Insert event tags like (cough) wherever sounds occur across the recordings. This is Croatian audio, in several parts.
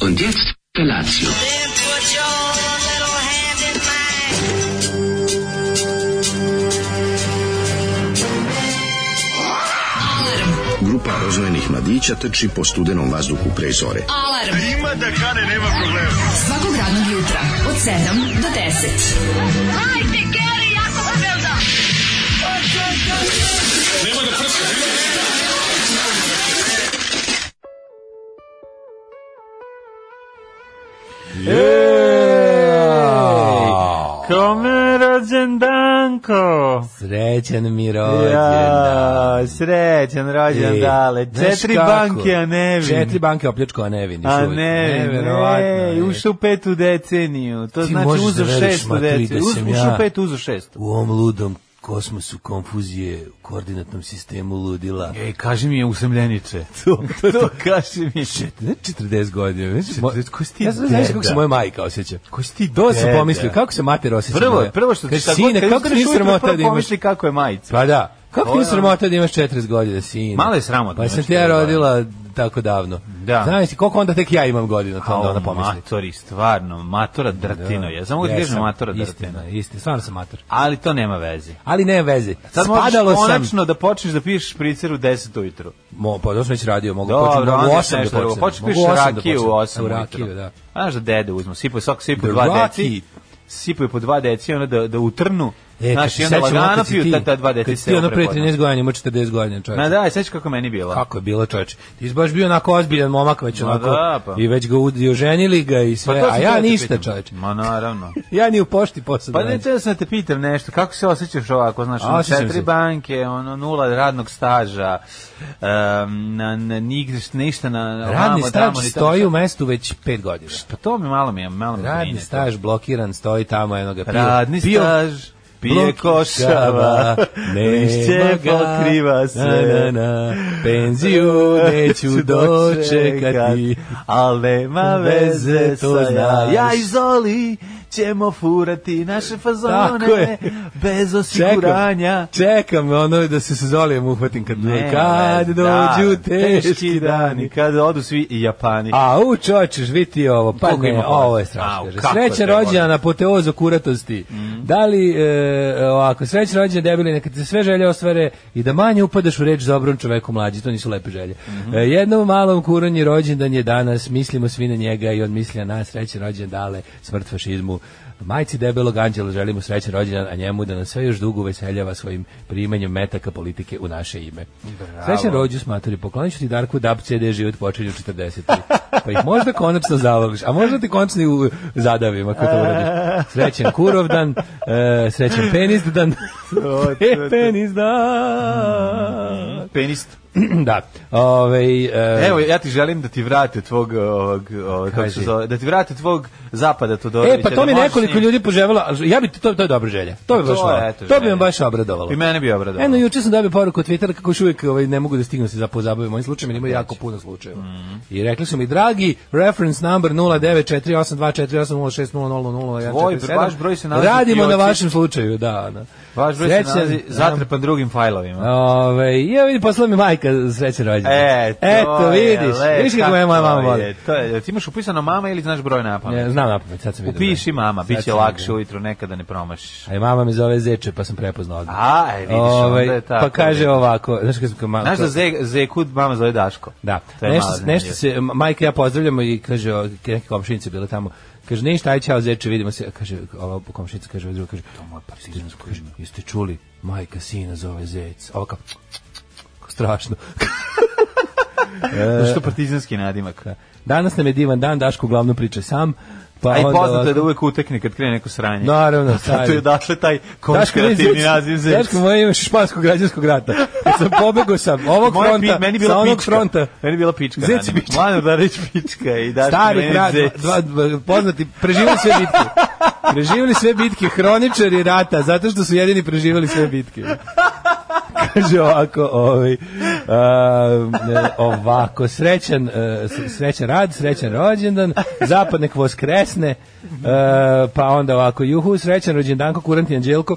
Und jetzt Felatio. Then put your little hand in mine. Grupa rozvojenih mladića trči po studenom vazduhu pre zore. Alarm. A ima da kane, nema problema. Svakog radnog jutra, od 7 do 10. Hajde, Geri, jako se velda. Kome rođendanko? Srećan mi rođendan. Ja, srećan rođendan, E, dale. znaš Četiri kako? banke, a ne vidim. Četiri banke opljačko, a ne vidim. A ne, Neverovatno. ne, je. ušao u petu deceniju. To Ti znači možeš uzo da veriš, šestu ma, tri deceniju. da Uz, sam ušao ja. u petu, uzo šestu. U ovom ludom kosmosu konfuzije u koordinatnom sistemu ludila. Ej, kaži mi je usemljeniče. (laughs) To, to, to kaži mi. Ne 40 godina. Znaš, Četrdeset- moj- ko si ti ja znam, znaš kako deda? se moja majka osjeća. Ko si ti To sam deda? pomislio, kako se mater osjeća Prvo, moja? prvo što Kaže, šta god- sine, kad kako ti uzmeš nije ujutro, sramota prvo da imaš... Pomisli kako je majica. Pa da, kako ti nije To je sramota da imaš 40 godina, sine? Malo je sramotno, Pa sam znači, ti ja to je rodila tako davno. Da. Znaš ti, koliko onda tek ja imam godina, to onda ona pomisli. Matori, stvarno, matora drtino. Ja samo mogu ti kažem Jesam, matora drtino. Istina, istina, stvarno sam mater. Ali to nema veze. Ali ne veze. Sad Spadalo možeš sam... konačno da počneš da piješ špricer u 10 ujutru. Mo, pa to sam već radio, mogu Dobro, početi, mogu onda osam da nešto drugo. počnem. Počneš piješ Mogu osam da rakiju u 8 ujutru. počnem. U Rakiju, da. A znaš da dede uzmu, sipaju svako sipaju The dva Rocky. deci. Sipaju po dva deci, ono da, da utrnu. E, kad znaš, se i onda sećam, ono lagano kad si piju ti- ta, ta dva kad deci si se ti ono pre 13 godina, ima 40 godina čovječe. Ma da, sećaš kako je meni bilo. Kako je bilo čovječe? Ti si baš bio onako ozbiljan momak već Ma onako. da, pa. I već ga udio, ženili ga i sve. to a sam ja teo te ništa pitam. čovječe. Ma naravno. Ja ni u pošti posao. Pa da ne nađem. da sam te pitam nešto, kako se osjećaš ovako, znaš, A, ono, Znači. osjećam četiri se. banke, ono, nula radnog staža, um, na, na, nigde, ništa na... Radni ovamo, tamo, staž ni tamo. stoji u mestu već 5 godina. Pa to mi malo mi, malo mi brine Radni to. staž blokiran, stoji tamo, eno ga pio. Radni pio, staž, pije Blok- košava, (laughs) nema lišće ga. pokriva Na, sve. na, na. Penziju neću dočekati. al nema veze To to znaš. Ja i Zoli ćemo furati naše Tako je. fazone bez osiguranja. Čekam, čekam ono da se sa Zolijem uhvatim kad, Ne, kad ne, dođu da, teški dani. Kad odu svi i Japani. A u čoče, vidi ovo, pa Koliko ne, ima ovo je bolesti? strašno. Au, kaže. kako je Mhm. Srećan to rođendan, apoteozu kuratosti. Da li, e, ovako, srećan rođendan debili, neka ti se sve želje ostvare i da manje upadaš u reč za obron čoveku mlađi, to nisu lepe želje. Mhm. E, jednom malom kuranji rođendan je danas, mislimo svi na njega i on misli na nas, srećan rođendan, dale, smrt fašizmu. Majci debelog anđela želimo srećan rođendan, a njemu da nas sve još dugo veseljava svojim primanjem metaka politike u naše ime. Srećan rođu smatori, poklonit ću ti Darku Dab CD život počinju 40. Pa ih možda konačno zavoliš, a možda ti konačno i u zadavim ako to uradiš. Srećan Kurovdan, e, srećan Penisdan, to, (laughs) to. Penisdan. Penist. Da, ovaj, e, Evo, ja ti želim da ti vrate tvog, ovog, ovog, kako se Kaži. zove, da ti vrate tvog zapada Todorovića. E, pa to da mi možeš nekoliko njim- ljudi poželjelo, ali ja bi to to je dobra želja. To bi To baš je, malo- eto, to bi me želja. baš obradovalo. I mene bi obradovalo. Eno E, juče sam dobio poruku od Twittera kako još uvijek ovaj, ne mogu da stignu se za pozabavim ovim slučajem, jer ima jako puno slučajeva. Mhm. I rekli su mi dragi reference number 0948248060000147. Tvoj vaš broj se nalazi Radimo u na fioci. vašem slučaju, da. da. Vaš broj se Srećan- nalazi zatrpan drugim fajlovima. Ove, ja vidi, poslala mi majka srećan rođendan. E, to Eto, je, vidiš, le, vidiš kako me moja mama je, voli. To je, ti imaš upisano mama ili znaš broj na pamet? Ne, znam na pamet, sad sam vidio. Upiši mama, bit će lakše u ujutro, nekada ne promašiš. A i mama me zove Zeče, pa sam prepoznao odmah. A, e, vidiš, Ovaj, onda je tako. Pa kaže ovako, znaš kad sam kao malo... Znaš da Ze, Zekud mama zove Daško? Da, To je nešto, malo nešto zanimljivo. se, ma- majka i ja pozdravljamo i kaže, o, ke- neke komšinice bile tamo, kaže, ništa, aj čao Zeče, vidimo se, kaže, ova komšinica kaže, ova druga kaže, to moje partizansko ime, jeste čuli, majka sina zove Zec, ovo kao, (laughs) kao strašno. (laughs) Zato što partizanski nadimak. Danas nam je divan dan, Daško uglavnom priča sam, pa A i onda poznato je ovako- da uvek utekne kad krene neko sranje. Naravno, (laughs) Zato je stari. odatle taj Daško, meni konspirativni Zec- naziv Zec. Daško, moje ime je španskog građanskog rata. Kad sam pobegao sam (laughs) ovog Moja fronta, pi- meni je bila sa onog pička. fronta. Meni je bila pička. Zec je ranije. pička. Mladen Darić pička i Daško Stari meni grad, Zec. dva, dva- poznati, preživjeli sve bitke. Preživjeli sve bitke, hroničari rata, zato što su jedini preživjeli sve bitke. Kaže ovako, ovaj, a, ne, ovako, srećan, e, s- srećan rad, srećan rođendan, zapad nek voskresne, e, pa onda ovako, juhu, srećan rođendan, kurant i anđelko,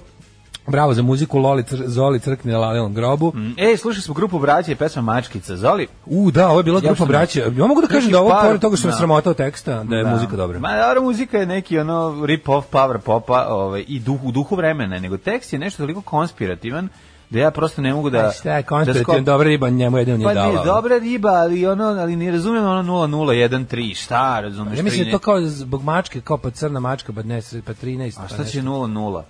Bravo za muziku, Loli cr, Zoli crkne na Lalinom grobu. E, slušali smo grupu braće i pesma Mačkica. Zoli, U, da, ovo je bila grupa sam- braća. Ja mogu da kažem Neki da ovo, par- pored toga što me da. sramotao teksta, da je muzika dobra. Ma dobra muzika je neki ono rip off power popa, ovaj i duh u duhu vremena, nego tekst je nešto toliko konspirativan da ja prosto ne mogu da A šta je da konspirativno, skop- dobra riba, njemu jedino nije Pa dala. nije ono. dobra riba, ali ono, ali ne razumem ono 0013, šta, razumeš? Pa Ja mislim da je to 13. kao zbog mačke, kao pa crna mačka, pa, ne, pa 13. A pa šta nešto. će 00?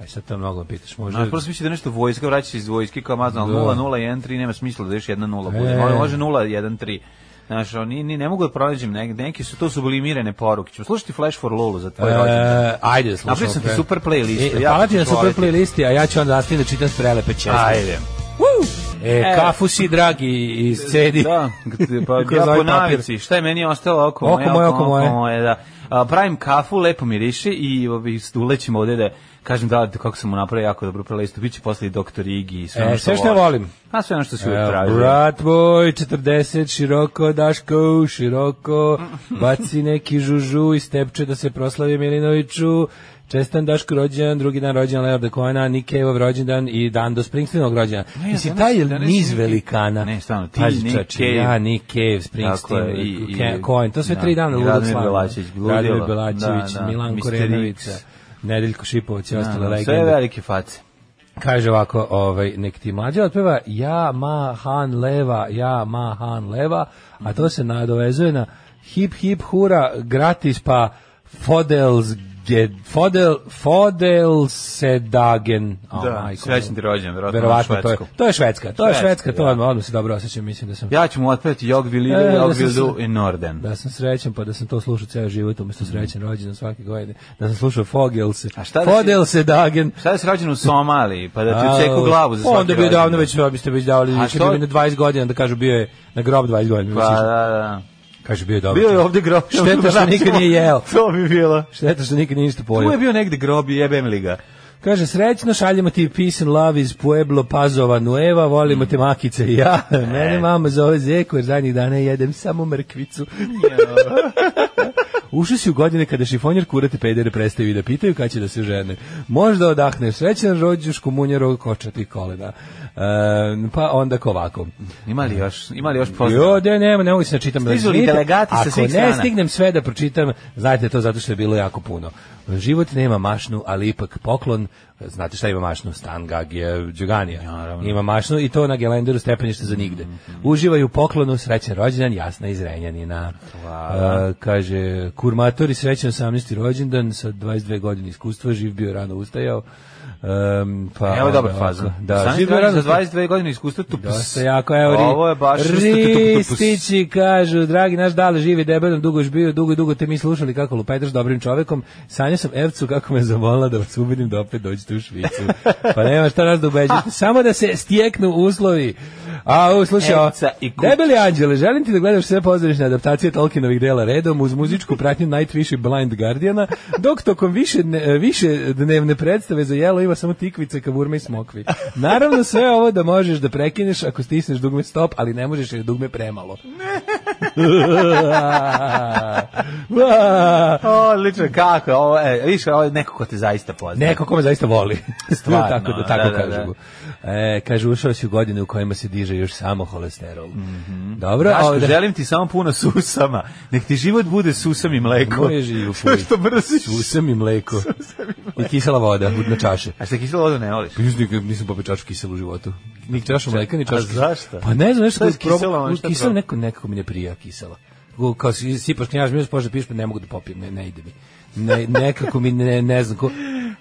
Aj, sad to mnogo pitaš, može... Znaš, prosto mislim da je nešto vojska, vraća se iz vojske kao mazno, ali Da. 0013 nema smisla da još jedna nula E. bude. Može, može 013. Znaš, oni ni ne mogu da pronađem neg- neke su to sublimirane poruke. Ćemo slušati Flash for Lulu za tvoj rođendan. E, ajde da slušamo. Napravio sam ti pre. super playlistu, E, ja hvala ću ti na super izvoliti. playlisti, a ja ću onda nastaviti da čitam prelepe česti. Ajde. Woo! E, kafu si, dragi, iz cedi. (laughs) Da, pa Kroz ja ovaj po papir. navici, šta je meni ostalo oko, Oko moje, oko moje. da. A, pravim kafu, lepo miriši i ovi, ulećim ovde da kažem da, da kako sam mu napravio jako dobru prelistu, bit će posle i doktor Igi i sve E, ono sve što E, ja volim. volim. A sve ono što si uvijek Evo, tražio. Brat moj, 40, široko, Daško, široko, baci neki žužu i stepče da se proslavi Milinoviću. Čestan Daško rođendan, drugi dan rođendan Leonarda Koena, Nick Cave-ov rođendan i dan do Springsteenog rođendana. Ne, Mislim, danas- taj je danas niz Nick- velikana. Ne, stvarno, ti, Pazi, Nick čoveče, Cave. Ja, Nick Cave, Springsteen, Dakle, i- i- Ke- Cohen, to sve da, tri dana i ludog Radimir slavlja. Belačević, Bludilo. Radimir Belačević, Da, da, Milan Mr. Korenovica, X. Nedeljko Šipović i Da, ostale da, legende. sve velike face. Kaže ovako, ovaj, nek ti mlađa otpeva Ja ma han leva, ja ma han leva, a to se nadovezuje na hip hip hura gratis pa fodels get, fodel, fodel sedagen. O, Da, majko srećan moja. ti rođen, verovatno na Ovaj, Verovatno, to je, švedskom. to je švedska, to je Švedska, švedska, to da. odmah, odmah se dobro osjećam, mislim da sam... Ja ću mu otpevati Jogville E, Ide, da Jogville sam Do se- i Norden. Da sam srećan pa da sam to slušao ceo život umjesto srećan rođendan svake godine. Da sam slušao Fogelse. Mhm. A šta da si- Fogelse Dagen. Šta da si rođen u Somaliji, pa da ti A, ceku glavu za svaki Onda bi rođendan? davno već biste već davali, A kad što? bi na 20 godina da kažu bio je na grob 20 godina. Pa, mislim, da, da. Kaže bio je dobro. Bio je ovde grob. (laughs) Šteta što nikad nije jeo. To bi bilo. Šteta što nikad nije ništa Tu je pojeo. bio negde grob i jebem li (laughs) ga. Kaže, srećno šaljemo ti peace and love iz Pueblo Pazova Nueva, volimo te makice (laughs) i ja. E. Mene mama zove Zeko jer zadnjih dana jedem samo mrkvicu. Ušao si u godine kada šifonjer kurate pedere prestaju i da pitaju kada će da se žene. Možda odahne srećan rođuš komunjarog kočati kolena. E, pa onda kovako. Ima li još, ima li još Jo, pozdrav? da nema, ne mogu se načitam. Stižu li Izvinite, delegati sa ako svih ne strana? stignem sve da pročitam, znajte to zato što je bilo jako puno. Život nema mašnu, ali ipak poklon. Znate šta ima mašnu? Stan Gag je Đuganija. Ima mašnu i to na gelenderu stepenište za nigde. Uživaj u poklonu, srećan rođendan, jasna iz Renjanina. E, kaže, kurmatori, srećan 18. rođendan, sa 22 godine iskustva, živ bio rano ustajao. Em, pa, Evo je dobra onda faza. ovako, Da, Da, Sami živ bio rano za ustajao. 22 godine iskustva tu Dosta jako, evo ri, Ovo je baš ristići kažu, dragi naš dale živi debelom, dugo još bio, dugo, dugo te mi slušali kako lupetaš dobrim čovekom, sanjao sam Evcu kako me zamolila da vas ubedim da opet dođete u Švicu. Pa nema šta nas (laughs) da ubeđate, samo da se stjeknu uslovi. A, u, slušaj, ovo, Evca i kuć. debeli anđele, želim ti da gledaš sve pozorišne adaptacije Tolkienovih dela redom uz muzičku pratnju Nightwish i Blind Guardiana, dok tokom više, dne- e, više dnevne predstave za jelo ima samo tikvice, kavurme i smokvi. Naravno sve ovo da možeš da prekineš ako stisneš dugme stop, ali ne možeš jer je dugme premalo. Uaa. Odlično, kako, je ovo je, viš, ovo je neko ko te zaista (laughs) pozna. Neko ko me zaista voli. Stvarno, tako da, tako da, kažu. E, kaže, ušao si u godine u kojima se diže još samo holesterol. Dobro, a Daško, ovde- želim ti samo puno susama. Nek ti život bude susam i mleko. Moje (laughs) živo, Sve što mrziš. Susam i mleko. i, kisela voda u dno čaše. A ste kiselo vodu ne voliš? Pa još nikad nisam popio čašu kiselu u životu. Ni čašu mleka, ni A čašu kisela. zašto? Pa ne znam, nešto Šta je koji s kiselom, probao. šta Kisela proba- neko, nekako mi ne prija kisela. Ko- Kao si- sipaš knjaž, mi pošto piš, pa ne mogu da popijem, ne, ne ide mi. Ne, nekako mi ne, ne znam ko,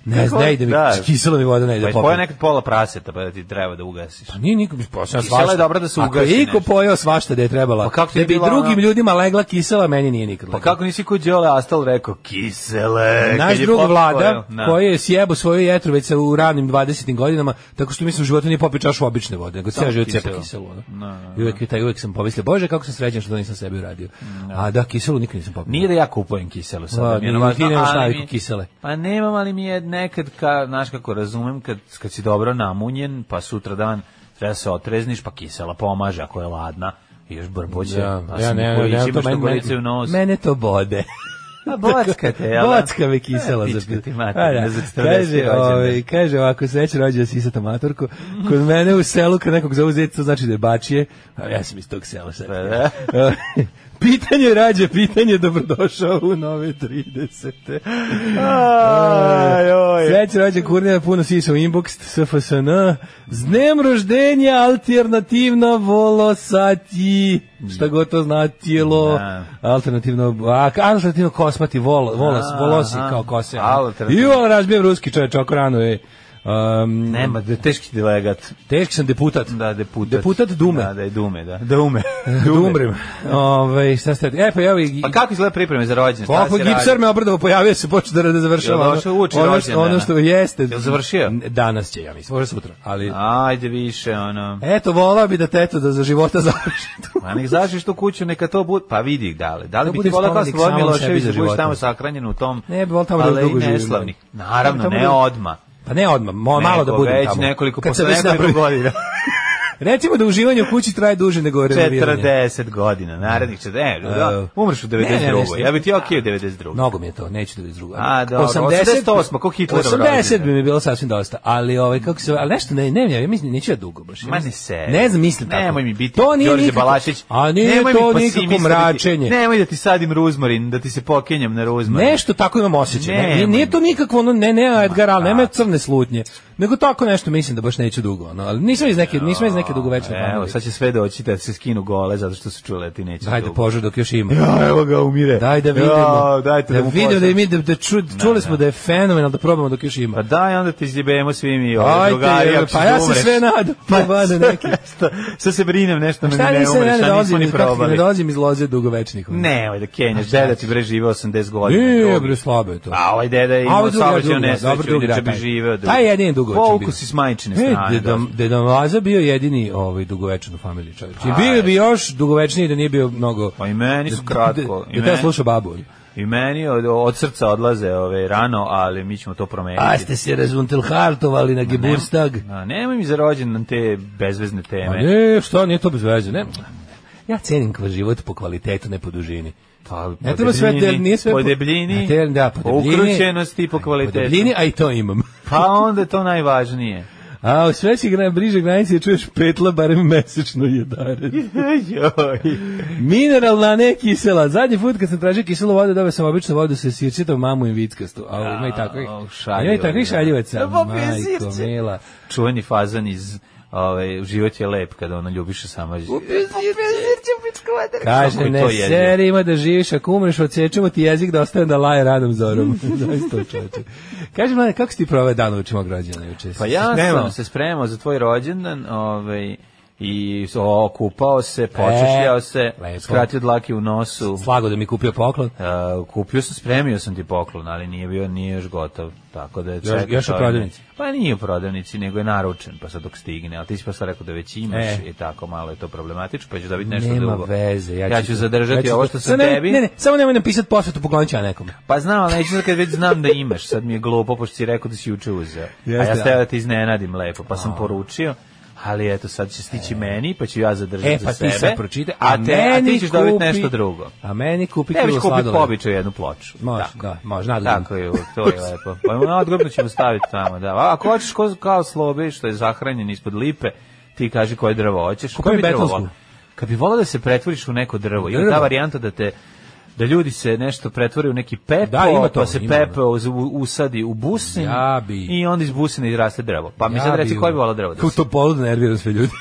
ne, Kako- ne ide mi, da. kisela mi voda ne ide Pa da je pojao popijem. nekad pola praseta, pa da ti treba da ugasiš. Pa nije nikom posao Kisela je dobra da se Ako ugasi je iko nešto. pojeo svašta da je trebala. Pa kako ti je da bi bila drugim ona- ljudima legla kisela, meni nije nikad. Pa legla. kako nisi kod Đole Astal rekao kisele? E, Naš kad je drug popio, vlada, na. koji je sjebo svoju jetru već sa- u ranim 20. godinama, tako što mislim u životu nije popio čašu obične vode, nego Samo ceo život cepa kiselu. kiselu. ono. Na, na, I uvek, je taj, uvek sam pomislio, bože, kako sam srećan što to nisam sebi uradio. A da, kiselu nikad nisam popio. Nije da ja kupujem kiselu sad. Ladno, mi je ono ni važno, ti nemaš ali naviku mi- kisele. Pa nemam, ali mi je nekad, ka, znaš kako razumem, kad, kad si dobro namunjen, pa sutra dan treba se otrezniš, pa kisela pomaže ako je ladna. I još brboće. Ja, a ja sam ne, u kolici, ne, to ono, imaš tu meni- kolici meni- u nos. mene to bode. A bocka te, jel? Bocka me kisela. E, za pička ti mater, A, da. za 40 Kaže, rođendan. ovaj, kaže ovako, sreće rođe si sa maturku. Kod mene u selu, kad nekog zovu zet, to znači da je bačije. A ja sam iz tog sela sad. Pa (laughs) Ovaj, da. pitanje rađe, pitanje dobrodošao u nove Ovaj, 30. Aj, oj. Sreće rođe kurnja, puno sisa u inbox, SFSN. S dnem roždenja, alternativna volosati. Šta god to znatilo. Da. Alternativno, a, alternativno kosmati, vol, volas, Aha. volosi kao kose. Alternativno. I ovo razbijem ruski čovječ, oko rano je. Um, Nema, da je teški delegat. Teški sam deputat. Da, deputat. Deputat Dume. (laughs) Da, da je Dume, da. (laughs) Dume. Da umrem. Ove, šta ste... E, pa evo i... Pa kako izgleda pripreme za rođendan? Šta Opa, se radi? gipsar me obrdovo pojavio se, počeo da, da završava. Jel došao uoči ono, što, rođendana? ono što jeste. Jel završio? Danas će, ja mislim, možda sutra. Ali, Ajde više, ono. Eto, volao bi da teto da za života (laughs) završi tu. Ma nek zažiš tu kuću, neka to bude, pa vidi dale. Da li Da bi ti bude volao kao spomenik Slobodan samom sebi Milošević za da budeš života. tamo sahranjen u tom? Ne, bi volao tamo da ali dugo i živim. neslavnik. Naravno, Tamo ne da- odmah. Pa ne odmah, mo, malo da Nego budem već tamo. nekoliko, Kad posle sam već nekoliko napravio- (laughs) godina. Recimo da uživanje u kući traje duže nego renoviranje. 40 godina, narednih 40. E, da, umreš u Ne, ne, 92. nešto. Ja bi ti okej u 92. Mnogo mi je to, neću da iz drugo. A, dobro, 88, ko Hitlerov 80 bi rođendan. mi bilo sasvim dosta, ali ovaj kako se, ali nešto ne, ne, ne, ja mislim neću ja dugo baš. Ja Ma mislim- ne se. Ne znam, mislim tako. Nemoj mi biti to nije Đorđe nikako- Balašić. A nije Nemoj mi to pesimisati. nikako mračenje. Nemoj da ti sadim ruzmarin, da ti se pokenjam na ruzmarin. Nešto tako imam osjećaj. Ne, Nemoj. nije to nikakvo ono ne ne Edgar Allan, Ma, nema crne slutnje. Nego tako nešto mislim da baš neću dugo, ono, ali nisam iz neke, nisam iz neke dugovečne Evo, familije. sad će sve doći da se skinu gole zato što su čule da ti neće Ajde dugo. požar dok još ima. Ja, evo ga, umire. Daj da vidimo. Ja, dajte da da mu vidimo da pošaljemo. mi da, da ču, čuli smo da je fenomenal da probamo dok još ima. Pa daj, onda ti izjebemo svi mi ove Ajde, drugari, jebe, ako pa ćeš ja da se umreš. sve nadam, Pa jebane neki. (laughs) šta- Šta se brinem, nešto mi Šta ne nisam ja umreš, ne a nismo dolazim, ni kako ti ne probali. dolazim iz loze dugovečnih. ono? Ne, ovaj da kenjaš, deda ti bre živeo 80 godina. Nije, drugi. bre, slabo je to. A ovaj deda je A imao ovo drugo, saobraćaj drugo, dobro, nesreću, drugo, inače da, bi taj. živeo. Taj je jedini dugovečan bio. Volku si s majčine E, strane. deda, dosta. deda Laza bio jedini ovaj, dugovečan u familiji čovječ. I bio bi još dugovečniji da nije bio mnogo... Pa i meni su kratko. Da, I da, da ja meni, slušao babu. I meni od, od srca odlaze ove, rano, ali mi ćemo to promeniti. A ste se razuntelhartovali na Geburstag? A, nemoj mi za rođendan te bezvezne Pa teme. ne, šta, nije to bez veze, ne. Ja cenim kva život po kvalitetu, ne po dužini. Pa, po Ne treba sve, debljini, del, nije sve po debljini, Na te- da, po po debljini, ukrućenosti, po kvalitetu. Po debljini, a i to imam. Pa onda je to (laughs) najvažnije. A u sve si gra, bliže granici čuješ petla, barem mesečno jedare. (laughs) Joj. Mineralna, ne kisela. Zadnji put kad sam tražio kiselu vodu, dobio sam običnu vodu sa sirćetom, mamu i vickastu. A ima i takvih. au, šaljivo Ima i takvih je. šaljivaca. Da popije Majko, sirće. mila. Čuveni fazan iz ovaj, život je lep ono kada ona ljubiše sama. Kaže, Kako je to ne jezivo? seri ima da živiš, ako umreš, odsjećemo ti jezik da ostane da laje radom (laughs) zorom. (laughs) Zaista čoveče. Kaže, mlade, kako si ti proveo dan uči mog rođena juče? Pa ja Spremao? sam se spremao za tvoj rođendan, ovaj, i o, kupao se, počešljao E, se, lepo. skratio dlake u nosu. Slago da mi kupio poklon. Uh, kupio sam, spremio sam ti poklon, ali nije bio, nije još gotov, tako da je čekao još u ovaj- prodavnici? Pa nije u prodavnici, nego je naručen, pa sad dok stigne, ali ti si pa sad rekao da već imaš E. i tako, malo je to problematično, pa ću dobiti nešto Nema drugo. veze. Ja, Ja ću zadržati ovo što sam Sad ne- tebi. Ne, ne, samo nemoj napisati posvetu poklonit ću ja nekom. Pa znam, ali neću sad kad već znam da imaš, sad mi je glupo, pošto si rekao da si juče uzeo. A Jeste, ja da. stavio da te iznenadim lepo, pa sam poručio. Ali eto, sad će stići meni, pa ću ja zadržati E, za pa sebe. ti sad pročite, a, a, te, a meni ti ćeš kupi, dobiti nešto drugo. A meni kupi Ne biš kilo kupiti sladoleda. pobiču jednu ploču. Može, Tako. da, može, nadodam. Tako je, to je lepo. Pa na odgrobno ćemo staviti tamo, da. A ako hoćeš ko, kao slobe što je zahranjen ispod lipe, ti kaži koje drvo hoćeš. Kupujem Koje bi drvo betonsku. volao? Kad bi volao da se pretvoriš u neko drvo, ili Drvo. ta varijanta da te da ljudi se nešto pretvore u neki pepo, Da, ima to, pa se ima, pepo uz- usadi u busin Ja bi- i onda iz busine izraste drvo. Pa mi sad bi- reci koji bi volao drvo da Kao si? to polu da nerviram sve ljudi.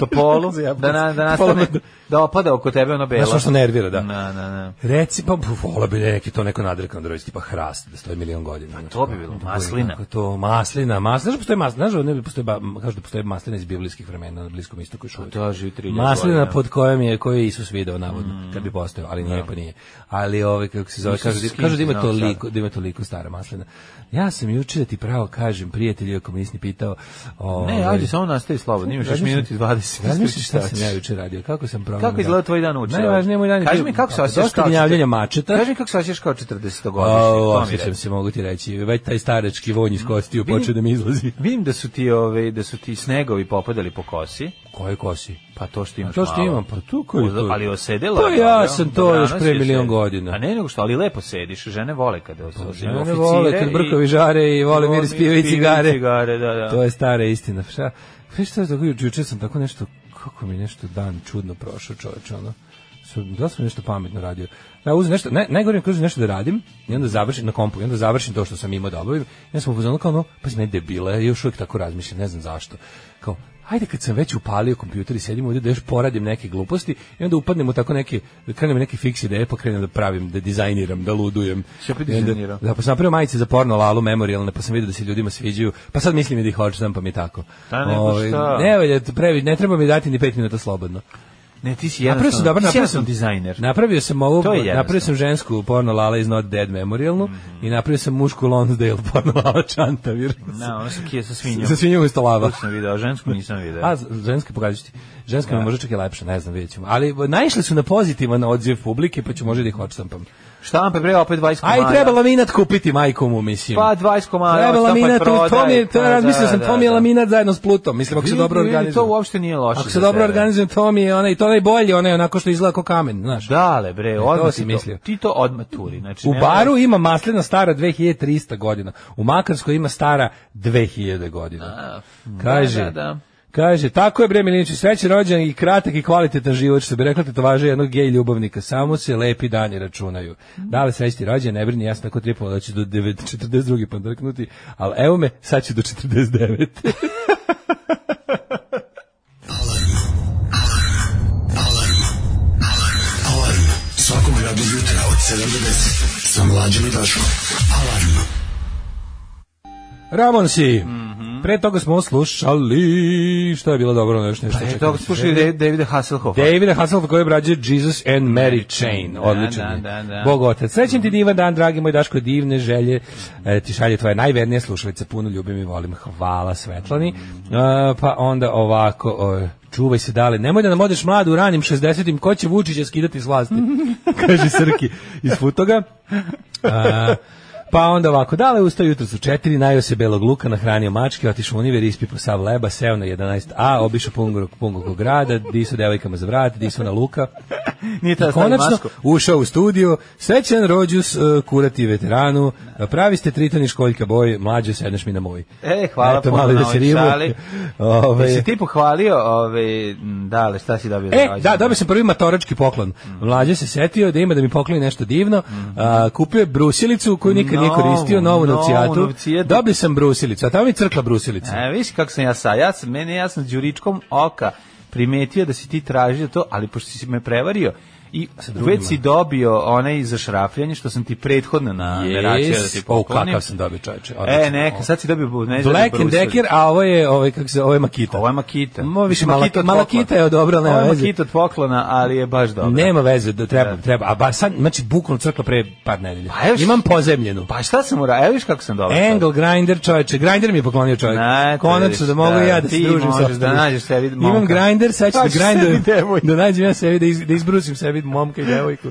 Topolu, (laughs) Zajebao da, na, sam. da Topolu. (laughs) nastane, da opada oko tebe ono belo. Znaš ono što nervira, da. Na, na, na. Reci, pa bu, vola bi neki to neko nadrekano drvo, tipa hrast, da stoji milion godina. Pa to bi bilo, maslina. To, maslina, maslina, znaš da postoji maslina, znaš da ne bi postoji, ba, kažu da postoji maslina iz biblijskih vremena na Bliskom istoku i šuvaju. Da, živi 3000 Maslina godina. Mm. pod kojom je koju je Isus video navodno kad bi postao, ali nije pa nije. Ali ovaj kako se zove Isus kažu, je da- kažu da ima skinut, znam toliko, da ima toliko stara maslina. Ja sam juče da ti pravo kažem, prijatelju, ako me nisi ni pitao, ovaj Ne, ajde, samo nastavi slobodno, imaš još Razmišljam- minut i 20. Razmišljaš šta sam ja juče radio, kako sam promenio. Kako izgleda tvoj dan uče? Najvažnije je moj dan. Kaži mi kako se osjećaš Dosta kao gnjavljenja četrdeset- mačeta. Kaži mi kako se osjećaš kao 40 O, godišnji. osjećam se, mogu ti reći. Već taj starački vonj Mm. iz kostiju počeo da mi izlazi. ovaj, Vidim da su ti ove da su ti snegovi popadali po kosi. Koje kosi? Pa Pa to što imaš To što malo. imam, pa tu koji Uz- tu? Ali osedela. Pa je, ja dobro, sam to dobrano još pre si milion se. godina. Pa A ne nego što, ali lepo sediš, žene vole kada os- os- Žene oficire vole kad i- brkovi žare i vole miris piva i cigare. cigare, da, da. To je stara istina. Šta? Viš šta je tako, juče juče sam tako nešto, kako mi je nešto dan čudno prošao čoveč, ono. Su- Da sam nešto pametno radio. Ja uzem nešto, naj, najgore mi kažem nešto da radim i onda završim na kompu, i onda završim to što sam imao da obavim. Ja sam upozorno kao ono, pa si meni debila, ja još uvijek tako razmišljam, ne znam zašto. Kao, ajde kad sam već upalio kompjuter i sedim ovdje da još poradim neke gluposti i onda upadnem u tako neke, krenem neke fiks ideje pa krenem da pravim, da dizajniram, da ludujem. Si opet I onda- dizajnirao? Da, pa sam napravio majice za porno lalu memorialne, pa sam vidio da se ljudima sviđaju, pa sad mislim i da ih hoćem, pa mi je tako. Da, nego Ovaj, šta? Ne, valja, previ, ne treba mi dati ni pet minuta slobodno. Ne, ti si Napravio sam, jednostavno, dobro, ti si napravio sam, jednostavno dizajner. Napravio sam ovu, To je jednostavno. Mhm. napravio sam žensku porno lala iz Not Dead memorialnu i napravio sam mušku Lonsdale (laughs) porno lala čanta, vjerujem. Na, ono su kije sa svinjom. Sa svinjom iz lava. To sam video, a žensku nisam video. A, z- ženske pokazujući. Ženska mi možda čak i lepša, ne znam, vidjet ćemo. Ali naišli su na pozitivan odziv publike, pa ću možda da ih odštampam. Šta vam pa bre opet 20 komada? A i treba laminat kupiti majku mu, mislim. Pa 20 komada. Treba odštampaj, laminat, to, to mi je, to prodaj. Pa, ja razmislio sam, da, to mi je da, da. laminat zajedno s Plutom. Mislim, ako se Vidi, dobro vidi, organizujem. To uopšte nije loše. Ako za se dobro tebe. organizujem, to mi je onaj, to najbolje, onaj onako što izgleda kao kamen, znaš. Dale, bre, Znači, to odmah si ti mislio. Ti to odmah turi. Znači, U ne Baru ima maslina stara 2300 godina. U Makarskoj ima stara 2000 godina. Kaže, da, da. Kaže, tako je bre Miliniću, sreće rođen i kratak i kvalitetan život, što bi rekla tetovaža jednog gej ljubavnika, samo se lepi dani računaju. Da li sreći ti rođen, ne brini, ja sam tako tripao da ću do 9, 42. pandrknuti, ali evo me, sad ću do 49. (laughs) Alarm. Svakog radnog jutra od 7 do 10. Sa mlađom i Daškom. Alarm. Ramon si! Mhm. Pre toga smo slušali, što je bilo dobro, ono još nešto. E, čekaj. to slušaju Da- Davida Hasselhoffa. Davida Hasselhoffa koji obrađuje Jesus and Mary Chain. Odličan da, je. da, da. Mhm. Bog otac. Srećem ti divan dan, dragi moj Daško, divne želje. E, ti šalje tvoje najvernije slušalice. Puno ljubim i volim. Hvala Svetlani. Mhm. E, pa onda ovako... o, čuvaj se dale, nemoj da nam odeš mladu u ranim 60-im, ko će Vučića skidati (laughs) s vlasti? Kaže Srki iz Futoga. A, pa onda ovako, dale ustao jutro su četiri, najio se belog luka, nahranio mačke, otišao u univer, ispipo sav leba, seo na 11a, obišao pungo, pungo grada, disu devojkama za vrat, disu na luka. Nije tada stavio I Pa konačno masku. ušao u studio, srećan rođus, uh, kurati veteranu, uh, pravi ste tritoni školjka boj, mlađe sedneš mi na moj. E, hvala Eto, puno mali na da se ovoj rimu. šali. Ove, Jesi ti pohvalio, ove, m, dale, šta si dobio? za E, rođendan? da, dobio sam prvi matorački poklon. Mm. Mlađe se setio da ima da mi pokloni nešto divno. A, kupio je brusilicu koju nikad nije Novu, koristio, novu novu novcijatu. novcijatu. Dobio sam brusilicu, a tamo mi crkla brusilica. E, viš kako sam ja sa, ja sam, meni ja sam đuričkom oka primetio da si ti tražio to, ali pošto si me prevario, I drugima. već si dobio onaj za šrafljanje što sam ti prethodno na naračio pa, da ti Yes. O, poklonim. kakav sam dobio čovječe. E, odlično. neka, sad si dobio ne znam, Black and brusilicu. Decker, a ovo je, ovo je, kako se, ovo je Makita. Ovo je Makita. Mo, više Mislim, Malaki- Makita od Malakita poklona. je odobrala, nema Ovo je veze. Makita od poklona, ali je baš dobro. Nema veze, da treba, treba. A ba, sad, znači, bukvalno crkla pre par nedelja. Pa evo što- Imam pozemljenu. Pa šta sam uradio? Evo viš kako sam dobro. sad. Angle grinder čoveče, grinder mi je poklonio čovjek. Na, to Konačno vidiš, da mogu da, ja da se ti družim sa. možeš optimizmom. da nađeš sebi momka. Imam grinder, sad ću da Nađi sebi grinder devojku. da nađem ja sebi da, iz, da izbrusim sebi momka i (laughs) devojku.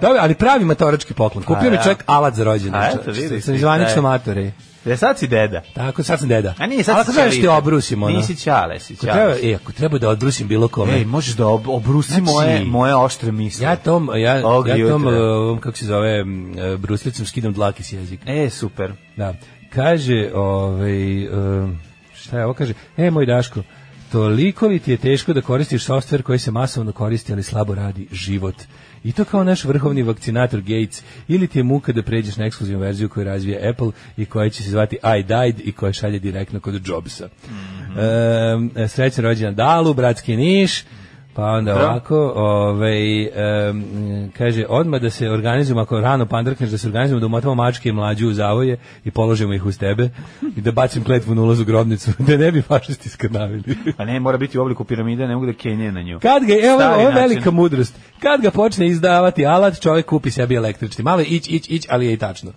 Dobro, ali pravi matorački poklon. Kupio A, mi Pa ja. čovjek alat za rođendan. A, eto, čoveče, vidiš Sam ti, zvanično da. matore. E, sad si deda. Tako, sad sam deda. A nije, sad ali si ako trebaš čalite. ti obrusim, ono. Nisi čale, si Ako treba, čale. e, ako treba da odbrusim bilo kome. Ej, možeš da ob obrusi Znači- moje, moje oštre misle. Ja tom, ja, Ovog ja tom, jutra. e, ovom, kako se zove, m, e, bruslicom skidam dlake s jezika. E, super. Da. Kaže, ovaj, em, šta je ovo kaže? E, moj Daško, toliko li ti je teško da koristiš softver koji se masovno koristi, ali slabo radi život? I to kao naš vrhovni vakcinator Gates. Ili ti je muka da pređeš na ekskluzivnu verziju koju razvija Apple i koja će se zvati I died i koja šalje direktno kod Jobsa. Mhm. Em, sreća rođena Dalu, bratski Niš. Pa onda ovako, ovaj, em, kaže, odmah da se organizujemo, ako rano pandrkneš, da se organizujemo, da umotamo mačke i mlađu u zavoje i položimo ih uz tebe i da bacim kletvu na ulaz u grobnicu, (laughs) da ne bi fašisti (laughs) skrnavili. Pa ne, mora biti u obliku piramide, ne mogu da kenje na nju. Kad ga, evo, Stari ovo je način. velika mudrost, kad ga počne izdavati alat, čovjek kupi sebi električni. Malo je ić, ić, ić, ali je i tačno.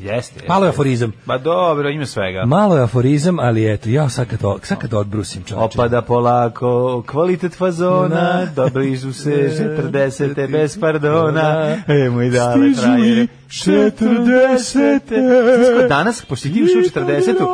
Jeste. Malo je jeste. aforizam. Ba dobro, ima svega. Malo je aforizam, ali eto, ja sad kad, o- sad kad odbrusim čovječe. Opada polako, kvalitet fazona, Na. dobližu se (laughs) 40. bez pardona, Na. e moj dale Stižu traje. li 40-te? Znaš ko, danas, pošto ti ušao u 40. Rađa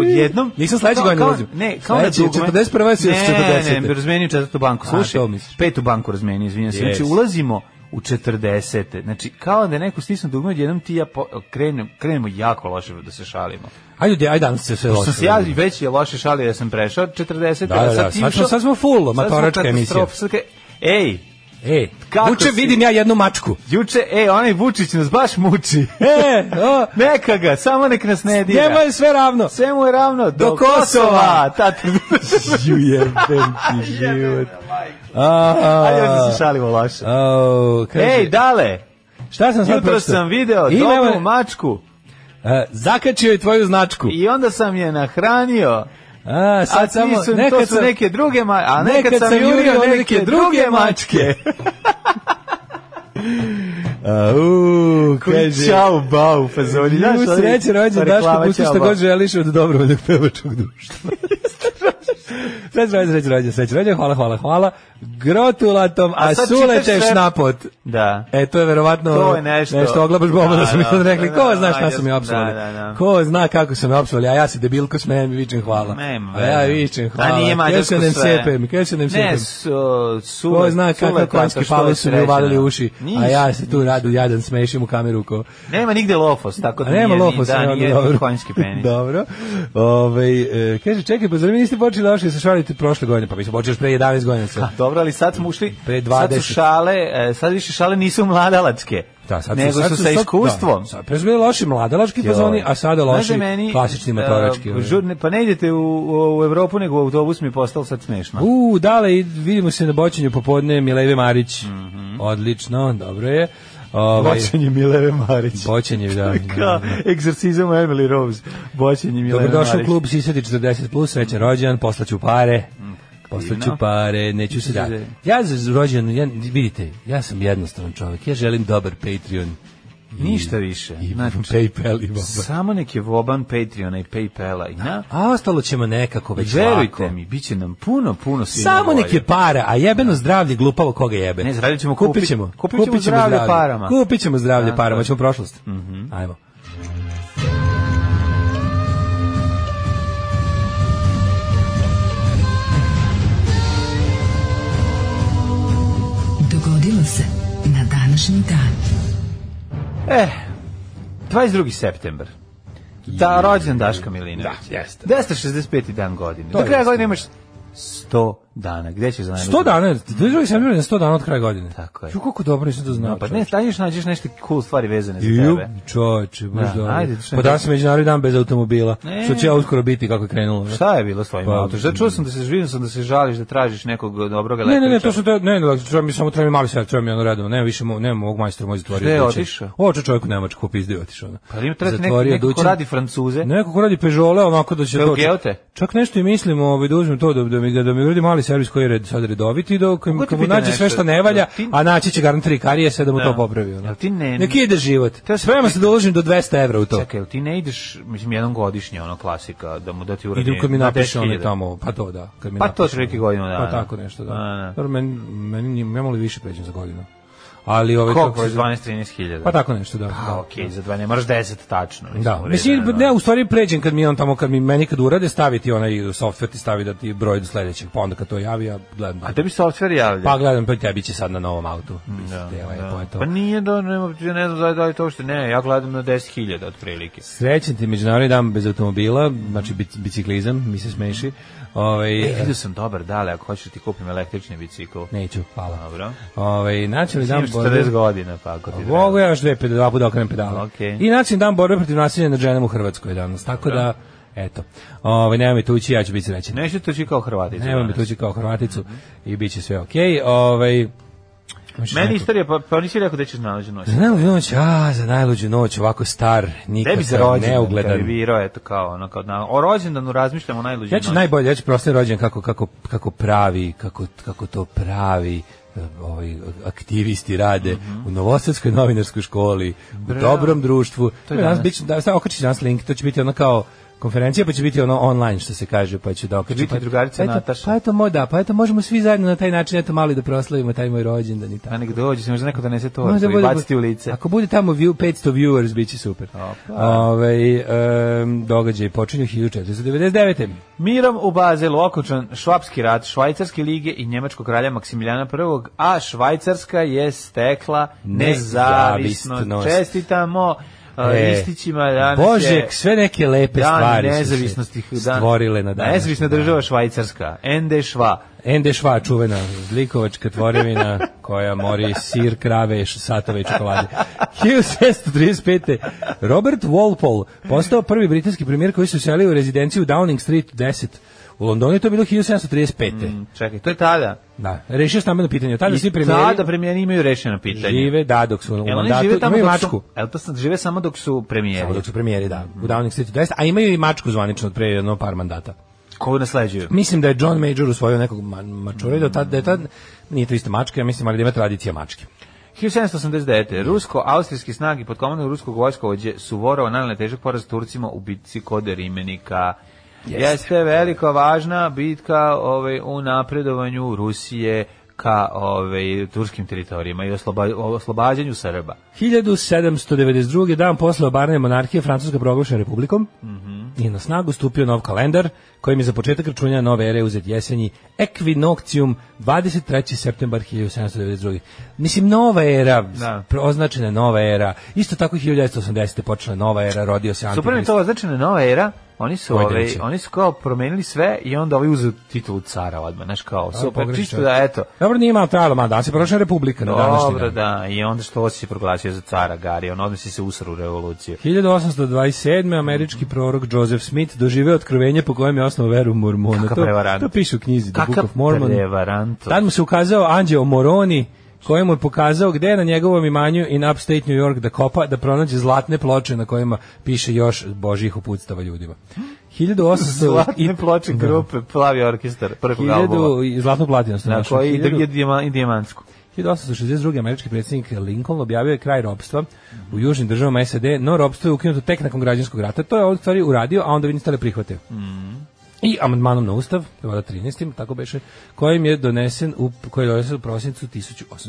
Odjednom... Nisam sledeće Kao- godine kao- ulazim. Ne, kao na Sledeće, dugme. 41. si još Ne, 40-te. ne, razmenio četvrtu banku. A, Slušaj, to misliš. petu banku razmenio, izvinjam se. Znači, Yes. ulazimo u 40. Znači, kao da je neko stisnu dugme, odjednom ti i ja po, krenem, krenemo jako loše da se šalimo. Ajde, ljudi, ajde, danas se sve Što loše. sam se ja već je loše šalio da sam prešao 40, Da, a da, da, sad ti sad smo- ušao- sad smo full, sad smo matoračka katastrofa, emisija. sad kre- Ej, E, Kako uče si? vidim ja jednu mačku. juče, ej, onaj Vučić nas baš (laughs) muči. E, o, Neka ga, samo nek nas ne dira. njemu je sve ravno. Sve mu je ravno do, Do Kosova. (laughs) Ta (laughs) Ju (laughs) jebem ti život. A, a, Ajde da se šalimo loše. Au, kaže, Ej, dale, šta sam sad jutro pročitao? sam video Ima, dobru evo, mačku e, zakačio je tvoju značku. i onda sam je nahranio. A, A sad ti samo, su, to nekad su sam, neke druge ma, a nekad, sam jurio neke druge mačke. (laughs) au, Kaže, kaže, Ćao, bau, fazoni. Znaš, Ju ovi- sreće rođen, Daško, reklama pusti Ćao, što bau. god želiš od dobrovoljnog pevačkog (laughs) društva. sreće rođen, sreće rođen, sreće rođen, hvala, hvala, hvala. Grotulatom, a, A sad sule čitaš teš sve- napot. Da. E, to je verovatno To je nešto. oglabaš boba da su mi Da, sad da, rekli. da, Ko da, zna šta ajde, su mi da, opsovali? da, da. Ko zna kako su me opsovali? A ja se debilko smejem i vičem hvala. Nema a ja veze. vičem A hvala. nije mađarsko Kjesunem sve. sepem, kjesunem Ne, sepem. su, su, Ko zna kakav konjski palo su mi uvalili u uši, a ja se tu radu jadan smešim u kameru ko. Nema nigde lofos, tako da A nema nije, lofos, da, nema, nije dobro. konjski penis. (laughs) dobro. Ove, e, kaže, čekaj, pa zar vi niste počeli loše da se šalite prošle godine? Pa mi smo počeli još pre 11 godina. sa- Pa, Dobro, ali sad smo ušli, Pre sad 20. su šale, e, sad više šale nisu mladalačke, Da, sad nego su sa sad- iskustvom. Da, sad, pre su bili loši mladalački fazoni, a sada Znaš da loši meni, klasični e, matorački. ono. žurne- pa ne idete u, u Evropu, nego u autobus mi je postalo sad smešno. ovaj. U, dale, i vidimo se na boćenju popodne Mileve Marić. Odlično, dobro je. Ovaj, Mhm. Boćenje Mileve Marić. boćenje, da. (laughs) da, Kao da. egzorcizam Emily Rose. Boćenje Mileve Dobrodošao u Marić. klub Sisati 40+, plus, srećan rođendan, poslaću pare. Mm, Poslaću divno. pare, neću se da. se- Ja za rođendan, ja, vidite, ja sam jednostavan čovjek, ja želim dobar Patreon. i- Ništa više. I Znači, Paypal i boba. Samo nek je voban Patreona i Paypala i na... A ostalo ćemo nekako već Verujte lako. mi, bit će nam puno, puno svima Samo volje. nek je para, a jebeno zdravlje glupavo koga jebe. Ne, zdravlje ćemo kupit kupit- ćemo. kupit ćemo zdravlje parama. Mhm. Kupit ćemo zdravlje A, parama, to- ćemo prošlost. Ajmo. Dogodilo se na današnji dan. Eh, 22. september. Da, rođen Daška Milinović. Da, jeste. 265. dan godine. Do kraja jeste. godine imaš 100 dana. Gde ćeš za najbolje? 100 dana, 22. septembra je 100 dana od kraja godine. Tako je. Ju, koliko dobro nisam to znao. Pa čovječe. ne, staješ nađeš neke cool stvari vezane za Ju, tebe. čoveče, baš Da, dobro. ajde, što pa je- danas je međunarodni dan bez automobila. Ne. Što će ja uskoro biti kako je krenulo. ne? Šta je bilo s tvojim Pa, autom? Da čuo sam da se vidio sam da se žališ da tražiš nekog dobrog Ne, električara. ne, ne, to su te, ne, ne, treba mi samo treba mi mali svet, treba mi ono redovno, nema više, mo, nema mog majstora moj zatvorio. Gde je dućan. otišao? Oče čovjek u Nemačku, pizdio je otišao. ono. Pa ima treba ti neko, Zatvorio neko ko dućan. radi francuze. Neko ko radi Peugeot, onako da će to... Peugeote? Čak nešto i mislim, ovaj, da uzmem to, da, da, mi, da mi uradi mali servis koji je red, sad redoviti, da kad Mogu ti kad mu pitam nađe sve nešto? što ne valja, Jel ti- a naći će garant tri karijese da mu to popravi. ono. Jel ti ne- Nek ide život. Te- Sprema se da uložim do 200 evra u to. Čekaj, jel ti ne ideš, mislim, jednom godišnje, ono, klasika, da mu da ti uradi... Idem kad mi na napiše 10.000. one tamo, pa to da. Kad mi Pa to napiše. otprilike godinu dana. Pa tako nešto, da. Da, da. Dobro, meni, meni, nije- ja malo više pređem za godinu. Ali ove... Koliko je 12-13 hiljada? Pa tako nešto, da. A, okej, za dva ne moraš 10 tačno. Da, u redu, mislim, ono. ne, u stvari pređem kad mi on tamo, kad mi meni kad urade, staviti onaj softver ti stavi da ti broj do sledećeg, pa onda kad to javi, ja gledam. A tebi software javlja? Pa gledam, pa tebi će sad na novom autu. Da, Da. Pa nije da, nema, ja ne znam za- da li to uopšte, ne, ja gledam na 10.000 otprilike. Srećen ti međunarodni dan bez automobila, znači bic- biciklizam, mi se smeši. Ovaj, E, vidio sam dobar, dale, ako hoćeš ti kupim električni bicikl. neću, hvala. Dobro. Ovaj, nacionalni Imam dan... borbe- 40 godina, pa ako ti treba. Mogu ja još dve, peda- dva puta okrenem pedale. Okej. I nacionalni dan borbe protiv nasilja nad ženama u Hrvatskoj je danas. Tako da, eto. Ovaj, nema mi tući, ja ću biti srećen. Neću to čekao Hrvati. Nema mi tući kao Hrvaticu i bit će sve okej. Ovaj, hoćeš Meni neko? istorija, pa, pa nisi rekao da ćeš nalazi noć. Za najluđu noć, a, za najluđu noć, ovako star, nikad Tebi za sam rođendan, kad neugledan. bi birao, eto kao, ono, kao, na, o rođendanu razmišljamo najluđe Ja ću najbolje, ja ću prosti rođen kako, kako, kako pravi, kako, kako to pravi ovaj, aktivisti rade Mhm. u Novosadskoj novinarskoj školi, u dobrom društvu. To je danas, bit će- da, sad okačit će nas link, to će biti ono kao konferencija, pa će biti ono online što se kaže, pa će da okačim. biti pa, drugarica pa eto- Nataša. Pa eto, mo, da, pa eto, možemo svi zajedno na taj način, eto, mali da proslavimo taj moj rođendan i tako. A nek dođe, se možda neko donese to Možda i bude- baciti u lice. Ako bude tamo view, 500 viewers, bit će super. Ove, um, događaj počinju 1499. Mirom u Bazelu okončan švapski rat Švajcarske lige i njemačkog kralja Maksimiljana I, a Švajcarska je stekla nezavisnost. Nezavisnost. Čestitamo e, E, listićima danas Bože, je sve neke lepe dan stvari su se nezavisnosti dan- stvorile na današnji Nezavisna dan. država Švajcarska, ND Šva. Endešva čuvena, zlikovačka tvorevina koja mori sir, krave, š- satove i čokolade. 1635. Robert Walpole postao prvi britanski premijer koji se uselio u rezidenciju Downing Street 10. U Londonu je to bilo 1735. Čekaj, to je tada. Da, rešio stambeno pitanje. Tada svi Mm. I premijeri tada premijeri imaju rešeno pitanje. žive, da, dok su u Jel oni mandatu, žive tamo imaju dok su- mačku. Jel to sam, žive samo dok su premijeri. Samo dok su premijeri, da, u Downing Streetu 10, a imaju i mačku zvanično od pre jedno par mandata. Koju nasleđuju? Mislim da je John Major usvojio nekog ma mačura i da, tad, da je tad, nije to isto mačka, ja mislim, ali da ima tradicija mačke. 1789. Rusko-austrijski snagi pod komandom ruskog vojskovođe Suvorova nanele težak poraz Turcima u bitci kod Rimenika. Jeste velika važna bitka ovaj, u napredovanju Rusije ka ovaj, turskim teritorijima i osloba- oslobađanju Srba. 1792. dan posle obarne monarhije Francuska proglašena republikom Mhm. i na snagu stupio nov kalendar kojim je za početak računja nove ere uzet jesenji Equinoctium 23. septembar 1792. Mislim, nova era, Da. pro- označena je nova era. Isto tako i 1980. počela je nova era, rodio se Super mi je Antikrist. to označena nova era, oni su, Koji ovaj, delici? oni su kao promenili sve i onda ovaj uzeo titulu cara odmah, znaš kao, super, pogreši čisto čovjek. da, eto, Dobro, nije malo trajalo, ma danas je proglašena republika na današnji Dobro, dan. da, i onda što se proglasio za cara Gari, on odnosi se usru u revoluciju. 1827. američki prorok Joseph Smith doživeo otkrovenje po kojem je osnovao veru Mormona. Kakav To- prevarant. To piše u knjizi The Book Kakav of Mormon. prevaranto. (laughs) Tad mu se ukazao Anđeo Moroni, koji mu je pokazao gde je na njegovom imanju in upstate New York da kopa, da pronađe zlatne ploče na kojima piše još Božjih uputstava ljudima. 1800... Zlatne ploče Da. grupe Plavi orkestar prvog albuma. 1000 i zlatnu platinu sam Na našao. koji i 1000 dijema- i dijamantsku. 1862. američki predsjednik Lincoln objavio je kraj robstva u južnim državama SAD, no robstvo je ukinuto tek nakon građanskog rata. To je on u stvari uradio, a onda vi niste le prihvatio. I amandmanom na ustav, vada 13. tako beše, kojim je donesen u, koji je donesen u prosincu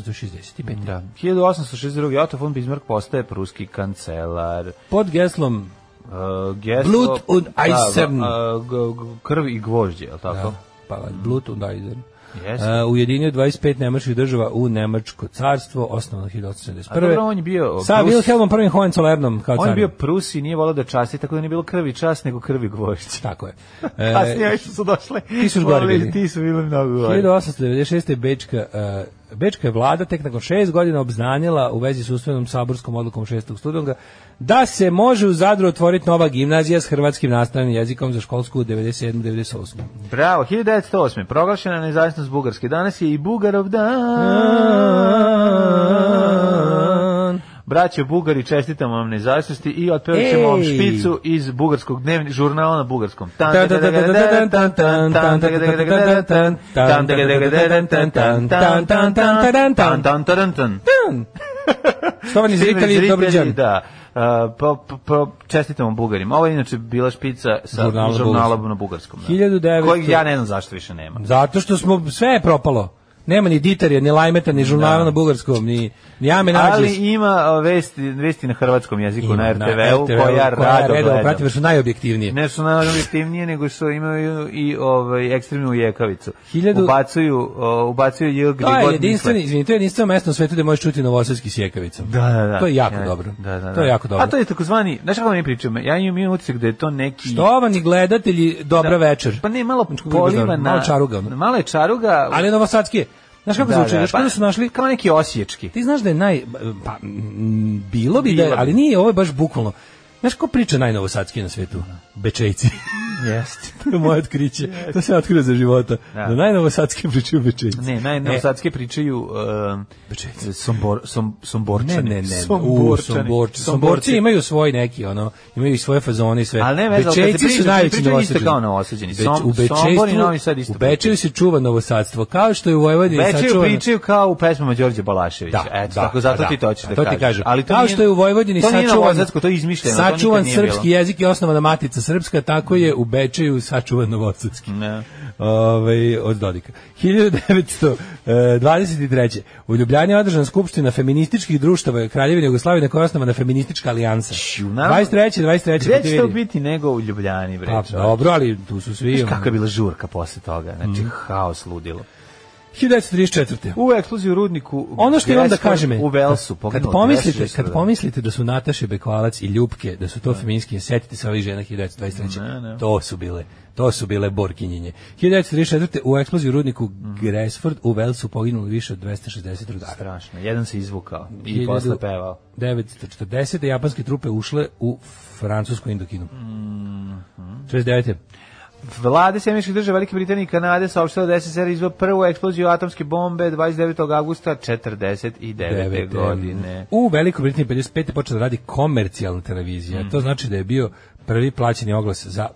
1865. Da. 1862. Otto von Bismarck postaje pruski kancelar. Pod geslom Uh, gesto, Blut und Eisern. Da, uh, g- g- krv i gvožđe, je tako? da, pa, Blut und Eisen, Jeste. a, ujedinio 25 nemačkih država u Nemačko carstvo, osnovano A dobro, on 1871. je bio... Sa Prus- Wilhelmom I Hohenzollernom kao On je carom. bio Prus i nije volao da časti, tako da nije bilo krvi čast, nego krvi gvožđe. Tako je. (laughs) Kasnije ovi što su došle. E, ti su još gori voleli, bili. Ti su bili mnogo gori. 1896. je Bečka, uh, Bečka je vlada tek nakon šest godina obznanjila u vezi s usvojenom saborskom odlukom 6. studenga da se može u Zadru otvoriti nova gimnazija s hrvatskim nastavnim jezikom za školsku u 97-98. Bravo, 1908. Proglašena nezavisnost Bugarske. Danas je i Bugarov dan. Braćo Bugari, čestitamo vam nezavisnosti i otpevat ćemo vam Ej! špicu iz bugarskog dnevni žurnala na bugarskom. (laughs) Štovani zritelji, dobar dan. Da. Uh, po, po, po, čestitamo Bugarima. Ovo je inače bila špica sa Žurnala žurnalom, na na bugarskom. Da. 1900. Kojeg ja ne znam zašto više nema. Zato što smo, sve je propalo. Nema ni ditarija, ni lajmeta, ni žurnala na bugarskom, ni, ni Ame Nađes. Ali ima a, vesti, vesti na hrvatskom jeziku Ima na RTV-u RTV-u, koja rado redovno gledam. pratim, jer su najobjektivnije. Ne su najobjektivnije, nego što imaju i ovaj, ekstremnu ujekavicu. Hiljadu- Ubacuju, o, ubacuju J gdje To je god jedinstveni, misle. izvinite, to je jedinstveno mesto u svetu gde možeš čuti novosadski sjekavica. Da, da, da. To je jako Ja, dobro. Da, da, da. To je jako dobro. A to je takozvani, znaš kako mi pričamo, ja imam imam utisak da je to neki... Štovani gledatelji, dobra večer. Pa ne, malo Kako bi bilo poliva dobro, na... pa- malo čaruga, ono. Malo je čaruga... Ali je novosadski je. Znaš kako zvuči? Znaš kada su našli? Kao neki osječki. Ti znaš da je naj... Pa, mm, bilo bi da je, Bilo bi. ali nije, ovo je baš bukvalno. Znaš ko priča najnovosadski na svetu? Bečejci. (laughs) Jeste. to je moje otkriće. To se otkrio za života. Da. Da, najnovosadske pričaju Bečejci. Ne, naj, novosadske pričaju um, Bečejci. sombor, som, somborčani. Ne, ne, ne. U, Somborčani. Somborci. Somborci Somborci. imaju svoj neki, ono, imaju i svoje fazone i sve. Ali ne vezano, kad se Bečejci priča, su kad najveći pričaju isto novosađani. kao novosađani. Som- Beč- u Bečejstvu- Sombor i Novi Sad isto U Bečeju se čuva novosadstvo, kao što je u Vojvodini Bečeju sačuvano. pričaju kao u pesmama Đorđe Balaševića. Da, Eto, da, tako, zato da, ti to hoćeš da, da to ti kažeš. kažem. Ali to Kao nije- što je u Vojvodini to nije sačuvan- novosadsko, to je izmišljeno. to nikad Sačuvan nije bilo. srpski jezik je osnovana matica srpska, tako je u Bečeju sačuvan novosadski. Ne. Ove, Ovaj, od Dodika. 1923. U Ljubljani je održana skupština feminističkih društava Kraljevine Jugoslavije na kojoj je osnovana feministička alijansa. naravno. 23. 23. Znači, Gde pa ti će to vidi. biti nego u Ljubljani, bre? Pa, čovječe? dobro, ali tu su svi. Znaš ono. kakva je bila žurka posle toga? Znači, Mhm. haos ludilo. 1934. U eksploziju u rudniku Ono što imam da Gresford kažem je, u Velsu kad poginulo pomislite, 260 kad radnika. pomislite da su Nataše Bekvalac i Ljupke, da su to feministkinje, setite se ovih žena 1923. Ne, ne. To su bile, to su bile borkinjenje. 1934. u eksploziji u rudniku Mhm. Gresford u Velsu poginulo više od 260 rudara. strašno. Jedan se izvukao i posle pevao. 940. japanske trupe ušle u francusku Indokinu. Mhm. 69. Vlade Sjemiških država Velike Britanije i Kanade saopštila da je SSR izveo prvu eksploziju atomske bombe 29. augusta 49. Devete. godine. U Velikoj Britaniji 55. počela da radi komercijalna televizija. Mhm. To znači da je bio prvi plaćeni oglas za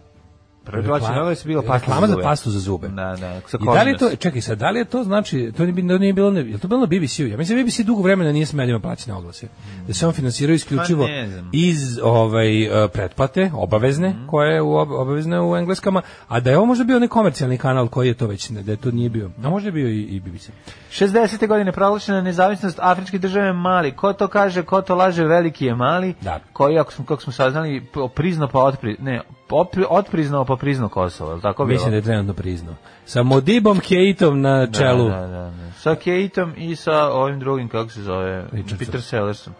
Prvi plaćeni reklam- oglas je bila pasta reklama za za zube. pastu za zube. Da, da, sa I da li je Kolinos. to, čekaj sad, da li je to znači, to nije, bi- to nije bilo, na- je li to bilo na BBC-u? Ja mislim da BBC dugo vremena nije smeljima plaćene oglase. Da se on finansirao isključivo Pa ne znam. Mhm. iz ovaj e, pretplate, obavezne, koje je u, ob- obavezne u engleskama, a da je ovo možda bio nekomercijalni kanal koji je to već, da je to nije bio. A možda je bio i, i BBC. 60. godine proglašena nezavisnost afričke države Mali. Ko to kaže, ko to laže, veliki je Mali, Da. koji, ako smo, kako smo saznali, p- prizno pa otpri, ne, opri- otpriznao pa priznao Kosovo, je li tako Mislim da bilo? je trenutno priznao. Sa Modibom Keitom na čelu. Da, da, da, da. Sa Keitom i sa ovim drugim, kako se zove, Richardson. Peter Sellersom.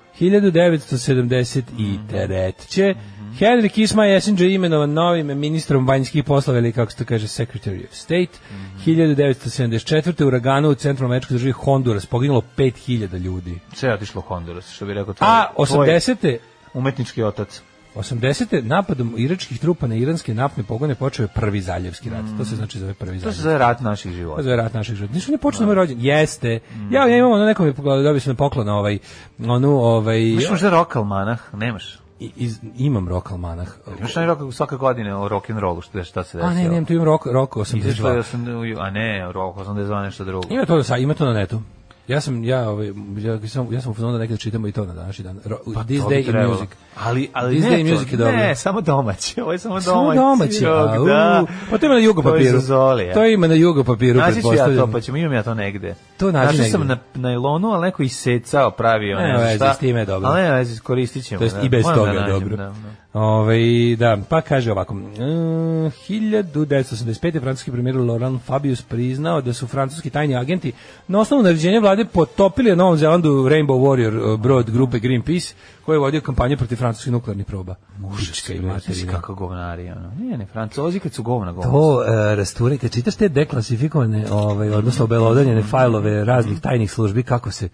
1973. Henry Kisma Jesinger je imenovan novim ministrom vanjskih poslova ili kako se to kaže Secretary of State. 1974. u uraganu u centru američkoj državi Honduras poginulo 5000 ljudi. Sve je otišlo u Honduras, što bi rekao tvoj, A tvoj 80. umetnički otac. 80. napadom iračkih trupa na iranske naftne pogone počeo je prvi zaljevski rat. To se znači zove prvi To se zaljevski zove rat naših Pa života. za rat naših života. Ništa ne počne moj rođen. Jeste. Ja, ja imam ono neko mi pogledao, dobio sam na poklon ovaj, onu, ovaj, Imaš možda rokal manah? Nemaš. i- iz, imam rokal manah. Imaš onaj rokal svake godine o rock'n'rollu, što, šta se desilo? A ne, nemam, tu imam rok, rok Izašlo je 82. osam- a ne, rok 82 nešto drugo. Ima to, sa, ima to na netu. Ja sam, ja, ovaj, ja, sam, ja sam u fazonu da nekada čitamo i to na današnji dan. Ro, this Pa To bi day in trebalo. music. Ali, ali This ne, Day in to- Music je dobro. Ne, samo domaći. Ovo je samo domaći. Samo domaći. jok, a, u, da. Pa to ima na jugo To je za papiru. Zoli, To ima na jugo papiru, Naći ću ja to, pretpostavljam. pa ćemo, imam ja to negde. To nađi Našao sam na negde. najlonu, ali neko isecao, pravio. Nema Ne, znam veze, šta. s time je dobro. Ali ne, vezi, koristit ćemo. To jest da. i bez Moram toga da nađem, dobro. da, da. Ovaj, da, pa kaže ovako. mm, 1985. francuski premijer Laurent Fabius priznao da su francuski tajni agenti na osnovu naređenja vlade potopili na Novom Zelandu Rainbow Warrior eh, brod grupe Greenpeace koji je vodio kampanju protiv francuskih nuklearnih proba. Mužička i Znači materina. kako govnari, ono. Ne, ne, francozi kad su govna govna. To e, rasture, kad čitaš te deklasifikovane, ovaj, odnosno obelodanjene fajlove raznih tajnih službi, kako se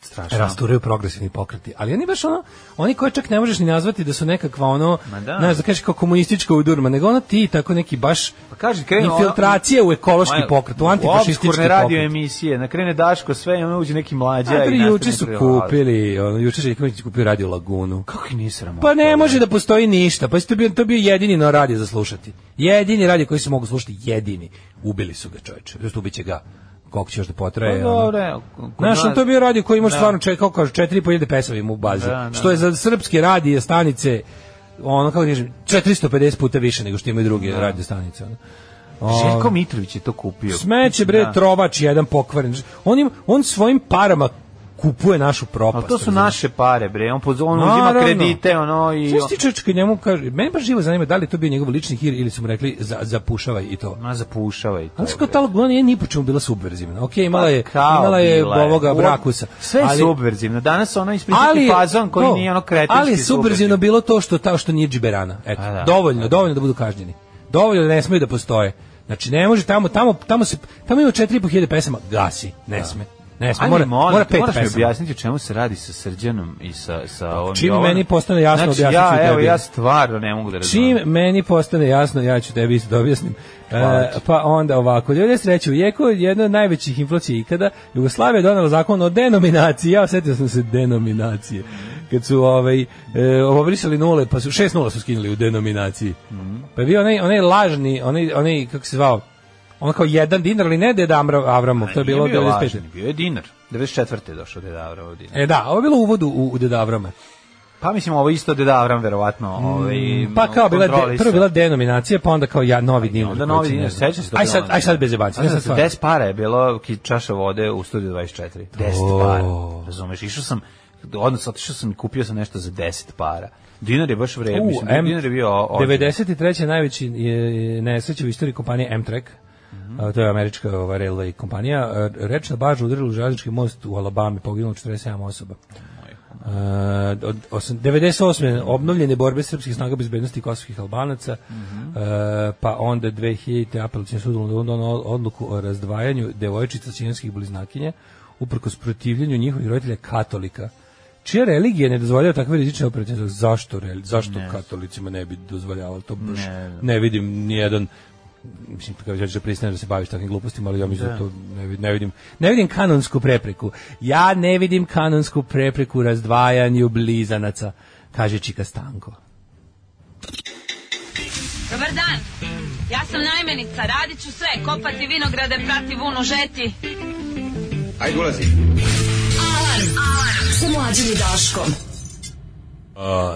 strašno. rasturaju progresivni pokreti. Ali oni baš ono, oni koje čak ne možeš ni nazvati da su nekakva ono, Ma da. znaš, da kažeš kao komunistička udurma, nego ono ti tako neki baš Pa kaže, krenu ono- infiltracije u ekološki Ma, pokret, u antifašistički obskurne pokret. radio emisije, na krene Daško sve i ono uđe neki mlađa. A i pri nastavi juče su prilaz. kupili, ono, juče Željković je kupio radio Lagunu. Kako ih nije sramota? Pa ne može da postoji ništa. Pa to bio to bio jedini na radio za slušati. Jedini radio koji se mogu slušati, jedini. Ubili su ga, čoveče. Just ubiće ga. Koliko će još da potraje? Pa ono. dobro, evo, kod Znaš, on nas- to je bio radio koji ima Da. stvarno čekao, kaže, 4500 pesama ima u bazi. Da, da. Što je za srpske radije stanice, ono, kako kažem, 450 puta više nego što imaju druge radio stanice. Ono. Željko Mitrović je to kupio. Smeće, bre, Da. trovač jedan pokvaren. On, im, on svojim parama kupuje našu propast. Ali to su razumeš? naše pare, bre. On, poz, on uzima pa Naravno. kredite, ono, i... Sve stiče kad njemu kaže, mene baš živo zanima da li je to bio njegov lični hir ili su mu rekli za, zapušavaj i to. Ma zapušava i to. Ali bre. skoro ta Laguna nije ni po čemu bila subverzivna. Ok, imala je, Pa kao imala je bila ovoga Ovo- brakusa. Sve je ali- subverzivno. Danas ono ispričati fazon koji to, nije ono kretinski Ali je subverzivno bilo to što, ta, što nije džiberana. Eto, A da, dovoljno, dovoljno da budu kažnjeni. Dovoljno da ne smeju da postoje. Znači, ne može tamo, tamo, tamo, se, tamo ima 4500 pesama, gasi, ne sme. Ne, smo, Ali mora, molim, mora te, pet moraš mi pesama. Pa objasniti o čemu se radi sa Srđanom i sa, sa ovom Čim Jovanom. meni postane jasno, znači, objasnit ću ja, i evo, tebi. ja stvarno ne mogu da razumijem. Čim meni postane jasno, ja ću tebi isto da objasnim. E, pa onda ovako, 93. u jeku jedna od najvećih inflacija ikada, Jugoslavija je donela zakon o denominaciji, ja osjetio sam se denominacije. Kad su ovaj, e, obrisali nule, pa su šest nula su skinuli u denominaciji. Mhm. Pa je bio onaj, onaj lažni, onaj, onaj, kako se zvao, on kao jedan dinar, ali ne deda Amra- Avramov, to je bilo Nije bio 95. lažni, bio je dinar. 94. je došao Deda Avram od dinar. E da, ovo je bilo uvod u, u deda Avrama. Pa mislim, ovo isto Deda Avram, verovatno. Ovaj, Pa kao bila de, kontrolisao. prvo bila denominacija, pa onda kao ja novi dinar. Onda koji novi se ne dinar, zna. sećaš se to Aj bilo sad, ono? aj sad bez jebanci. ne sad Znači, stvarno. 10 para je bilo ki- čaša vode u studiju 24. 10 para, razumeš? Išao sam, odnosno, otišao sam i kupio sam nešto za 10 para. Dinar je baš vredno, U, mislim, M- dinar je bio... o- ozbiljan. 93. najveći je nesreća u istoriji kompanije Amtrak. Mhm. A, to je američka ova railway kompanija. A, Rečna baža udarila u željeznički most u Alabami, poginulo 47 osoba. A, od osam- 98. obnovljene borbe srpskih snaga bezbednosti kosovskih albanaca, Mhm. A, pa onda 2000. apelacijni sud u Londonu odluku o razdvajanju devojčica cijenskih bliznakinja uprkos protivljenju njihovih roditelja katolika. Čija religija ne dozvoljava takve rizične operacije? Zašto, reli- zašto katolicima ne bi dozvoljavalo? To baš ne, vidim nijedan mislim kao ja ću da priznajem da se baviš takvim glupostima, ali ja mislim da, to ne, vid- ne vidim. Ne vidim kanonsku prepreku. Ja ne vidim kanonsku prepreku razdvajanju blizanaca, kaže Čika Stanko. Dobar dan. Ja sam najmenica, radit ću sve, kopati vinograde, prati vunu, žeti. Alarm. Alarm. Sa mlađom i Daškom.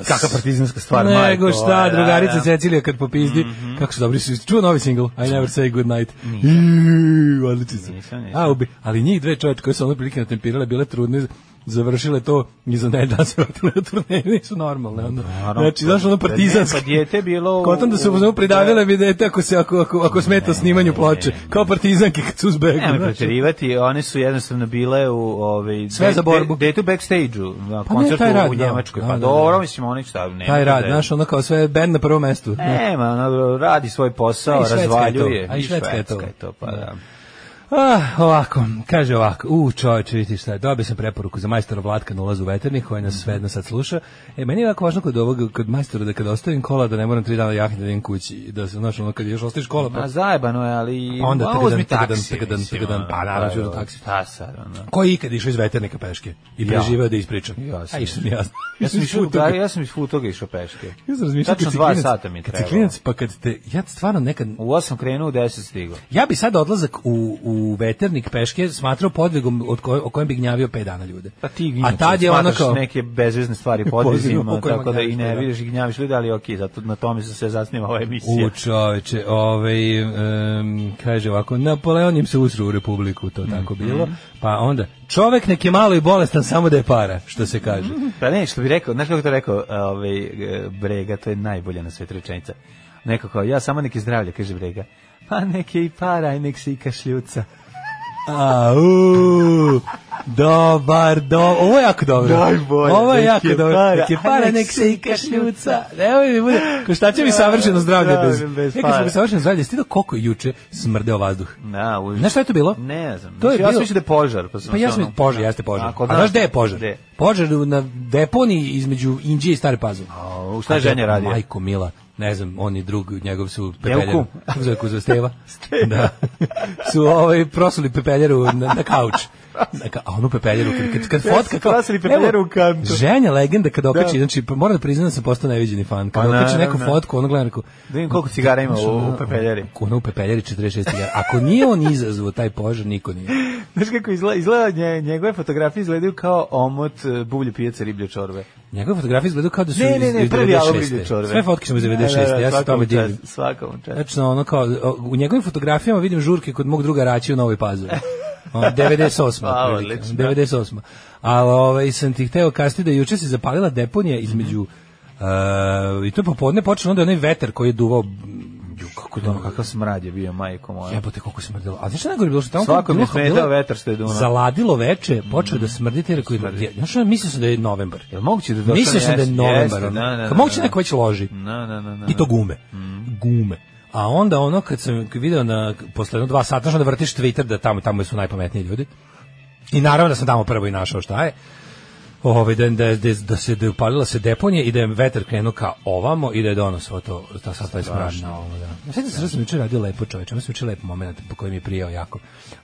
Kakva partizanska stvar, Nego majko, ovaj, šta, da, drugarica da. Mhm. Cecilija kad popizdi, kako su dobri su. Čuo novi single, I never say good night. Iu, Odlični su. Nisam, nisam. A, ubi, ali njih dve čoveče koje su ono prilike natempirale, bile trudne, završile to i za ne da se vratile na turneje, nisu normalne. Ono. znači, znaš, ono Da ne, partizansko. Pa dijete bilo... u- Kontam da su u- mu pridavile bi dete ako se ako ako, ako smeta snimanju ploče, kao partizanke kad su uzbegli. Nemoj znaš. ono, preterivati, one su jednostavno bile u ovaj Sve za borbu. Dete u backstage-u, na Pa ne, koncertu taj rad, u da. Njemačkoj. Da, Pa da, da. dobro, mislim oni šta, ne. Taj rad, znaš, ono kao sve bend na prvom mestu. Nema, ono, radi svoj posao, A i Švedska je to. razvaljuje. A i Švedska je to. Švedska pa da. Ah, ovako, kaže ovako, u čovječe, vidi šta je, dobio sam preporuku za majstora Vlatka na ulazu u veternik, koji nas sve jedno sad sluša. E, meni je jako važno kod ovog, kod majstora, da kada ostavim kola, da ne moram tri dana jahnuti da idem kući, da se, znaš, ono, kad još ostaviš kola, pa Ma zajebano je, ali... Pa onda Ma, tagadan, uzmi tagadan, taksi, tagadan, mislim, tagadan, ono, pa naravno, ću do taksi. Šta sad, ono? ko je ikad išao iz veternika peške i preživeo da ispričam? Ja sam. A išao sam ja. (laughs) Ja sam išao, u Futoga. Gar- ja sam iz Futoga išao peške. Ja sam razmišljao Tačno kad si dva klinac- sata mi je kad si trebalo. klinac, pa kad te, ja stvarno nekad, U 8 krenuo, u 10 stigao. ja bi sad odlazak u, u veternik peške smatrao podvigom od koj, o kojem bi gnjavio 5 dana ljude. Pa ti A inače tad je ono smatraš kao, neke bezvezne (laughs) stvari Podvizima podvizima, o kojima tako da i ne gnjaviš, da. vidiš i gnjaviš ljudi, ali okej, zato na tome se sve zasniva ova emisija. U čoveče, ovaj, em, kaže ovako, Napoleon im se usru u republiku, to tako Mhm. bilo. Pa onda, čovek nek je malo i bolestan samo da je para, što se kaže. Pa ne, što bi rekao, znaš kako je to rekao ovaj, e, Brega, to je najbolja na svetu rečenica. Neko kao, ja samo neki zdravlje, kaže Brega. Pa nek je i para, i nek se i kašljuca. Au, dobar, do, ovo je jako dobro. Najbolje, Ovo je nek jako je dobro. para, Nek je a para, nek nek se se i i kašljuca. Evo mi bude, ko (laughs) šta će mi savršeno zdravlje bez, Zdravlje bez E, kad smo para. mi savršeno zdravlje, jesi ti vidio koliko je juče smrdeo vazduh? Na, u... Znaš šta je to bilo? Ne znam. To je Mislim, ja sam bilo- mislio da je požar. Pa, sam Pa ja se sam ono- požar, jeste požar. A, A, kod nas- znaš gde je požar? Gde? Požar u- na deponiji između Inđije i Stare Pazove. u šta je A to ženja radio? Majko Mila, ne znam, on i drug njegov su kum. (laughs) pepeljeru. Kako zove kuzva Steva? (laughs) Da. Su ovaj, prosuli pepeljeru na, na kauč. Na ka, a onu pepeljeru, kad, kad, kad Ja fotka... sam kao- prosili pepeljeru evo, u kantu. Ženja legenda kada okači, Da. znači, pa moram da priznam da sam postao neviđeni fan. Kada Pa, okači neku naravno. fotku, ono gledam, rekao, Da vidim koliko cigara ima u, u pepeljeri. Ono u pepeljeri 46 cigara. Ako nije on izazvao taj požar, niko nije. (laughs) Znaš kako izgleda, izgleda nje- njegove fotografije izgledaju kao omot e, bulje pijaca riblje čorbe. Njegove fotografije izgledaju kao da su Ne, ne, iz- ne, iz prvi album riblje 96. čorbe. Sve fotke su iz 96. Da, da, da, ja se svaka tome mu čast, divim. Svaka mu čast. Tačno, ono kao, u njegovim fotografijama vidim žurke kod mog druga Raći u Novoj Pazovi. Ono, (laughs) 98. A, otprilike. Pa, odlično. 98. Ali ovaj, sam ti hteo kasnije da je juče se zapalila deponija Mhm. između uh, i to je popodne počeo onda onaj veter koji je duvao ju, kako je Ono, ono, kakav smrad je bio, majko moja. Jebote kako smrdelo. A znaš šta je najgore bilo što tamo Mhm. Svako kad mi je bilo- smetao vetar što je Mhm. dunao. Zaladilo veče, počeo da smrdite jer koji je, znaš šta, mislio sam da je novembar. Jel moguće da došao Mislio sam da je jesen? novembar. Jeste, ono. da, da, Kad da, moguće da. neko već loži. Na, na, na, Mm. na. I to gume. Gume. A onda ono kad sam video na posle jedno dva sata, znaš onda vrtiš Twitter da tamo tamo su najpametniji ljudi. I naravno da sam tamo prvo i našao šta je. Ovaj, da, da, da, da se da je upalila se deponija i da je vetar krenuo ka ovamo i da je donos ovo to, ta sad taj smrad na ovo, da. Sve da sam jučer radio lepo čoveče, ja sam jučer lep moment po kojem mi je prijao jako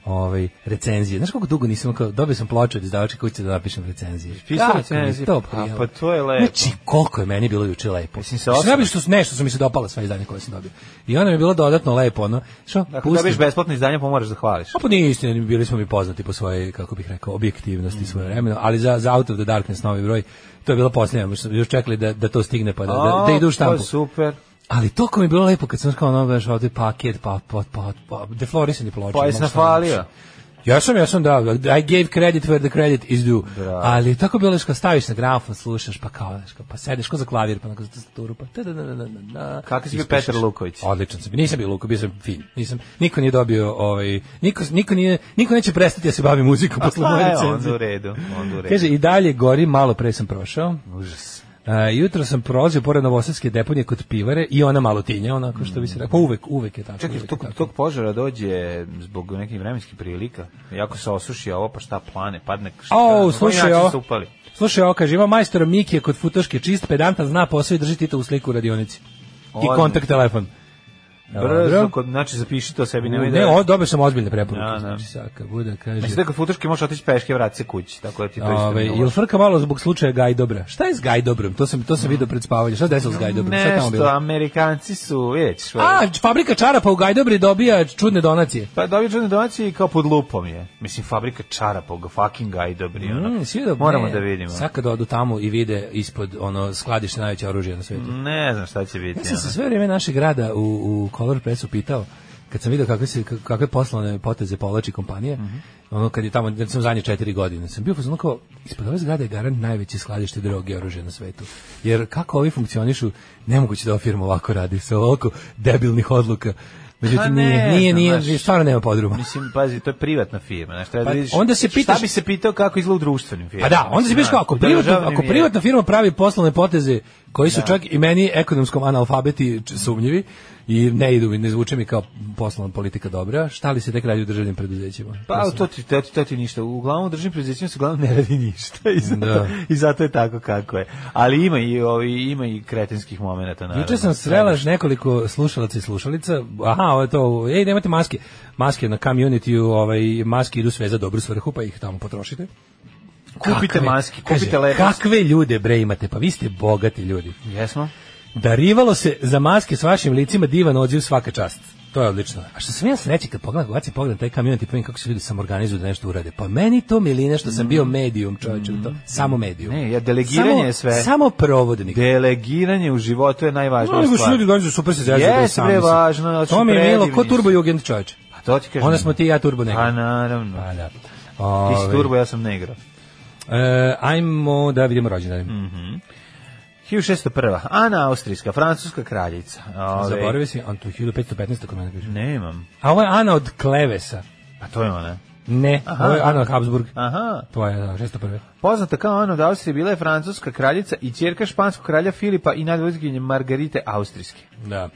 ovaj, recenzije. Znaš koliko dugo nisam, kao, dobio sam ploču od izdavačke kuće da napišem recenzije. Pisao Kako mi je recenzije, to pa- prijalo. pa to je lepo. Znači, koliko je meni bilo juče lepo. Mislim, se Što sam osam- ja bi- što su nešto su mi se dopala sva izdanja koja sam dobio. I onda mi je bilo dodatno lepo, ono, što, Dakle, dobiješ besplatno izdanje, pa moraš da hvališ. a pa nije istina, bili smo mi poznati po svojoj, kako bih rekao, objektivnosti svoje vremena, ali za, za Out of the Darkness novi broj, to je bilo posljednje, još- još čekali da, da to stigne, pa da, da, da idu u A, to je štampu. super. Ali to ko mi je bilo lepo kad sam kao ono, znaš, ovdje paket, pa, pa, pa, pa, deflorisani ploče. Pa jesi mogu šta nafalio? ja sam, ja sam da, I gave credit where the credit is due. Bravo. Ali tako bilo je kao staviš na gramofon, slušaš, pa kao, znaš, kao, pa sedeš ko za klavir, pa onako za tastaturu, pa da, da, da, da, da. Kakav si bio Ispušaš. Petar Luković? Odličan sam. bio. Nisam bio Luković, bio sam fin. Nisam, niko nije dobio, ovaj, niko, niko, nije, niko neće prestati da se bavi muzikom posle Pa, moje evo, onda u recenzije. redu. Onda u redu. Kaže, i dalje gori, malo pre sam prošao. E, jutro sam prolazio pored Novosadske deponije kod pivare i ona malo tinja, onako što bi se rekao. Pa uvek, uvek je tako. Mm. Čekaj, uvek je tog, tako. tog požara dođe zbog nekih vremenskih prilika. Jako se osuši ovo, pa šta plane, padne. Šta, na O, koji slušaj način ovo. su upali? Slušaj ovo, kaže, ima majstora Mikije kod futoške čist, pedanta zna posao i drži Tito u sliku u radionici. I Odlično. kontakt telefon. Brzo, Dobro. kod, znači zapiši to sebi, nemoj da... Ne, o, dobio sam ozbiljne preporuke. Da, da. Znači, saka, bude, kaže... Mislim da kod futuške možeš otići peške i vrati se kući, tako da ti to isto Ove, nije jel frka malo zbog slučaja Gajdobra? Šta je s Gajdobrom? To sam, to sam vidio pred spavanje. Šta se desilo s Gajdobrom? Šta je tamo Nešto, bilo? Amerikanci su, vidjet ćeš. ovaj. A, fabrika čarapa u Gajdobri dobija čudne donacije. Pa dobio čudne donacije i kao pod lupom je. Mislim, fabrika čarapa, ga fucking gaj dobri. ono. Mm, svi da- Moramo ne, da vidimo. Sad kad odu tamo i vide ispod ono skladište najveće oružje na svetu. Ne znam šta će biti. Ja sam se ono. sve vrijeme našeg grada u, u Color Pressu pitao, kad sam vidio kakve, se, kak- kakve poslovne poteze povlači kompanija, Mhm. ono kad je tamo, jer sam zadnje četiri godine, sam bio pozvano kao, ispod ove zgrade je garant najveće skladište droge i oružja na svetu. Jer kako ovi funkcionišu, nemoguće da ova firma ovako radi, sa ovoliko debilnih odluka. Međutim, Pa ne nije, znam, nije, nije, znaš. stvarno nema podruma. Mislim, pazi, to je privatna firma. Znaš, treba Pa, da vidiš, onda se pitaš- Šta bi se pitao kako izgleda u društvenim Pa firmama? da, onda se Mislim, biš kao, ako, u privatna, državnim ako je- privatna firma pravi poslovne poteze koji su čak i meni ekonomskom analfabeti č- sumnjivi i ne idu mi, ne zvuče mi kao poslovna politika dobra, šta li se tek radi u državnim preduzećima? Pa to ti, to ti, to ti ništa. Uglavnom u državnim preduzećima se uglavnom ne radi ništa i zato, Da. i zato je tako kako je. Ali ima i ovi ima i kretenskih momenata naravno. Juče sam srela nekoliko slušalaca i slušalica. Aha, ovo je to. Ej, nemate maske. Maske na community, ovaj maske idu sve za dobru svrhu, pa ih tamo potrošite. Kupite Kakve- maske, kaže, kupite lepo. Kakve ljude bre imate? Pa vi ste bogati ljudi. Jesmo? Darivalo se za maske s vašim licima divan odziv svaka čast. To je odlično. A što sam ja sreći kad pogledam, bacim pogled na taj kamion i povim kako se ljudi sam organizuju da nešto urade. Pa meni to miline što sam bio medijum, čovječe, to, samo medijum. Mm. Ne, ja, delegiranje Samo- je sve. Samo provodnik. Delegiranje u životu je najvažnija No, nego su stvar. ljudi organizuju super se zezaju. Jeste, bre, sami bre, se. važno, znači, To mi je milo, ko predivni turbo su. jugend čovječe. A to ti kažem. Onda smo ti i ja turbo negro. Pa naravno. Pa da. Ti Ove, si turbo, ja sam negro. e, ajmo da vidimo rođendane. Mm, 1601. Ana Austrijska, francuska kraljica. Ove, Zaboravio si, on tu 1515. kod mene piše. Nemam. A ovo je Ana od Klevesa. A to je ona. Ne, ovo je Ana od Habsburg. Aha. To je, da, 601. Poznata kao Ana od Austrije bila je francuska kraljica i ćerka španskog kralja Filipa i nadvojzginje Margarite Austrijske. Da.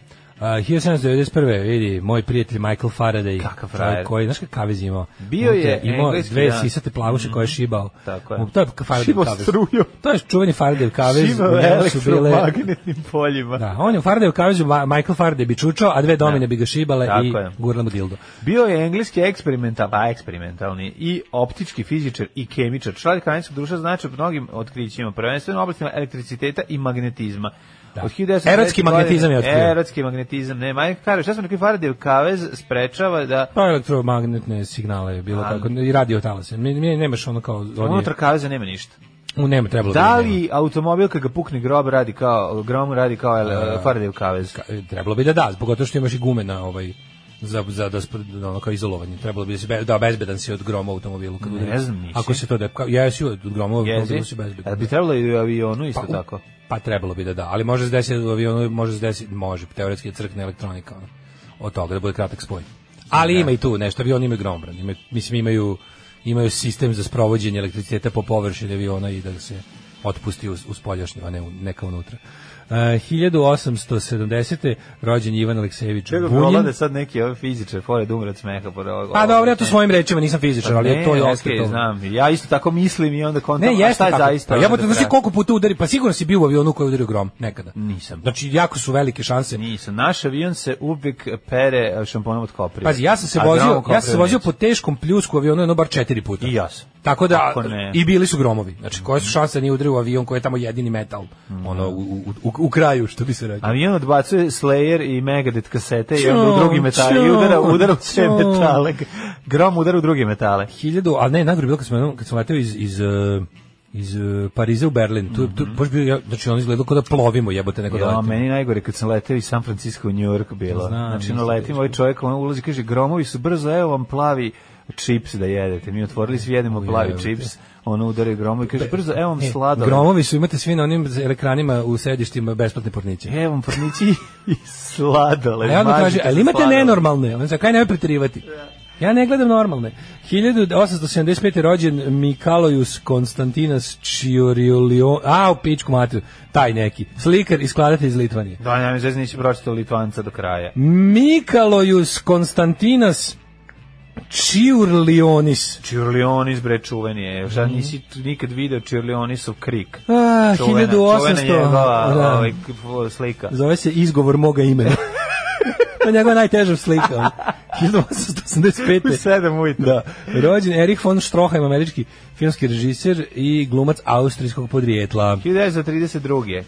Uh, 1791. vidi, moj prijatelj Michael Faraday. Kakav frajer. Koji, znaš kakav kavez je imao? Bio je imao engleski, dve da. Mhm. sisate plavuše koje je šibao. Tako je. Mu- To je Faraday Šibao kavez. strujom. To je čuveni Faraday kavez. Živa u u njemu su bile- elektromagnetnim poljima. Da, on je u Faraday kavezu, Ma- Michael Faraday bi čučao, a dve domine bi ga šibale Tako i je. gurle mu dildo. Bio je engleski eksperimental, a eksperimentalni i optički fizičar i kemičar. Član kanadskog društva znači u mnogim otkrićima, prvenstveno u oblastima elektriciteta i magnetizma. Da. 1910 Erotski godine- magnetizam je otkrio. Erotski magnetizam, ne, Michael Faraday, šta smo rekli, Faraday kavez sprečava da Pa elektromagnetne signale, bilo tako, i radio talase. Mi, mi nemaš ono kao... On je, unutar kaveza nema ništa. u, nema, trebalo Da bi, nema. li automobil kad ga pukne grob radi kao grom radi kao ele- Faraday kavez? Ka- e, Trebalo bi da da, zbog toga što imaš i gume na ovaj za, za da spr- ono kao izolovanje. Trebalo bi da, si be, da bezbedan si od groma u automobilu. Kad udari. znam, nisi. Ako se to da... Ka, ja si od groma u automobilu si Jezi? bezbedan. Jel bi trebalo i u avionu isto Pa, u- tako? Pa trebalo bi da da, ali može se desiti da u avionu, može se desiti, može, teoretski je crkne elektronika ono, od toga, da bude kratak spoj. Ali ima i tu nešto, avioni imaju gromobran, imaju, mislim imaju, imaju sistem za sprovođenje elektriciteta po površini aviona i da se otpusti uz, uz poljašnju, a ne, u- ne kao unutra. E, 1870. rođen je Ivan Aleksejević Čega Bunin. prolade sad neki ove fizičar, pored umre od smeha. Pa Pa dobro, ja to svojim rečima nisam fizičar, ali ne, je to je okej, opet to. znam. Ja isto tako mislim i onda kontam, Ne, a šta jeste je tako. zaista? Pa ono jebote, do znaš ti kraja? koliko puta udari, pa sigurno si bio u avionu koji je udario grom, nekada. Nisam. Znači, jako su velike šanse. Nisam. Naš avion se uvijek pere e, šamponom od koprije. Pazi, ja sam se A vozio, gromom ja sam se koprivnice. vozio po teškom pljusku avionu jedno bar četiri puta. I ja sam. Tako da, Kako ne? Mm. i bili su gromovi. Znači, koje su šanse da nije udario u avion koji je tamo jedini metal, ono, u, u, u, u kraju, što bi se reklo. Avion odbacuje Slayer i Megadeth kasete i onda u Ćao, drugi metale. I ćao, udara, udara u sve ćao. metale. Grom udara u druge metale. hiljadu, ali ne, najgore je bilo kad sam, jednom- kad sam leteo iz, iz, eh, iz eh, Pariza u Berlin. Tu, tu, baš bio, ja- znači, on izgledao kao da plovimo, jebote, nego da Mhm. Ja, letimo. meni najgore kad sam leteo iz San Francisco u New York bilo. Znam, znači, no, isto letim, ovaj čovjek on ulazi, kaže, gromovi su brzo, evo vam plavi čips da jedete. Mi otvorili svi jedemo plavi jebote. čips, ono udari gromovi, kaže, brzo, evo vam E, slado. Gromovi su, imate svi na onim ekranima u sedištima besplatne porniće. Evo vam pornići i sladole. A ja onda mažite kaže, sa ali imate sladolom." nenormalne? On za kaj ne preterivati? Ja ne gledam normalne. 1875. je rođen Mikalojus Konstantinas Čioriolion, a u pičku matu, taj neki, slikar i skladatelj iz Litvanije. Da, ja mi zvezda nisi pročitao Litvanca do kraja. Mikalojus Konstantinas Čiurlionis. Čirlionis, bre, čuveni je. Šta Mhm. nisi tu nikad video Čirlionisov krik? Ah, 1800. njegova Da. ovaj, k- f- slika. Zove se izgovor moga (laughs) imena. to je njegova najteža slika. ono. 1885. sedam ujutro. (laughs) Da. Rođen Erich von Stroheim, američki filmski režiser i glumac austrijskog podrijetla. 1932.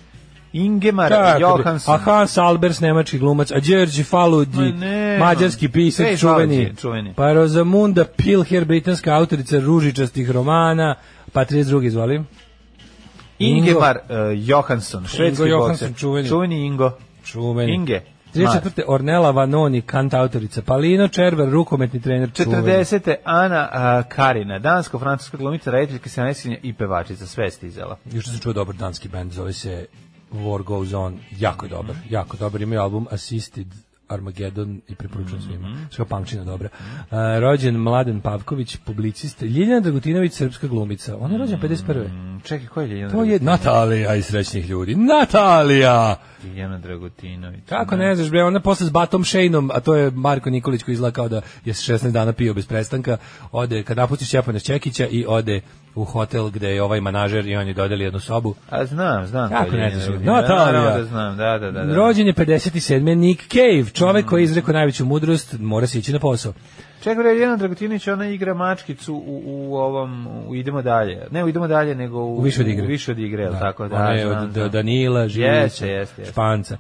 Ingemar Tako bi. Johansson. A Hans Albers, nemački glumac, a Đerđi Ma Faludi, ne, mađarski no. pisac, Ej, čuveni, Faludi, čuveni. pa Rozamunda Pilher, britanska autorica ružičastih romana, pa 32. izvolim. Ingemar eh, Johansson, švedski Johansson, bokser. čuveni. Čuveni Ingo. Čuveni. Inge. 34. Ornella Vanoni, kant autorica, Palino Červer, rukometni trener, čuveni. 40. Ana a, Karina, dansko-francuska glumica, rediteljka, scenaristinja i pevačica, sve je stizala. Još sam čuo dobar danski band, zove se War Goes On, jako je dobar, jako dobar, imaju album Assisted Armageddon i preporučujem svima. Što pamčina dobra. A, rođen Mladen Pavković, publicist, Ljiljana Dragutinović, srpska glumica. Ona je rođena 51. Mm, Čekaj, ko je Ljiljana To je Dragut- Mhm. Natalija iz srećnih ljudi. Natalija! Ljiljana Dragutinović? Kako ne znaš, bre, ona posle s Batom Šejnom, a to je Marko Nikolić koji izgleda kao da je 16 dana pio bez prestanka, ode, kad napustiš Stjepana Čekića i ode u hotel gde je ovaj manažer i on je dodali jednu sobu. A znam, znam. Kako ko je ne Ljiljana znaš, Dragutina. Natalija. Naravno Da znam, da, da, da. Mm. da. Rođen je 57. Nick Cave, čovek koji je izrekao najveću mudrost, mora se ići na posao. Čekaj, bre, Jelena Dragutinić, ona igra mačkicu u, u ovom, u Idemo dalje. Ne, u Idemo dalje, nego u, U više od igre. U više od igre, da. tako da. Ona je znam, od znam. Danila, Žilića, Jeste, jeste, jeste. Španca.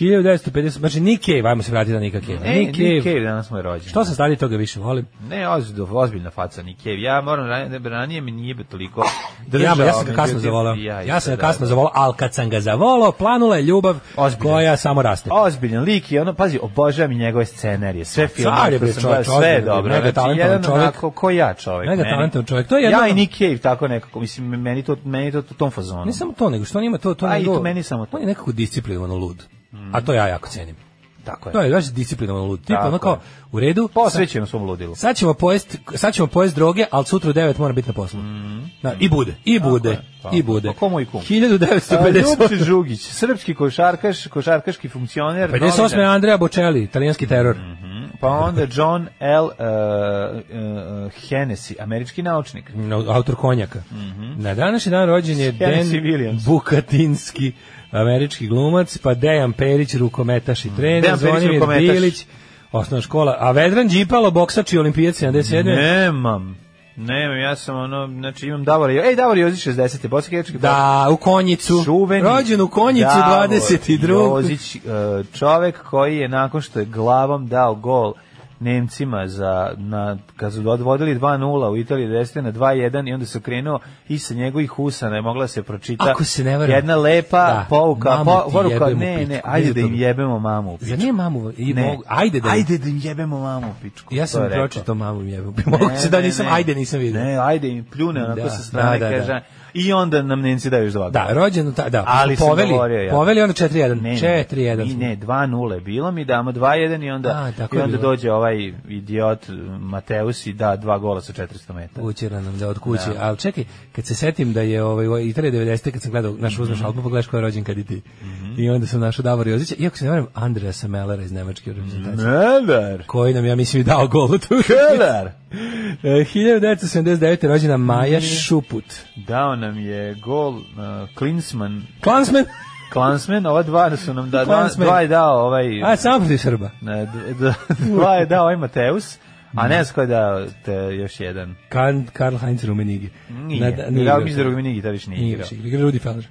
1950, znači Nick Cave, ajmo se vratiti na Nicka Cave. E, Nick Cave. danas mu je rođen. Što sam stariji, toga više volim. Ne, ozbiljno, ozbiljna faca Nick Cave. Ja moram, ranije, ranije mi nije bi toliko Ja, držao. ja sam ga kasno međutim, zavolao. i Ja, isto, sam ga da, kasno da. zavolao, ali kad sam ga zavolao, planula je ljubav Ozbiljan. koja samo raste. Ozbiljan lik i ono, pazi, obožavam i njegove scenarije, sve filmove, car je, bre, koje sam čovjek, gledao, sve je ozbiljan, dobro, mega znači, talentovan jedan čovjek. onako, ko ja čovjek, Mega meni. talentovan čovjek, to je jedno- Ja i Nick Cave, tako nekako, mislim, meni to, meni to, u tom fazonu. Ne samo to, nego što on ima to, to A, Pa i njegovo- to meni samo to. On je nekako disciplinovano lud. A to ja jako cenim. tako je. To je baš disciplinovano lud. Tipo, Tako ono kao, je. u redu, sad- Posvećeno svom ludilu. Sad ćemo pojest, sad ćemo pojest droge, ali sutra u 9 mora biti na poslu. Na, I bude, i bude, Mm-hmm. tako i je. bude. Pa ko moj kum? A, 1958. Ljupče Žugić, srpski košarkaš, košarkaški funkcioner. 58. je novinar. Andrea Bocelli, italijanski teror. Pa onda John L. Uh, uh, Hennessy, američki naučnik. No, autor konjaka. Na današnji dan rođen je Dan Mm-hmm. Hennessy Williams. Bukatinski, američki glumac, pa Dejan Perić, rukometaš i trener, Mm. Dejan Perić, Zvonimir rukometaš. Bilić, osnovna škola, a Vedran Đipalo, boksač i olimpijac 77. Nemam. Nemam, ja sam ono, znači imam Davor Jo- Ej, Davor Jozić 60. Bosanski hercegovački Da, u konjicu. Čuveni Rođen u konjici Davor 22. Jozić, e, čovek koji je nakon što je glavom dao gol Nemcima za na kad su odvodili 2:0 u Italiji 10 na 2:1 i onda se okrenuo i sa njegovih usana je mogla se pročita Ako se ne varam. jedna lepa Da. pouka Mamu po, ti poruka jebem u ne pičku. ne ajde da im Vidim. jebemo mamu u Zar pičku nije mamu? I ne mogu- ajde da ajde da im jebemo mamu u pičku Ja to sam je rekao. pročitao (laughs) mamu jebe. Ne, Moguće da ne, nisam, ne. ajde nisam vidio. Ne, ajde im pljune onako Da, sa strane da, da, kaže. da. i onda nam Nemci daju još dva gola. Da, rođen u ta, da, Ali sam poveli, govorio ja. poveli ono onda 4-1. Ne, ne, 4-1. I smo. ne, 2-0 je bilo, mi damo 2-1 i onda, A, tako i je onda bilo. dođe ovaj idiot Mateus i da dva gola sa 400 metara. Učira nam da od kuće. Ali čekaj, kad se setim da je ovaj, ovaj Italija 90. kad sam gledao naš Mhm. uzmeš album, pogledaš ko je rođen kad i ti. I onda sam našao Davor Jozića, iako se ne varam, Andreasa Mellera iz nemačke Mhm. reprezentacije. Miller! Koji nam, ja mislim, i dao gol u E, tu. Miller! (laughs) 1979. rođena Maja Mhm. Šuput. Dao nam je gol uh, Klinsman, Klansman? Klansman, ova dva su nam da, dva, Klinsmann. dva je dao ovaj... A, samo protiv Srba. Ne, d- d- (laughs) dva je dao ovaj Mateus, a ne znam ko je dao te, još jedan. Kan, Karl Heinz Rummenigge. Nije. da- Nije igrao. dao mi iz drugog mini gitariš nije Nije igrao. igrao. Igrao Rudi Feller.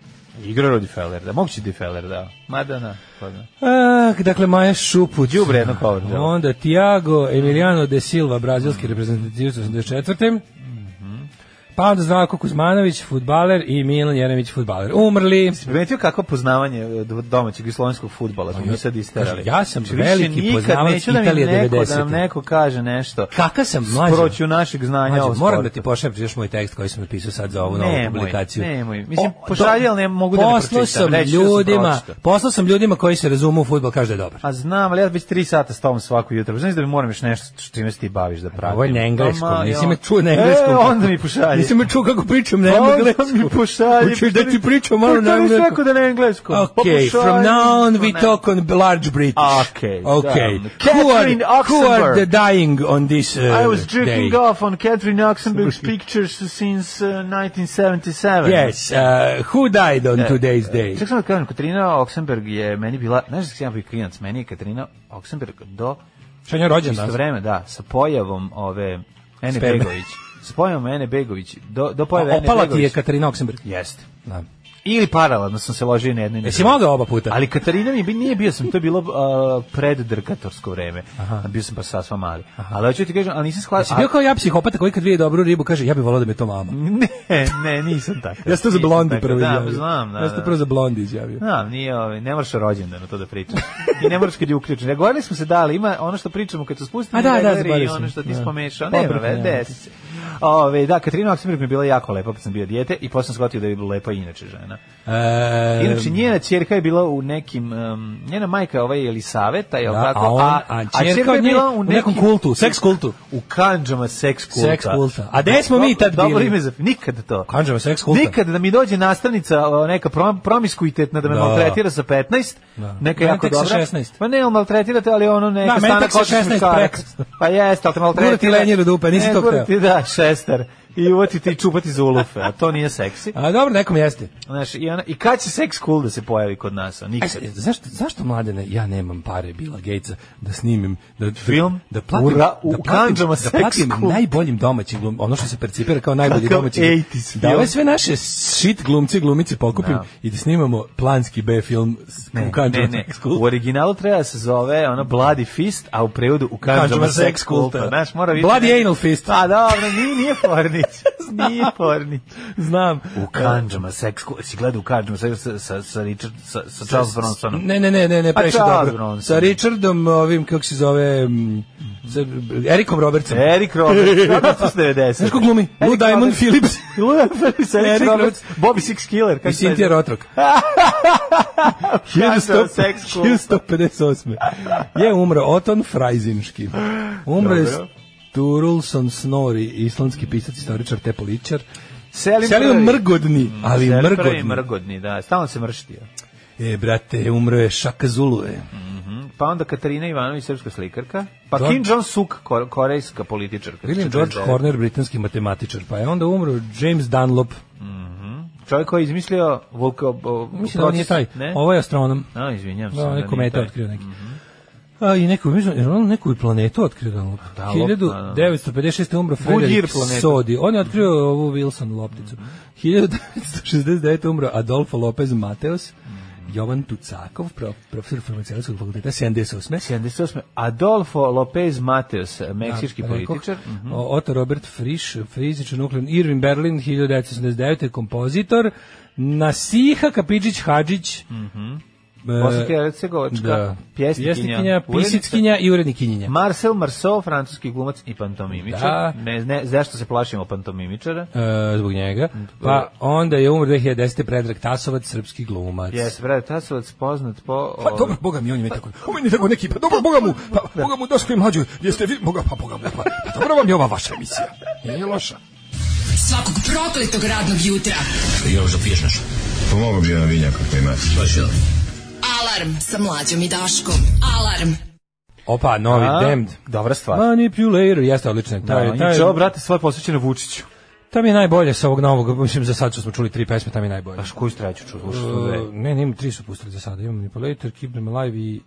Igrao Rudi Feller, da. Mogući Di Feller dao. Mada na, ko zna. A, dakle, Maja Šuput. Đubre jedno power delo. Onda Tiago Emiliano de Silva, brazilski reprezentativac 84. Mhm. Pa onda Zdravko Kuzmanović, futbaler i Milan Jeremić, futbaler. Umrli. Primetio kako poznavanje od domaćeg i slovenskog futbala smo mi sad isterali. Kažu, Pa ja sam Znači, više veliki nikad poznavac neću da mi Italije neko, da nam 90-te. neko kaže nešto. Kakav sam mlađi? Sproću našeg znanja o Mlađe, sportu. moram da ti pošaljem još moj tekst koji sam napisao sad za ovu Nemoj, novu publikaciju. nemoj. Mislim, pošalji, ali ne mogu da ne Poslao pročitam. sam Reći ću da sam ljudima, pročitao. poslao sam ljudima koji se razumu u fudbal, kaže da je dobar. A znam, ali ja već tri sata spavam svako jutro. Znaš da mi moram još nešto s čime se ti baviš da pratim. Ovo je na engleskom, Ama, nisi me ja. čuo na engleskom. E, onda mi pošalji. Pa Nisi me čuo kako pričam na Onda engleskom. mi pošalji. Hoćeš da ti pričam Pa malo to na nisi engleskom? rekao da na engleskom. Pa Okay, pošalji. from now on we Pa ne. talk on large British. Okay, Okay. damn. Who are, Catherine who are Oxenberg. the dying on this uh, I was jerking day? off on Catherine Oxenberg's pictures since uh, 1977. Yes, uh, who died E, on today's day? Čak sam da kažem, Katarina Oxenberg je meni bila, znaš da sam ja bio klinac, meni je Katarina Oxenberg do Što je rođen isto vreme, da, sa pojavom ove Ene Sperme. Begović, sa pojavom Ene Begović, do, do pojave Ene Opala ti je Begović. Katarina Oxenberg. Jeste. Da. Ili paralelno sam se ložio i na jednu i na Jesi drugu. mogao oba puta? Ali Katarina mi bi- nije bio sam, to je bilo uh, pred drkatorsko vreme. Bio sam pa sasva mali. Ali hoću ti kažem, ali nisam Jesi shvatio. bio kao ja psihopata koji kad vidi dobru ribu kaže ja bih volao da me to mama. Ne, ne, nisam tako. Ja sam to za Mm, Nisam blondi tako, prvo Da, izjavio. znam, da. Ja sam to da. prvo za blondi izjavio. Znam, nije, ovaj, ne moraš rođendan to da pričaš. I ne moraš kad je uključen. Ja govorili smo se da, ali ima ono što pričamo kad se spustimo A da, da, i zaboravio sam. ono što ti Da. spomešao. Dobro, Nema veze, nema desi se. Ove, da, Katarina Oksimir mi je bila jako lepa kad sam bio dijete i posle sam shvatio da je bila lepa i inače žena. E, Inače, njena čerka je bila u nekim, um, njena majka je ovaj Elisaveta, je li da, tako? a, on, a, čerka od nje u nekom kultu, seks kultu. U kanđama seks kulta. Seks kulta. A gde smo mi Dobro- tad bili? Dobro ime za, nikad to. Kanđama seks kulta. Nikad da mi dođe nastavnica o, neka prom, promiskuitetna da me Da. maltretira sa 15, Da. neka Meni jako tek sa dobra. 16. Pa ne, ali maltretirate, ali ono neka Da, meni stana tek sa kočiš 16 muškarac. preko. Pa jeste, ali te maltretira. Gura ti lenjer u dupe, nisi E, to gura hteo. ti, da, šester. I uvati ti i čupati za ulufe, a to nije seksi. A dobro, nekom jeste. Znaš, i, ona, i kad će seks cool da se pojavi kod nas? a? Aj, Nikad. sad, E, zašto, zašto mladene, ja nemam pare Bila Gatesa da snimim da, da- Film? da platim, Ura, u da platim, kandžama da platim seks klub. najboljim domaćim glum, ono što se percipira kao najbolji Kakav domaći 80s da film. ove sve naše shit glumci glumice pokupim Da. i da snimamo planski B film s, u kandžama ne, ne. seks U klub. originalu treba da se zove ono Bloody Fist, a u prevodu u kanđama seks kulta. Znaš, mora biti... Bloody anal fist. A dobro, nije, nije (laughs) Fornić. Nije Fornić. Znam. U kanđama seks kulta. Si gledao u kanđama seks sa, sa, sa, Richard, sa, sa Charles Bronsonom? Ne, ne, ne, ne, ne, previše Charles dobro. Bronson. Sa Richardom, ovim, kako se zove, mm, sa Erikom Robertsom. Eric Roberts, (laughs) kako su 90? Znaš ko glumi? Lou Eric Diamond Roberts. (laughs) Phillips. Lou Diamond Phillips, Eric Eric Roberts, Bobby Six Killer. kako I se Cynthia zove? (laughs) Rotrok. Kanđama seks kulta. 1158. Je umro Oton Frajzinski. Umro je Dobro. Sturluson Snorri, islandski pisac, istoričar, te političar. Selim, Selio prvi. Mm, mrgodni, ali Selim prvi mrgodni. mrgodni, da. Stalno se mrštio. E, brate, umro je e. Šaka Zuluje. Pa onda Katarina Ivanović, srpska slikarka. Pa Don- Kim Jong-suk, ko- korejska političarka. William George 49. Horner, britanski matematičar. Pa je onda umro James Dunlop. Čovjek koji je izmislio vulko... o- Mislim da on nije Pa taj. proces- Ne? Ovo je astronom. A, izvinjam se. Da, neko nije meta taj. Mhm. otkrio neki. A, I neku, mislim, jer on neku i planetu otkrio Dunlop. Pa Da, lop, da, Mhm. da. 1956. umro Goodyear Frederik planeta. Sodi. On je otkrio ovu Wilson lopticu. 1969. umro Adolfo Lopez Mateos. Mhm. Jovan Tucakov, prof, profesor farmaceutskog fakulteta, 78. 78. Adolfo Lopez Mateos, meksički Da, rekoh. političar. mhm. O- Otto Robert Frisch, fizičar nuklearni, Irvin Berlin, Mhm. 1989. kompozitor, Nasiha Kapidžić Hadžić, e, Bosanska i Hercegovačka, da. pjesnikinja, pjesnikinja, urednica. pisickinja i urednikinja. Marcel Marceau, francuski glumac i pantomimičar. Da. Ne, ne, zašto se plašimo pantomimičara? E, zbog njega. Mm, Pa onda je umro 2010. Predrag Tasovac, srpski glumac. Jes, Brad Tasovac poznat po... ovaj, Pa dobro, boga mi, on je meni tako, on je meni tako neki, pa dobro, boga mu, pa boga mu, došli mlađu, jeste vi, boga, pa boga mu, pa, pa dobro vam je ova vaša emisija, nije loša. Svakog prokletog radnog jutra. Pomogu bi jedan vinjak ako imate. Alarm sa mlađom i Daškom. Alarm. Opa, novi, A, damned. Dobra stvar. Manipulator, jeste odličan. Da, Taj, taj, inače, ovo, brate, svoje posvećeno Vučiću. tam je najbolje sa ovog novog, mislim, za sad što smo čuli tri pesme, tam je najbolje. Baš koju straću ču, slušao sam dve. E, ne, ne, imam, tri su pustili za sada, imam Manipulator, Keep Them Alive i...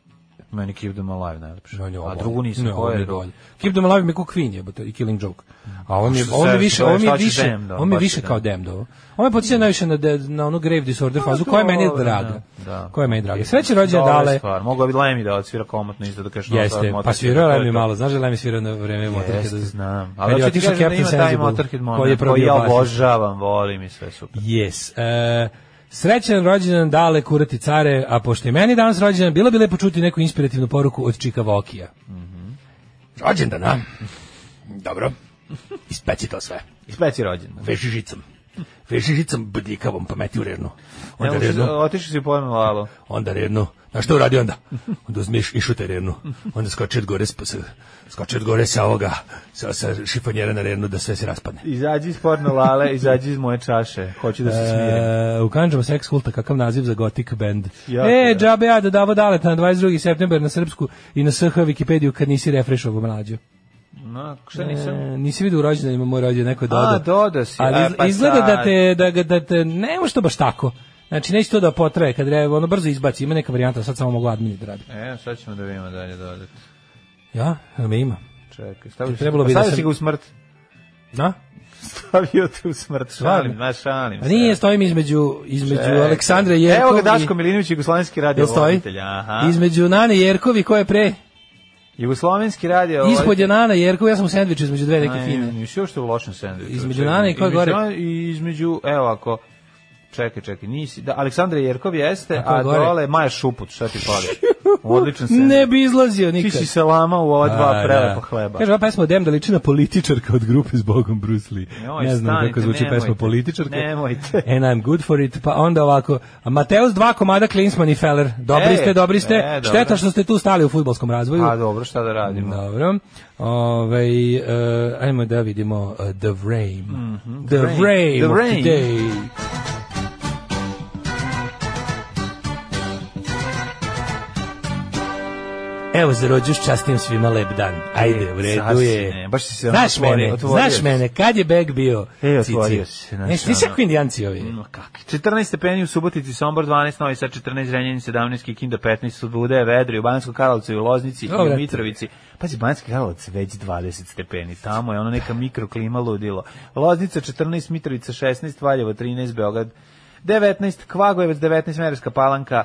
Meni Keep Them Alive najlepše. on je ovo A bolje. drugu nisam. Ne, koja ovo mi je je druga? bolje. Keep Them Alive mi je ko Queen jebote, i Killing Joke. A on je, Što on se- je više, što je- on je šta će više, Damned, ono, on je baš više je kao Damned. Damned ovo. On me podsjeća najviše na, de- na onu Grave Disorder fazu, koja je meni Dobro, draga. Pa da. Koja je meni draga. Sreće rođe Dobra dale. Stvar. Mogao bi Lemi da odsvira komotno isto da kaže što Jeste, pa svirao je mi malo, znaš da Lemi svirao na vreme Motorhead. Jeste, znam. Kad Ali je hoću ti otišao kažem da ima Captain taj Sensible, Motorhead koji je moment koji probio ja basist. obožavam, volim i sve super. Yes. E, srećan rođendan dale kurati care, a pošto je meni danas rođendan, bilo bi lepo čuti neku inspirativnu poruku od Čika Vokija. Rođendan, a? Dobro. Ispeci to sve. I speci rođen. Veži žicom. Veži žicom bdikavom, pa meti u rernu. Onda rernu, Otišao si u pojmu lalo. onda rernu. A što uradi onda? Onda uzmiš i šute rernu. Onda skoči od gore, sp- s- skoči od gore sa ovoga, sa, sa šifonjera na rernu da sve se raspadne. Izađi iz porno lale, izađi iz moje čaše. Hoću da se smijem. E, u Kanđama Sex Kulta, kakav naziv za gotik band. Jako, e, da. džabe ja dodavo daleta na 22. september na Srpsku i na SH Wikipediju kad nisi refrešovo mlađo. No, šta nisam? E, nisi vidio u rođendan, ima moj rođendan, neko je dodao. A, dodao si. Ali E, iz- pa izgleda sad. da te, da, ga- da te, ne može to baš tako. Znači, neće to da potraje, kad re, ono brzo izbaci, ima neka varijanta, sad samo mogu admin da radi. E, sad ćemo da vidimo dalje dodati. Ja? Jel me ima? Čekaj, stavio si, pa Trebalo bi stavio da sam- si ga u (laughs) smrt. Da? Stavio te u smrt. Šalim, Stvarno? ma šalim. A se. nije, stojim između, između Čekaj. Aleksandre Jerkov Evo ga i- Daško Milinović, jugoslovenski radio Jel stoji? voditelj. Aha. Između Nane Jerkovi, ko je pre? Jugoslovenski radio Ispod je Nana Jerkov, ja sam u sandviču između dve neke fine. Nisi još u lošem sandviču. Između Čekaj, Nane i koje između gore? Nane I između, evo ako, čekaj, čekaj, nisi, da, Aleksandra Jerkov jeste, koje a gore? dole Maja Šuput, šta ti pali? Odličan sandvič. Ne bi izlazio Ti nikad. si se lama u ova dva A, prelepa da. hleba. Kaže, ova pesma od Dem da liči na političarka od grupe s Bogom Bruce Lee. Joj, ne znam stanite, kako zvuči nemojte, pesma političarka. nemojte. And I'm good for it. Pa onda ovako, a Mateus dva komada Klinsman i Feller. Dobri E, ste, dobri ste. e, dobro. Pa Šteta što ste tu stali u futbolskom razvoju. A dobro, šta da radimo? Dobro. Ove, e, ajmo da vidimo e, The Frame. the, Frame. Frame Mhm. The of Frame. Today. Evo za rođuš častim svima lep dan. Ajde, u redu E, sasvim je. ne, baš si se znaš otvorio, mene, otvorio znaš si. mene, kad je beg bio? E, cici? otvorio si se, znaš, Ne, svi ono. se ako indijanci ovi. Ma kakvi. 14 stepeni u Subotici, Sombor 12, Novi Sad 14, Renjanin 17, Kikinda 15, Sudbude, Vedri, u Banjskoj Karlovcu i u Loznici Dobro, i eto. u Mitrovici. Pazi, Banjski Karlovac već 20 stepeni, tamo je ono neka mikroklima ludilo. Loznica 14, Mitrovica 16, Valjevo 13, Beograd 19, Kvagojevac 19, Merska Palanka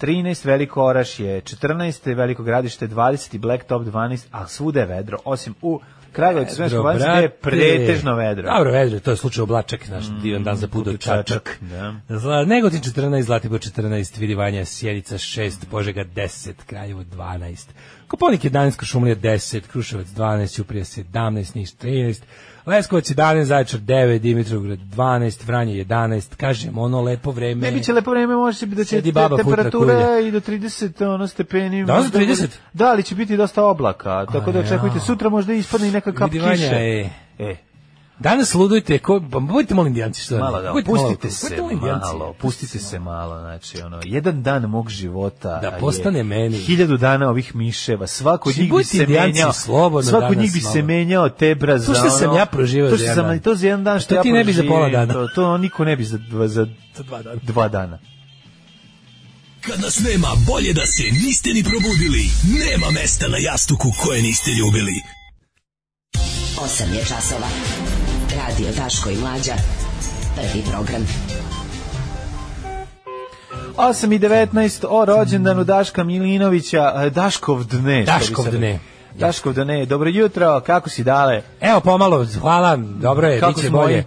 13, Veliko Oraš je 14, Veliko Gradište 20, Blacktop 12, a svuda je vedro, osim u Kragujevcu, Svenskoj Banjci, gde je pretežno vedro. Mm, Dobro, vedro, to je slučaj oblačak, naš divan dan za put od Čačak. Da. Zla- Negotin 14, Zlatibor 14, Vidivanja, Sjedica 6, Požega 10, Kraljevo 12, Koponik 11, Košumlija 10, Kruševac 12, Uprije 17, Niš 13, Leskovac 11, Zaječar 9, Dimitrovgrad 12, Vranje 11, kažem, ono lepo vreme. Ne biće lepo vreme, može se bi da će Sedi te- baba futra temperatura kulje. i do 30 ono stepeni. Danas možda 30? bude- Da, ali će biti dosta oblaka, tako da jao. očekujte sutra možda ispadne i neka kap Vidi, Vanja, kiše. e. E, Danas ludujte, ko, ba- budite malo indijanci što malo da, Budite malo- pustite budite se malo Indijanci. malo, pustite se malo, znači ono, jedan dan mog života Da je postane meni. Hiljadu dana ovih miševa, svako od Znači, njih bi budite se Indijanci menjao. slobodno Svako od danas njih bi se malo. menjao tebra za To što sam ono- ja proživao to za što jedan sam- dan. To za jedan dan A što to ja ti ne bi za pola proživim, dana. To, to niko ne bi za, dva- za Za dva dana. dva dana. Kad nas nema, bolje da se niste ni probudili. Nema mesta na jastuku koje niste ljubili. 8 je časova. Radio Daško i Mlađa. Prvi program. 8 i 19 o rođendanu Daška Milinovića, e, Daškov dne. što bi Daškov sad- dne. Daškov dne. Dobro jutro, kako si dale? Evo pomalo, hvala, dobro je, Kako bit će smo bolje. moji?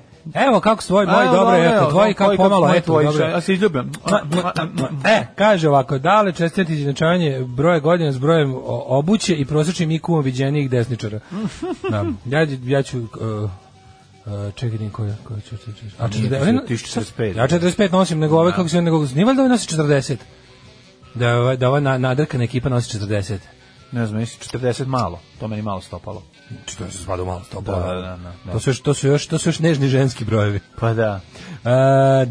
Evo kako svoj moj A, dobro, evo, eto tvoji evo, kako koji pomalo moj, eto tvoji, dobro. še- Ja se izljubim. E, kaže ovako, da li čestiti izjednačavanje broja godina s brojem o- obuće i prosječnim IQ-om (laughs) viđenijih desničara? da. Ja, ja ću... Uh, Uh, čekaj, din koja, koja ću, ću, ću. A 40, ti si 45. Ja 45 nosim, nego ove kako se nego... Nije valjda ove nosi 40? Da, je ova- da ova na, nadrkana ekipa nosi 40. Ne znam, mislim 40 malo. To meni malo stopalo. Što je se spada u malo stopa. Da, da, da, da. To, su još, to, su još, to su još nežni ženski brojevi. Pa da. Uh,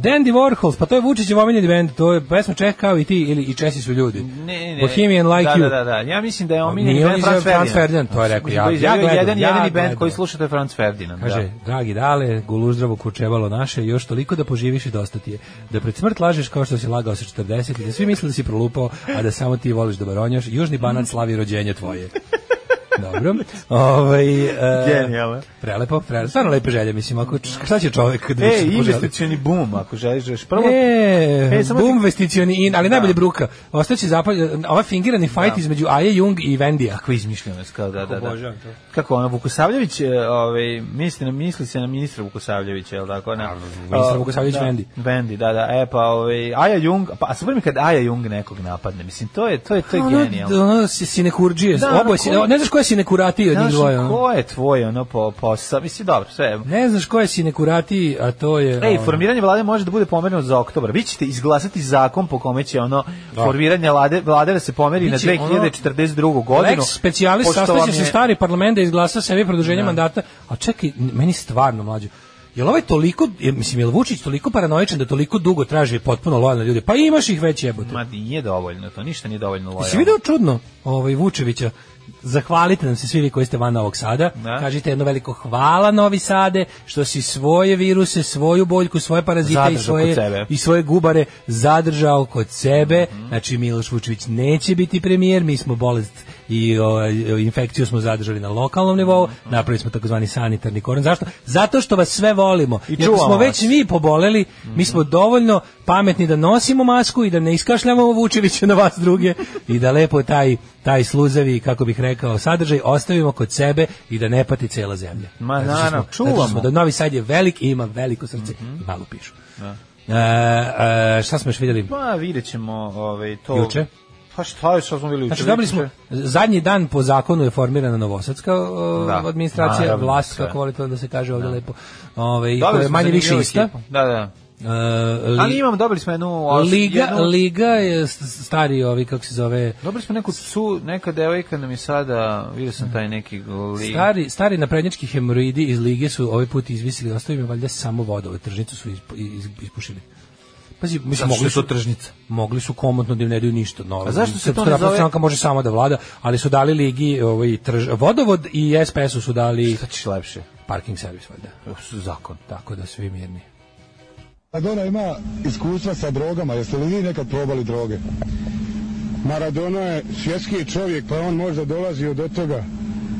Dandy Warhols, pa to je Vučićev omiljeni bend, to je pesma Čeh kao i ti ili i Česi su ljudi. Ne, ne. Bohemian Like da, You. Da, da, da. Ja mislim da je omiljen Nije on band izjavio Franz Ferdinand. Franz Ferdinand, to je rekao, ja- Mislim, izjavio ja gledam, jedan, ja jedini gledam. band koji slušate je Franz Ferdinand. Kaže, da. dragi dale, guluždravo kurčevalo naše, još toliko da poživiš i dosta ti je. Da pred smrt lažeš kao što si lagao sa 40 i da svi misle da si prolupao, a da samo ti voliš da baronjaš. Južni banat slavi rođenje (laughs) tvoje. Dobro. Ovaj, e, Genijalno. Prelepo, prelepo. Stvarno lepe želje, mislim. Ako, č- šta će čovjek kada E, više poželi? investicioni boom, ako želiš još prvo. E, E, samo boom ti- vesticioni in, ali najbolje bruka. Ostaće zapalj, ovaj fingirani fight između Aje Jung i Vendija. Kako izmišljeno, kao da, da, da. obožavam to. Kako ono, Vukosavljević, e, ovaj, misli, na, misli se na ministra Vukosavljevića, je li tako? Na, ministar o, Vukosavljević da, Vendi. Vendi, da, da, e, pa, ovaj, Aja Jung, pa, a super mi kad Aja Jung nekog napadne, mislim, to je, to je, to je genijalno. Ono, ono si- sinekurđije, Da, ono, oboje si- ko- ne znaš ko je sinekurati od njih Znaš, dvoje. ono. ko je tvoj, ono, po, posao, mislim, dobro, sve, Ne znaš ko je sinekurati, a to je... Ej, ono, formiranje vlade može da bude pomereno za oktobar. Vi ćete izglasati zakon po kome će ono formiranje vlade, vlade da se pomeri na Biće ono- 2042. godinu. Lex specialis pošto sastaće vam se je- stari parlament da izglasa sebi produženje mandata. A čekaj, n- meni stvarno mlađe. Jel ovaj toliko, je, mislim, jel Vučić toliko paranoičan da toliko dugo traži potpuno lojalne ljude? Pa imaš ih već jebote. Ma nije dovoljno to, ništa nije dovoljno lojalno. Jesi video čudno ovaj Vučevića? Zahvalite nam se svi vi koji ste van Novog Sada. Da. Kažite jedno veliko hvala Novi Sade što si svoje viruse, svoju boljku, svoje parazite i Zadržao svoje kod sebe. i svoje gubare zadržao kod sebe. Znači Miloš Vučević neće biti premijer, mi smo bolest i ovaj, infekciju smo zadržali na lokalnom nivou, napravili smo takozvani sanitarni koron. Zašto? Zato što vas sve volimo. I Jer čuvamo smo već vas. mi poboleli, mi smo dovoljno pametni da nosimo masku i da ne iskašljamo Vučevića na vas druge i da lepo taj, taj sluzavi, kako bih rekao, sadržaj ostavimo kod sebe i da ne pati cela zemlja. Ma, Zato što naravno, smo- zato što čuvamo. smo da Novi Sad je velik i ima veliko srce Mhm. i malo pišu. E, e, šta smo još vidjeli? Pa vidjet ćemo ovaj, to... Juče? Pa šta je, šta smo bili juče? Znači, dobili smo, Juče? zadnji dan po zakonu je formirana Novosadska o, Da, administracija, naravno, vlast, sve. kako volite da se kaže ovdje lepo, Ove, i koja Dobili je smo manje više zanimljivu ista. ekipu. Da, da. E, li- Ali imam, dobili smo jednu... os- Liga, jednu- Liga je s- stari ovi, kako se zove, Dobili smo neku su, neka devojka nam je sada, vidio sam taj neki lig. stari, stari naprednjački hemoroidi iz Lige su ovaj put izvisili, ostavio im je valjda samo vodove, tržnicu su ispu- iz, ispušili. Pazi, mislim, Zato što mogli je su to tržnica. Mogli su komotno da im ne daju ništa novo. A zašto se Srpska to ne napredna zove- stranka može sama da vlada, ali su dali ligi ovaj, trž- vodovod i SPS-u su dali Šta ćeš lepše? parking servis valjda. Zakon. Tako da svi mirni. Maradona Pa ima iskustva sa drogama, jeste li vi nekad probali droge? Maradona je svjetski čovjek, pa on možda dolazi od toga.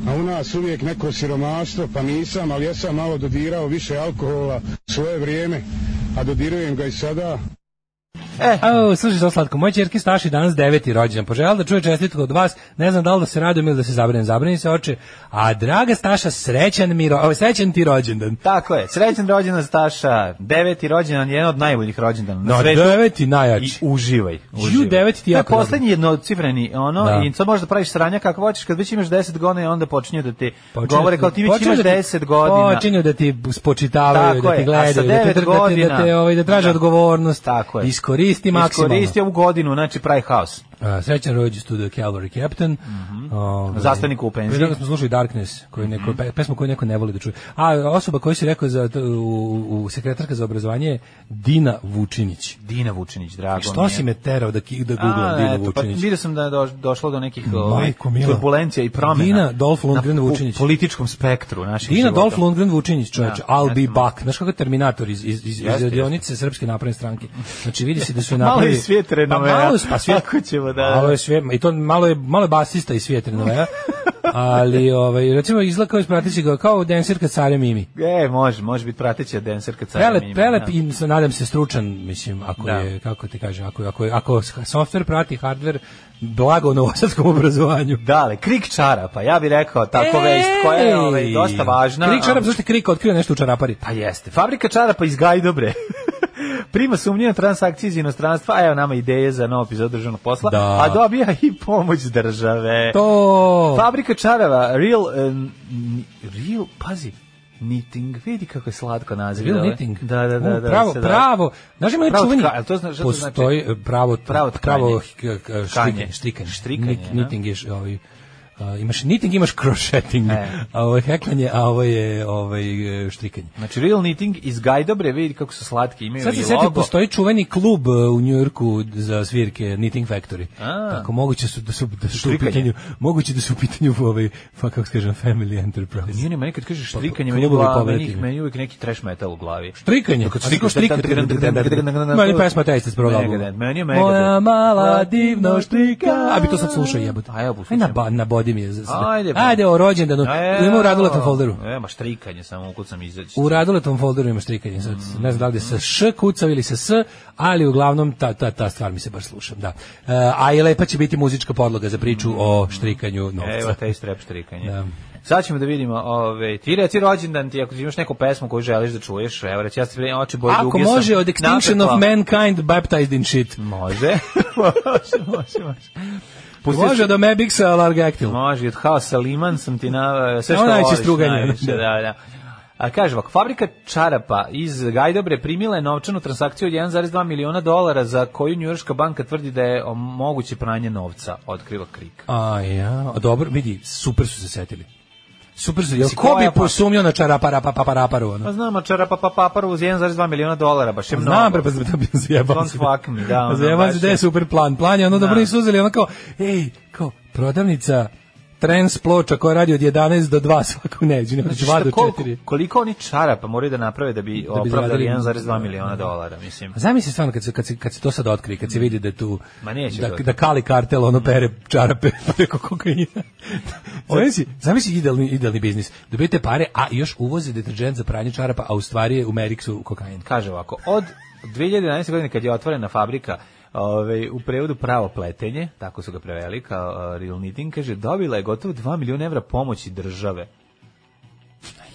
A u nas uvijek neko siromaštvo, pa nisam, ali ja sam malo dodirao više alkohola svoje vrijeme, a dodirujem ga i sada. E. Au, slušaj sad slatko, moj ćerki Staši danas deveti rođendan. Poželjela da čuje čestitku od vas. Ne znam da li da se radujem ili da se zabrinem. Zabrani se oče. A draga Staša, srećan mi, ro... o, srećan ti rođendan. Tako je, srećan rođendan Staša, deveti rođendan, jedan od najboljih rođendana na No, svetu. deveti I najjači. uživaj. Ju, devet ti To je jako dobro. poslednji jednocifreni, ono, Da. i sad možeš da praviš sranja kako hoćeš, kad već imaš 10 godina i onda počinju da ti Počinju- govore kao ti već počinju imaš da ti- 10 godina. Počinju da ti spočitavaju, Tako da ti je, a sa gledaju, da te, devet drgate, da godina- te, ovaj, da traže Da. odgovornost. Tako je. Iskoristi maksimalno. Iskoristi ovu godinu, znači pravi haos. A, srećan rođendan studio Calvary Captain. Mm Zastavnik Mhm. u penziji. Mhm. Pre toga smo slušali Darkness, koju neko, pe- pesmu koju neko ne voli da čuje. A osoba koju si rekao za, to- u, u sekretarka za obrazovanje je Dina Vučinić. Dina Vučinić, drago mi Što je. si me terao da, ki- da A, googlam Dinu eto, pa Vučinić? vidio sam da je doš- došlo do nekih ovaj, Majko mila. turbulencija i promjena. Dina Dolph Lundgren na po- Vučinić. političkom spektru naših Dina života. Dolph Lundgren Vučinić, čoveče, Da, I'll be jeste. back. Znaš kako je Terminator iz, iz, iz, iz Jeste, radionice Srpske napredne stranke. Znači vidi se (laughs) da su Malo napravili... je i svijet renomea. Pa malo, je- pa svijet, Tako ćemo, da. (laughs) Malo je svijet, i to malo je, malo je basista i svijet renomea. Ali, ovaj, recimo, izgleda kao iz pratećega, kao denserka Care Mimi. E, može, može biti prateća denserka cara Prelep, Mimi, prelep da. i s- nadam se stručan, mislim, ako Da. je, kako ti kažem, ako, ako, ako software prati hardware, blago novosadskom (laughs) obrazovanju. Dale, krik čarapa, ja bih rekao tako vest koja je ovaj, dosta važna. Krik čarap, a- zašto je Krik otkrio nešto u čarapari? Pa jeste. Fabrika čarapa iz Gajdobre. (laughs) Prima sumnju na transakcije iz inostranstva, a evo nama ideje za novu epizodu državnog posla, Da. a dobija i pomoć države. Pa To... Fabrika čarava, real, eh, n- real, pazi, knitting, vidi kako je slatko naziv. Real ovaj. knitting. Da, da, U, da. da, pravo, se da. pravo. Znaš ima onaj Pravo čuveni? tka- ali to zna- šta to znači? Postoji e, pravo, Pravo pravo, tkanje. pravo eh, k- k- štrikanje. Štrikanje. Štrikanje, da. Knit- Knitting je š- ovaj, a, imaš knitting, imaš crocheting, E. a ovo je heklanje, a ovo je ovaj, e, štrikanje. Znači, real knitting iz Gajdobre, vidi kako su slatki, imaju Sad se i sjetio, logo. postoji čuveni klub e, u Njujorku za svirke Knitting Factory. A. Tako moguće su da su, da su u Štrikanje. pitanju, moguće da su u pitanju ovaj, pa kako se kažem, family enterprise. Nije meni kad kažeš Pa, štrikanje, meni, klubovi gla- meni, povratili. meni uvijek neki trash metal u glavi. Štrikanje. Kad A kako štrikaš, štrikate? Meni pesma te iz prvog albuma. Megadeth, meni je Megadeth. Moja mala divno štrika. A bi to sad slušao jebote. A ja bu Aj na, slušam. ba- na body mi je. za- za- Ajde, pa. ba. Ajde, o rođendanu. E, Ima u raduletom folderu. E, ma štrikanje samo ukucam izaći. U raduletom folderu ima štrikanje. Sad, ne znam da li je sa š kucao ili sa s, ali uglavnom ta, ta, ta stvar mi se baš slušam. Da. E, a i lepa će biti muzička podloga za priču o štrikanju Evo novca. taj strep štrikanje. Da. Sad ćemo da vidimo, ove, ti reci rođendan ti, ako imaš neku pesmu koju želiš da čuješ, evo reći, ja se prijem oči boje Ako duge može, sam od Extinction of natrpao. Mankind baptized in (laughs) shit. Može, može, može, može. Pustio Može sam- do Mebixa Largactyl. Može, i od Haosa Liman sam ti na e, sve što Ono voliš. najveće struganje. najviše, da, da. A kaže ovako, fabrika čarapa iz Gajdobre primila je novčanu transakciju od 1,2 miliona dolara za koju Njujorška banka tvrdi da je moguće pranje novca, otkriva Krik. A ja, a dobro, vidi, super su se setili. Super su, jel Mislim, ko koja bi pa- posumnjao na čarapara pa paparaparu, Pa ono? znam, a čarapa pa paparu uz 1,2 miliona dolara, baš je mnogo. Znam, bre, pa sam bi zajebao Don't se. fuck me, da, ono, Zajebao baš se, da je. je super plan. Plan je ono, dobro Da. nisu uzeli, ono kao, ej, kao, prodavnica trans ploča koja radi od 11 do (laughs) 2 svaku neđu, ne, od Znači, 2 šta, do koliko, 4. koliko oni čarapa moraju da naprave da bi bi opravdali zaradili- 1,2 miliona dolara, mislim. A Pa zamisli stvarno kad se, kad, se, kad se to sad otkrije, kad se vidi da je tu Ma neće da, to. da kali kartel ono pere čarape (laughs) pa preko kokaina. zamisli, zamisli idealni, idealni biznis. Dobijete pare, a još uvoze deterđent za pranje čarapa, a u stvari je u Meriksu kokain. Kaže ovako, od 2011. godine kad je otvorena fabrika Ove, u prevodu pravo pletenje, tako su ga preveli kao a, Real Knitting, kaže, dobila je gotovo 2 milijuna evra pomoći države.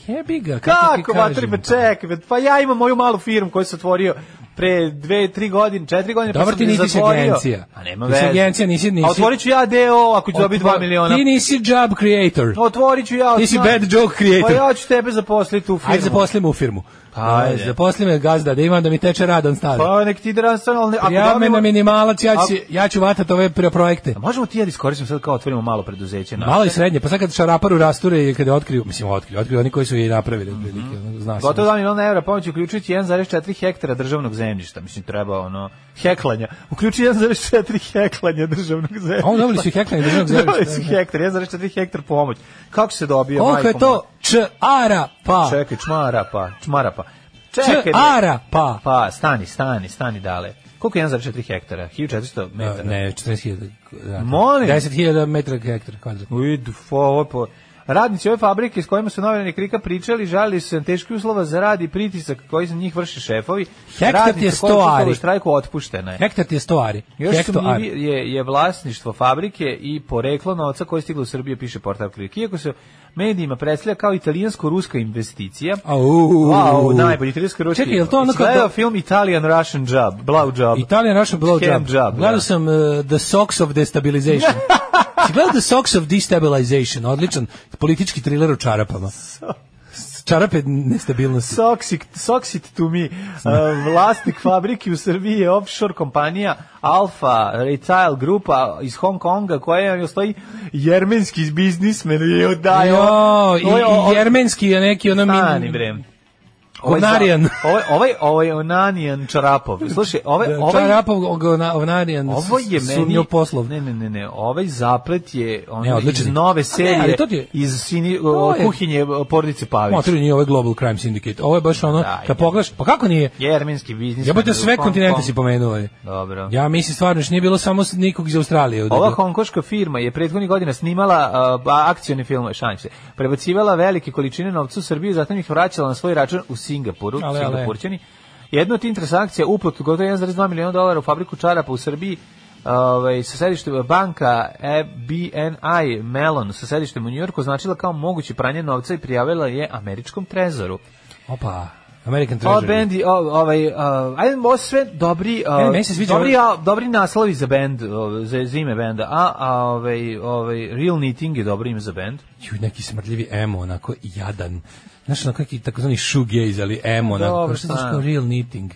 Jebi ga, kako, ti Kako, kažem? vatribe, čekaj, be, pa ja imam moju malu firmu koju sam otvorio pre dve, tri godine, četiri godine, pa Dobar sam ti je nisi zatvorio. agencija. A nema Nisi veze. agencija, nisi- nisi- A otvorit ću ja deo ako ću dobiti 2 Otvo- miliona. Ti nisi job creator. Otvorit ću ja. Ti si znam. bad joke creator. Pa ja ću tebe zaposliti u firmu. Pa Ajde zaposli me u firmu. Ajde. Zaposli me gazda, da imam da mi teče radan stari. Pa nek ti da rastavno, ali ne- ako Ja me dobijemo- na minimalac, ja, ću, Ako- ja ću vatat ove pre- projekte. A možemo ti ja da iskoristimo sad kao otvorimo malo preduzeće. naše? Malo i srednje, pa sad kad šaraparu rasture i kada otkriju, mislim otkriju, otkriju oni koji su je i napravili, otprilike, ono, zna se. Gotovo 2 miliona evra pomoći uključujući 1,4 hektara državnog zemljišta. Mislim, treba ono, heklanja. Uključi 1,4 heklanja državnog zemljišta. A on dobili su i heklanje državnog Dobili zemljišta. su hektar, 1,4 hektar pomoć. Kako se dobije, Koliko je majko to? Čara pa. moja? Čekaj, čmara pa, čmara pa. Čekaj, bre. Čara pa. pa, stani, stani, stani dale. Koliko je 1,4 hektara? 1400 metara. Ne, 14.000. Molim? 10.000 metara hektara kvadrat. Uidu, fo, ovo po... Radnici ove fabrike s kojima su novinari Krika pričali žalili su se na teške uslova za rad i pritisak koji za njih vrše šefovi. Hektar ti je Radnica koja je 100 učestvovala ari. u štrajku otpuštena je. Hektar ti je 100 ari. Još Hekto ari. sumnjivije je, je vlasništvo fabrike i poreklo novca koji je stiglo u Srbiju, piše portal Krik. Iako se medijima predstavlja kao italijansko-ruska investicija, Au. Wow, najbolji italijansko-ruski. Čekaj, je to ono Jesi gledao kao film Italian Russian Job, Blau Job. Italian Russian Scam blowjob. job, Gledao da. sam uh, The Socks of (laughs) Destabilization. si gledao The Socks of Destabilization? Odličan politički thriller u (laughs) čarapama. Čarape nestabilnosti. Soxit, Soxit to me, Uh, vlasnik fabrike u Srbiji je offshore kompanija Alfa Retail Grupa iz Hong Konga koja je stoji jermenski biznismen i Jo, odaje. i, i jermenski je neki ono Stani min... bre. Govnarijan. Ovaj, ovaj, ovaj onanijan čarapov. Slušaj, ovaj, Da, ovaj, Čarapov ogona- ovnarijan, Ovo je s- meni sumnjoposlov. Ne, ne, ne, ne, ovaj zaplet je on Ne, odličan iz je. nove serije ali to ti je- iz sini, To je- kuhinje porodice Pavić. Motor nije ovaj Global Crime Syndicate. Ovo je baš ono, Daj, ne. kad pogledaš, pa kako nije? Jermenski biznis. Jebote sve Hong kontinente Kong. si pomenuo. je. Dobro. Ja mislim stvarno još nije bilo samo s- nikog iz Australije. ovde. Ova hongkoška firma je prethodnih godina snimala uh, ba- akcione filmove, šalim se, prebocivala velike količine novca u Srbiju, zatim ih vraćala na svoj račun u Singapuru, Ale, ale. Singapurćani. Jedna od tim transakcija, uplat gotovo 1,2 miliona dolara u fabriku čarapa u Srbiji, ovaj, sa sedištem banka e, BNI Mellon sa sedištem u Njujorku označila kao moguće pranje novca i prijavila je američkom trezoru. Opa, American O, Treasure. bendi, o, ovaj, uh, ajde, ovo su sve dobri, Ne, uh, meni se sviđa ovaj- dobri, ovo. a, dobri naslovi za bend, uh, za, za ime benda, a, a ovaj, ovaj, Real Knitting je dobro ime za bend. Ju, neki smrdljivi emo, onako jadan. Znaš, onako neki takozvani shoegaze, ali emo, onako, Dobro, kao što znaš pa. kao real knitting.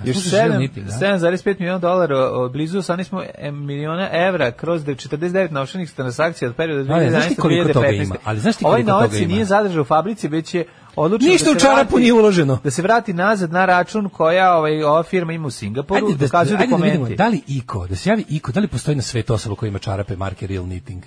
A Još slušaš real sedam- knitting, da? 7,5 miliona dolara, o, blizu 18 e, miliona evra kroz de- 49 novčanih transakcija od perioda Ali, znaš ti 2011 do koliko toga 2015. ima? Ali, znaš ti Ovaj koliko novac toga se ima? nije zadržao u fabrici, već je odlučio Ništa da u se čarapu vrati- nije uloženo. Da se vrati nazad na račun koja ovaj, ova firma ima u Singapuru, Ajde da, dokazuju ajde da vidimo, dokumenti. da li Iko, da se javi Iko, da li postoji na svetu osoba koja ima čarape marke Real Knitting?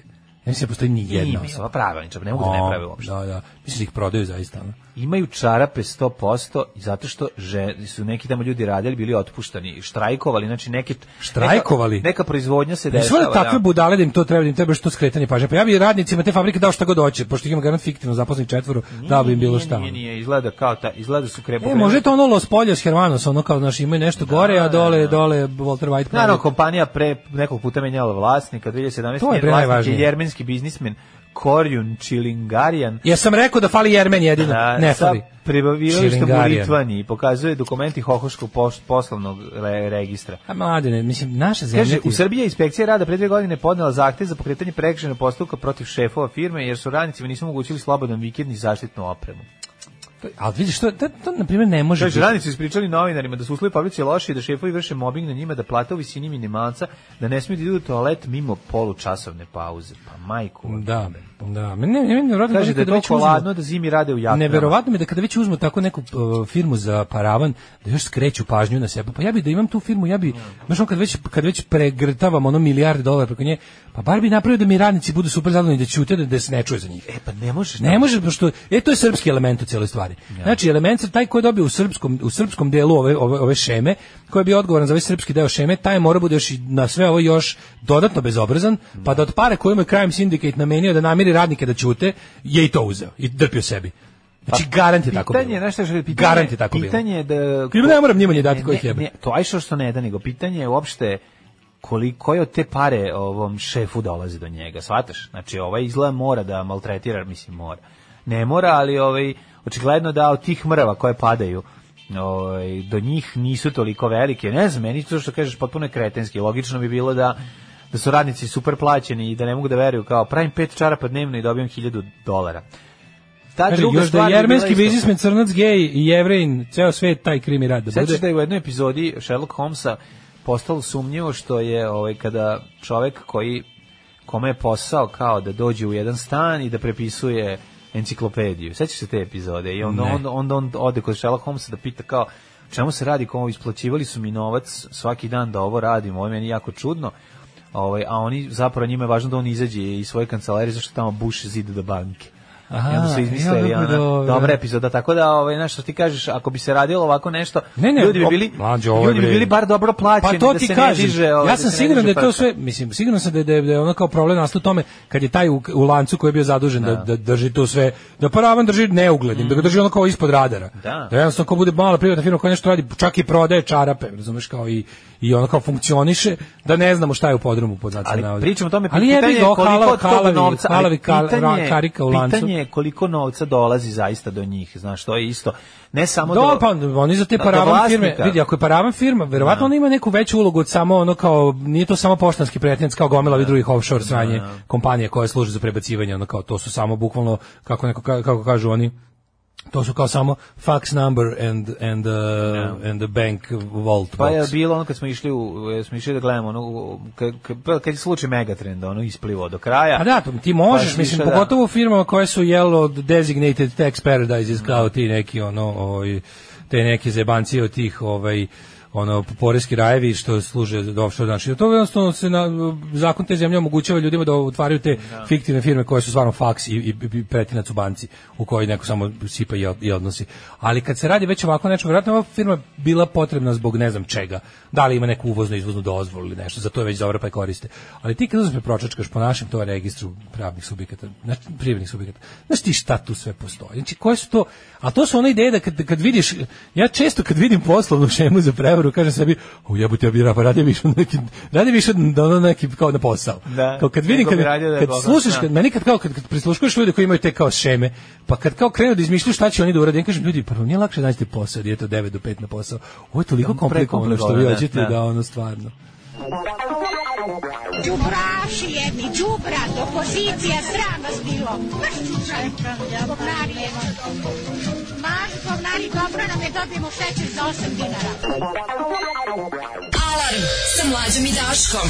Ja mislim da postoji ni jedna Ima, osoba. osoba prava, ničem, ne mogu da ne prave O, uopšte. Da, da. Mislim da ih prodaju zaista. ono. imaju čarape 100% i zato što že, su neki tamo ljudi radili, bili otpuštani i štrajkovali, znači neki Štrajkovali? Neka, neka proizvodnja se Mislim dešava. da takve pa da. budale da im to treba, da im treba što skretanje pažnje. Pa ja bi radnicima te fabrike dao šta god hoće, pošto ih ima garant fiktivno zaposlenih četvoro, dao bi im bilo šta. ono. Nije, nije, izgleda kao ta, izgleda su krepo. E, može to ono Los Pollos Hermanos, ono kao, znaš, imaju nešto gore, a dole, dole Walter White. pravi- Naravno, kompanija pre nekog puta menjala vlasnika, 2017. To je njen bre vlasnik najvažnije. je jermenski biznismen Korjun Čilingarijan. Ja sam rekao da fali Jermen jedino, a, ne sa fali. prebavilištem u Čilingarijan. Litvaniji pokazuje dokumenti Hohoškog poš- poslovnog re- registra. A mladine, mislim, naša zemlja... Kaže, ti je- u Srbiji je inspekcija rada pre dve godine podnela zahtjev za pokretanje prekršajnog postupka protiv šefova firme, jer su radnicima nisu omogućili slobodan vikend ni zaštitnu opremu. Pa, Ali vidiš, to, to, to, na primjer, ne može Kaže, biti. radnici su ispričali novinarima da su uslovi fabrici loši, da šefovi vrše mobbing na njima, da plate u visini minimalca, da ne smiju da idu u toalet mimo polučasovne pauze. Pa majku. vam. Da, da. Meni, meni, meni, rodno, Kaže da je to koladno, da zimi rade u jaknama. Neverovatno mi je da kada već uzmu tako neku uh, firmu za paravan, da još skreću pažnju na sebe. Pa ja bi da imam tu firmu, ja bi, znaš, on kad već, kad već pregrtavam ono milijarde dolara preko nje, pa bar bi napravio da mi radnici budu super zadovoljni da ćute, da, da se ne čuje za njih. E, pa ne možeš. Ne može pošto e to je srpski element u cijeloj stvari. Znači element se taj koji je dobio u srpskom u srpskom delu ove ove ove šeme, koji je bio odgovoran za ovaj srpski deo šeme, taj mora bude još i na sve ovo još dodatno bezobrazan, pa da od pare koju mu je Crime Syndicate namenio da namiri radnike da ćute, je i to uzeo i drpio sebi. Znači garant je tako bilo. Pa, Pitanje, je, znaš šta je što je pitanje? Garant je tako bilo. Pitanje je da... Ili ne moram njima ni dati Ne, koji ne, jebe. ne, to aj što što ne da, nego pitanje je uopšte koliko je od te pare ovom šefu dolazi do njega, shvataš? Znači, ovaj izgleda mora da maltretira, mislim, mora. Ne mora, ali ovaj, očigledno da od tih mrava koje padaju ovaj, do njih nisu toliko velike. Ne znam, meni to što kažeš potpuno je kretenski. Logično bi bilo da da su radnici super plaćeni i da ne mogu da veruju kao pravim pet čarapa dnevno i dobijem hiljadu dolara. Ta Kaže, druga još da stvar je bi bila jermenski isto. biznismen crnac gej i jevrejin, ceo svet taj krim i rad da bude. Sećaš da je u jednoj epizodi Sherlock Holmesa postalo sumnjivo što je ovaj kada čovek koji kome je posao kao da dođe u jedan stan i da prepisuje enciklopediju. Sećaš se te epizode? I onda, onda, onda on ode kod Sherlock Holmesa da pita kao čemu se radi, kao isplaćivali su mi novac svaki dan da ovo radim, ovo je meni jako čudno. Ovaj, a oni zapravo njima je važno da on izađe iz svoje kancelarije zašto tamo buše zid do banke. Aha, I onda su ja, izmislili dobro, ona, dobro. dobra epizoda, tako da ovaj, znaš što ti kažeš, ako bi se radilo ovako nešto, Ne, ne, ljudi bi op- bili, mlađe, ovo je ljudi bi bre- bili bar dobro plaćeni, Pa to da ti se kažem. ne diže, ovaj, ja sam se ne siguran da diže je to prsa. sve, mislim, siguran sam da je, da je, da je ono kao problem nastao u tome kad je taj u, u lancu koji je bio zadužen da, da drži to sve, da paravan drži neuglednim, da ga drži ono kao ispod radara. Da. jednostavno ko bude mala privatna firma koja nešto radi, čak i prodaje čarape, razumeš, kao i, i ono kao funkcioniše, da ne znamo šta je u podrumu pod znacima Ali navoda. pričamo o tome, ali pitanje jebi je ga, koliko halav- od tog halavi- novca, halavi ali kal- ra- pitanje, karika u lancu. pitanje je koliko novca dolazi zaista do njih, znaš, to je isto. Ne samo Do, do, pa oni za te do paravan vlasnika. firme, vidi, ako je paravan firma, verovatno ona ima neku veću ulogu od samo ono kao, nije to samo poštanski pretinac kao gomila ovih drugih offshore sranje kompanije koje služe za prebacivanje, ono kao to su samo bukvalno, kako, neko, ka- kako kažu oni, To su kao samo fax number and, and, uh, and the bank vault Pa je box. bilo ono kad smo išli u e, smo išli da gledamo ono u- kad kad- kad je slučaj Megatrenda ono isplivo do kraja. A da, to- ti možeš, Pa više, mislim, da. pogotovo u firmama koje su jelo od designated tax paradises kao ti neki ono ovaj te neke zebancije od tih ovaj ono poreski rajevi što služe za offshore znači to jednostavno se na, zakon te zemlje omogućava ljudima da otvaraju te fiktivne firme koje su stvarno faks i, i, i pretinac u banci u kojoj neko samo sipa i, od- i odnosi ali kad se radi već ovako nečemu vjerojatno je ova firma je bila potrebna zbog ne znam čega da li ima neku uvoznu izvoznu dozvolu ili nešto za to je već dobra pa je koriste ali ti kad uzme pročačkaš po našem to registru pravnih subjekata znači privrednih subjekata znaš ti šta tu sve postoji znači koje su to a to su one ideje da kad, kad vidiš ja često kad vidim poslovnu šemu za prevaru kažem sebi u jebote ja bih ra- pa radije više neki radije više da ono neki kao na posao Da, kao kad vidim nego kad, bi radio da je kad bogat, slušaš da. kad meni kad kao kad, kad prisluškuješ ljude koji imaju te kao šeme, pa kad kao krenu da izmišljaju šta će oni da urade, ja kažem ljudi, pa vam nije lakše naći posao, jer je to 9 do 5 na posao. Ovo je toliko komplikovano što vi prekomplikovano, da, hoćete da. da ono stvarno. Đubraši jedni, đubrat, opozicija, sram vas bilo. Maš čučaj, govnari jedni. Maš govnari, dobro nam je dobijemo šećer za 8 dinara. Alarm sa mlađom i Daškom.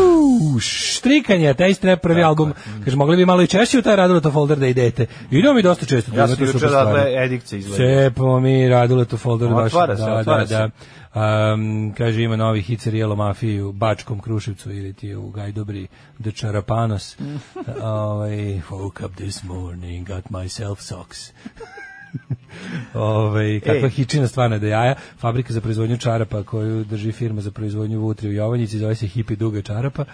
U, štrikanje, taj ste prvi album. Mm. Kaže, mogli bi malo i češće u taj Raduleto folder da idete. Idemo mi dosta često. Ja imate sam juče super stvari. odatle edikce izvadio. Cepamo mi Raduleto folder. Otvara baš- se, otvara se. Um, kaže, ima novi hit serijelo Mafiji u Bačkom Kruševcu ili ti je u Gajdobri The (laughs) Čarapanos. ovaj, woke up this morning, got myself socks. Ove, Ovaj, kakva Ej. hičina stvarno je da jaja. Fabrika za proizvodnju čarapa koju drži firma za proizvodnju vutri u Jovanjici zove se Hipi Duga čarapa.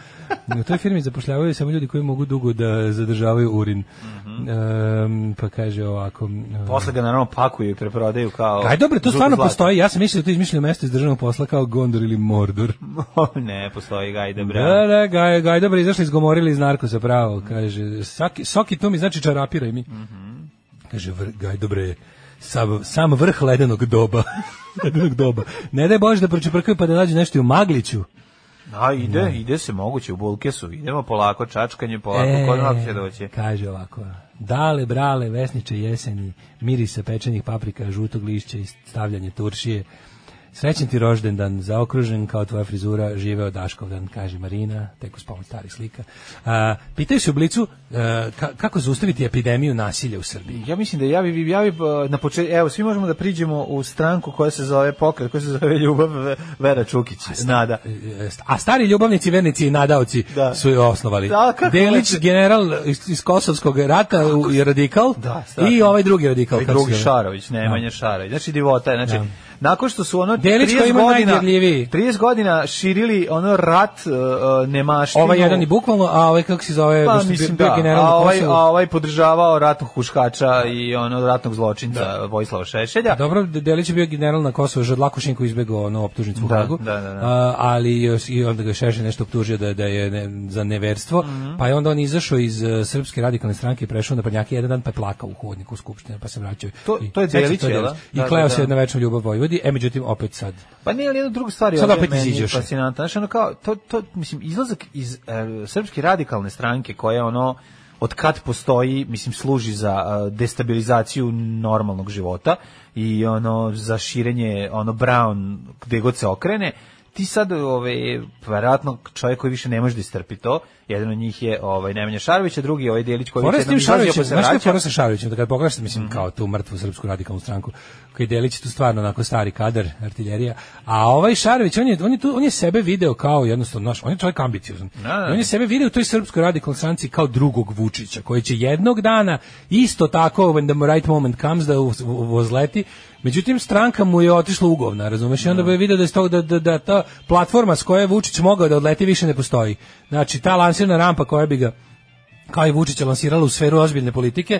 U toj firmi zapošljavaju samo ljudi koji mogu dugo da zadržavaju urin. Em, pa kaže ovako... em, Posle ga naravno pakuju i preprodaju kao Aj dobro, to žuto stvarno zlato. postoji. Ja sam mislio da to izmišljeno mesto iz državnog posla kao Gondor ili Mordor. (laughs) ne, postoji ga i da Da, da, gaj, gaj, dobro, izašli izgomorili iz narkosa, pravo, kaže, saki, soki to mi znači čarapiraj mi. Kaže, vr, gaj, dobre, sam, sam vrh ledenog doba. (laughs) ledenog doba. Ne daj Bože da pročeprkaju pa da nađu nešto i u Magliću. A ide, ide se moguće u Bulkesu. Idemo polako čačkanje, polako e, kod nas će doći. Kaže ovako, dale, brale, vesniče jeseni, mirisa pečenih paprika, žutog lišća i stavljanje turšije. Srećen ti rođendan, zaokružen kao tvoja frizura, živeo Daškovdan, kaže Marina, tek uz pomoć starih slika. A, pitaju se u Blicu e, ka- kako zaustaviti epidemiju nasilja u Srbiji. Ja mislim da ja bi, ja bi e, na počet, evo, svi možemo da priđemo u stranku koja se zove pokret, koja se zove Ljubav Ve- Vera Čukić. Nada. E, A stari ljubavnici, vernici i nadaoci Da. su je osnovali. Da, kako Delić, lepo. general iz, iz Kosovskog rata u- i radikal Da, i strašno. ovaj drugi radikal. I kako se drugi zove. Šarović, Nemanja Šarović. Znači divota, je, znači nakon što su ono Delić koji 30 ima godina, najdirljiviji. 30 godina širili ono rat uh, uh, nemaštinu. Ovaj jedan i bukvalno, a ovaj kako se zove, pa što je mislim bio da, general a na ovaj, a Kosovu. ovaj podržavao ratnog huškača i ono ratnog zločinca Vojislava Šešelja. Dobro, De- Delić je bio general na Kosovu, Žadlako Šinko izbegao ono optužnicu u Da, Hagu, da, da, da. A, ali još- i onda ga je Šešelj nešto optužio da, da je ne- za neverstvo, Mhm. pa je onda on izašao iz e, Srpske radikalne stranke i prešao na Prnjake jedan dan, pa je plakao u hodniku u Skupštine, pa se vraćao. To- I- to je sećam se, Delić, to jel da? I Da, kleo da, da. se na večnu ljubav Vojvodi, e međutim opet sad. Pa nije ali jedna druga stvar je Sad ovdje opet meni iziđeš. fascinantna. Znaš, ono kao, to, to, mislim, izlazak iz e, srpske radikalne stranke koja je ono, od kad postoji, mislim, služi za e, destabilizaciju normalnog života i ono, za širenje, ono, brown, gde god se okrene, ti sad ovaj verovatno čovjek koji više ne može da istrpi to jedan od njih je ovaj Nemanja Šarović a drugi je ovaj Delić koji je Fora s jednom tim izlazio pa Šarovićem, se znaš što je vraća Mm. fora sa Šarovićem, da kad pogledaš, mislim, kao tu mrtvu srpsku radikalnu stranku, koji Delić je tu stvarno onako stari kadar, artiljerija, a ovaj Šarović, on je, on je, tu, on je sebe video kao jednostavno, naš, on je čovjek ambiciozan. da. I On je sebe video u toj srpskoj radikalnoj stranci kao drugog Vučića, koji će jednog dana, isto tako, when the right moment comes, da uz- u- vozleti, Međutim, stranka mu je otišla ugovna, razumeš? I onda bi video da, je s tog- da, da, da ta platforma s koje je Vučić mogao da odleti više ne postoji. Znači, ta lansirna rampa koja bi ga kao i Vučića lansirala u sferu ozbiljne politike,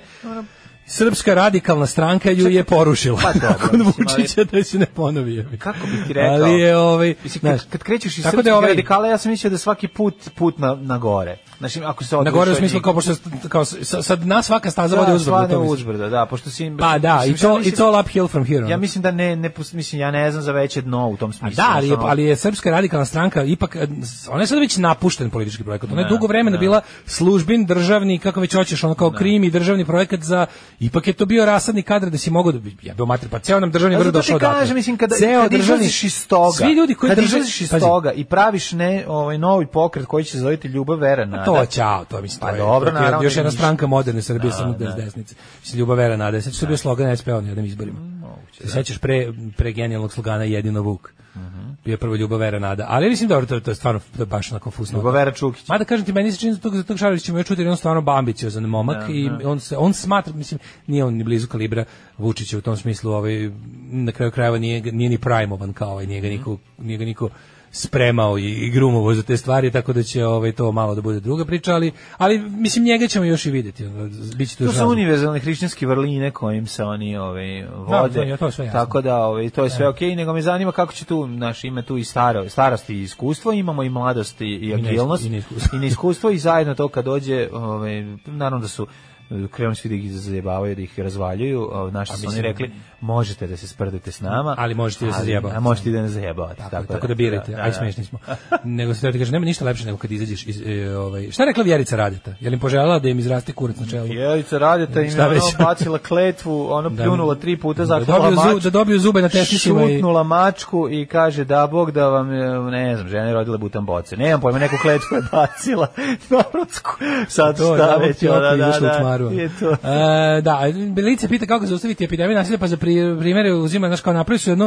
Srpska radikalna stranka ju je porušila. Pa (laughs) dobro, Nakon mislim, ali- Vučića da se ne ponovi. jebi. Kako bi ti rekao? Ali je ovaj, Mislim, znaš, kad, kad krećeš iz tako da srpskih je ovaj- radikala, ja sam mislio da je svaki put put na, na gore. Znači, ako se Na odvojiš gore u od smislu njih- kao, pošto, kao sa- sad nas svaka staza da, vodi uzbrdo. stvarno to mislim. uzbrdo, da, pošto si... Pa da, i mislim, ja to, i mislim- to uphill from here. ono. Ja mislim da ne, ne, pos- mislim, ja ne znam za veće dno u tom A smislu. da, ali je, Ono, ali je Srpska radikalna stranka ipak, eh, ona je sad već napušten politički projekat. Ona je dugo vremena bila službin, državni, kako već hoćeš, ono kao krim i državni projekat za Ipak je to bio rasadni kadar da si mogao da bi ja bio mater, pa ceo nam državni A vrh zato ti došao odatle. kažem, mislim, kada, Ceo kada državni- izlaziš iz toga, Svi ljudi koji kada drže- izlaziš iz Pazi, toga i praviš ne, ovaj, novi pokret koji će se zoveti Ljubav Vera Nada. To ćao, to mislim. Pa to je- dobro, to je naravno, Još jedna ništa. stranka moderne Srbije, samo da s desnice. Mislim, Ljubav Vera Nada. Sveća što je bio slogan SPO na jednim izborima. Mm, Se sećaš pre, pre genijalnog slogana jedino Vuk. Mhm. Bio je prvo Ljubav Vera Nada. Ali mislim, dobro, to, to je stvarno to je baš onako fusno. Ljubav Vera Čukić. Mada kažem ti, meni se čini za tog, za tog Šarovića ćemo još čuti, jer je on stvarno bambiciozan momak i on, se, on smatra, mislim, nije on ni blizu kalibra Vučića u tom smislu, ovaj, na kraju krajeva nije, ga- nije ni primovan kao ovaj, nije ga niko, nije ga niko spremao i, i grumovo za te stvari, tako da će ovaj, to malo da bude druga priča, ali, ali mislim, njega ćemo još i vidjeti. ono, Biće tu To još su raznih- univerzalne hrišćanske vrline kojim se oni ovaj to vode. je- to je sve jasno. tako da ovaj to je sve okej, nego me zanima kako će tu naš ima tu i staro, starost i iskustvo, imamo i mladost i, i ne- agilnost i neiskustvo. i neiskustvo i zajedno to kad dođe ovaj naravno da su eh, krenu svi da ih zajebavaju, da ih razvaljuju, a naši su oni mislim- rekli, možete da se sprdete s nama. Ali možete i da se ali- zajebavate. A možete i da ne zajebavate. Tako, tako, da birajte, aj smešni smo. (laughs) nego se teo ti kaže, nema ništa lepše nego kad izađeš iz, e, ovaj, šta je rekla Vjerica Radeta? Je li im poželjala da im izraste kurac na čelu? Jelica Radeta im Šta je ono već? bacila kletvu, ono Da- pljunula tri puta, da zaklala dobiju zu- mač. da dobiju zube na tesnicima i- Šutnula mačku i kaže da bog da vam, je, ne znam, žena je rodila butan boce. Nemam pojma, neku kletvu je bacila. (laughs) Narodsku. Sad To, šta da, već, već je ono, da, izašla u da, čmaru. je to. E, da, Lice pita kako zaustaviti epidemiju nasilja, pa za pri- primere uzima, znaš, kao napravili su jedno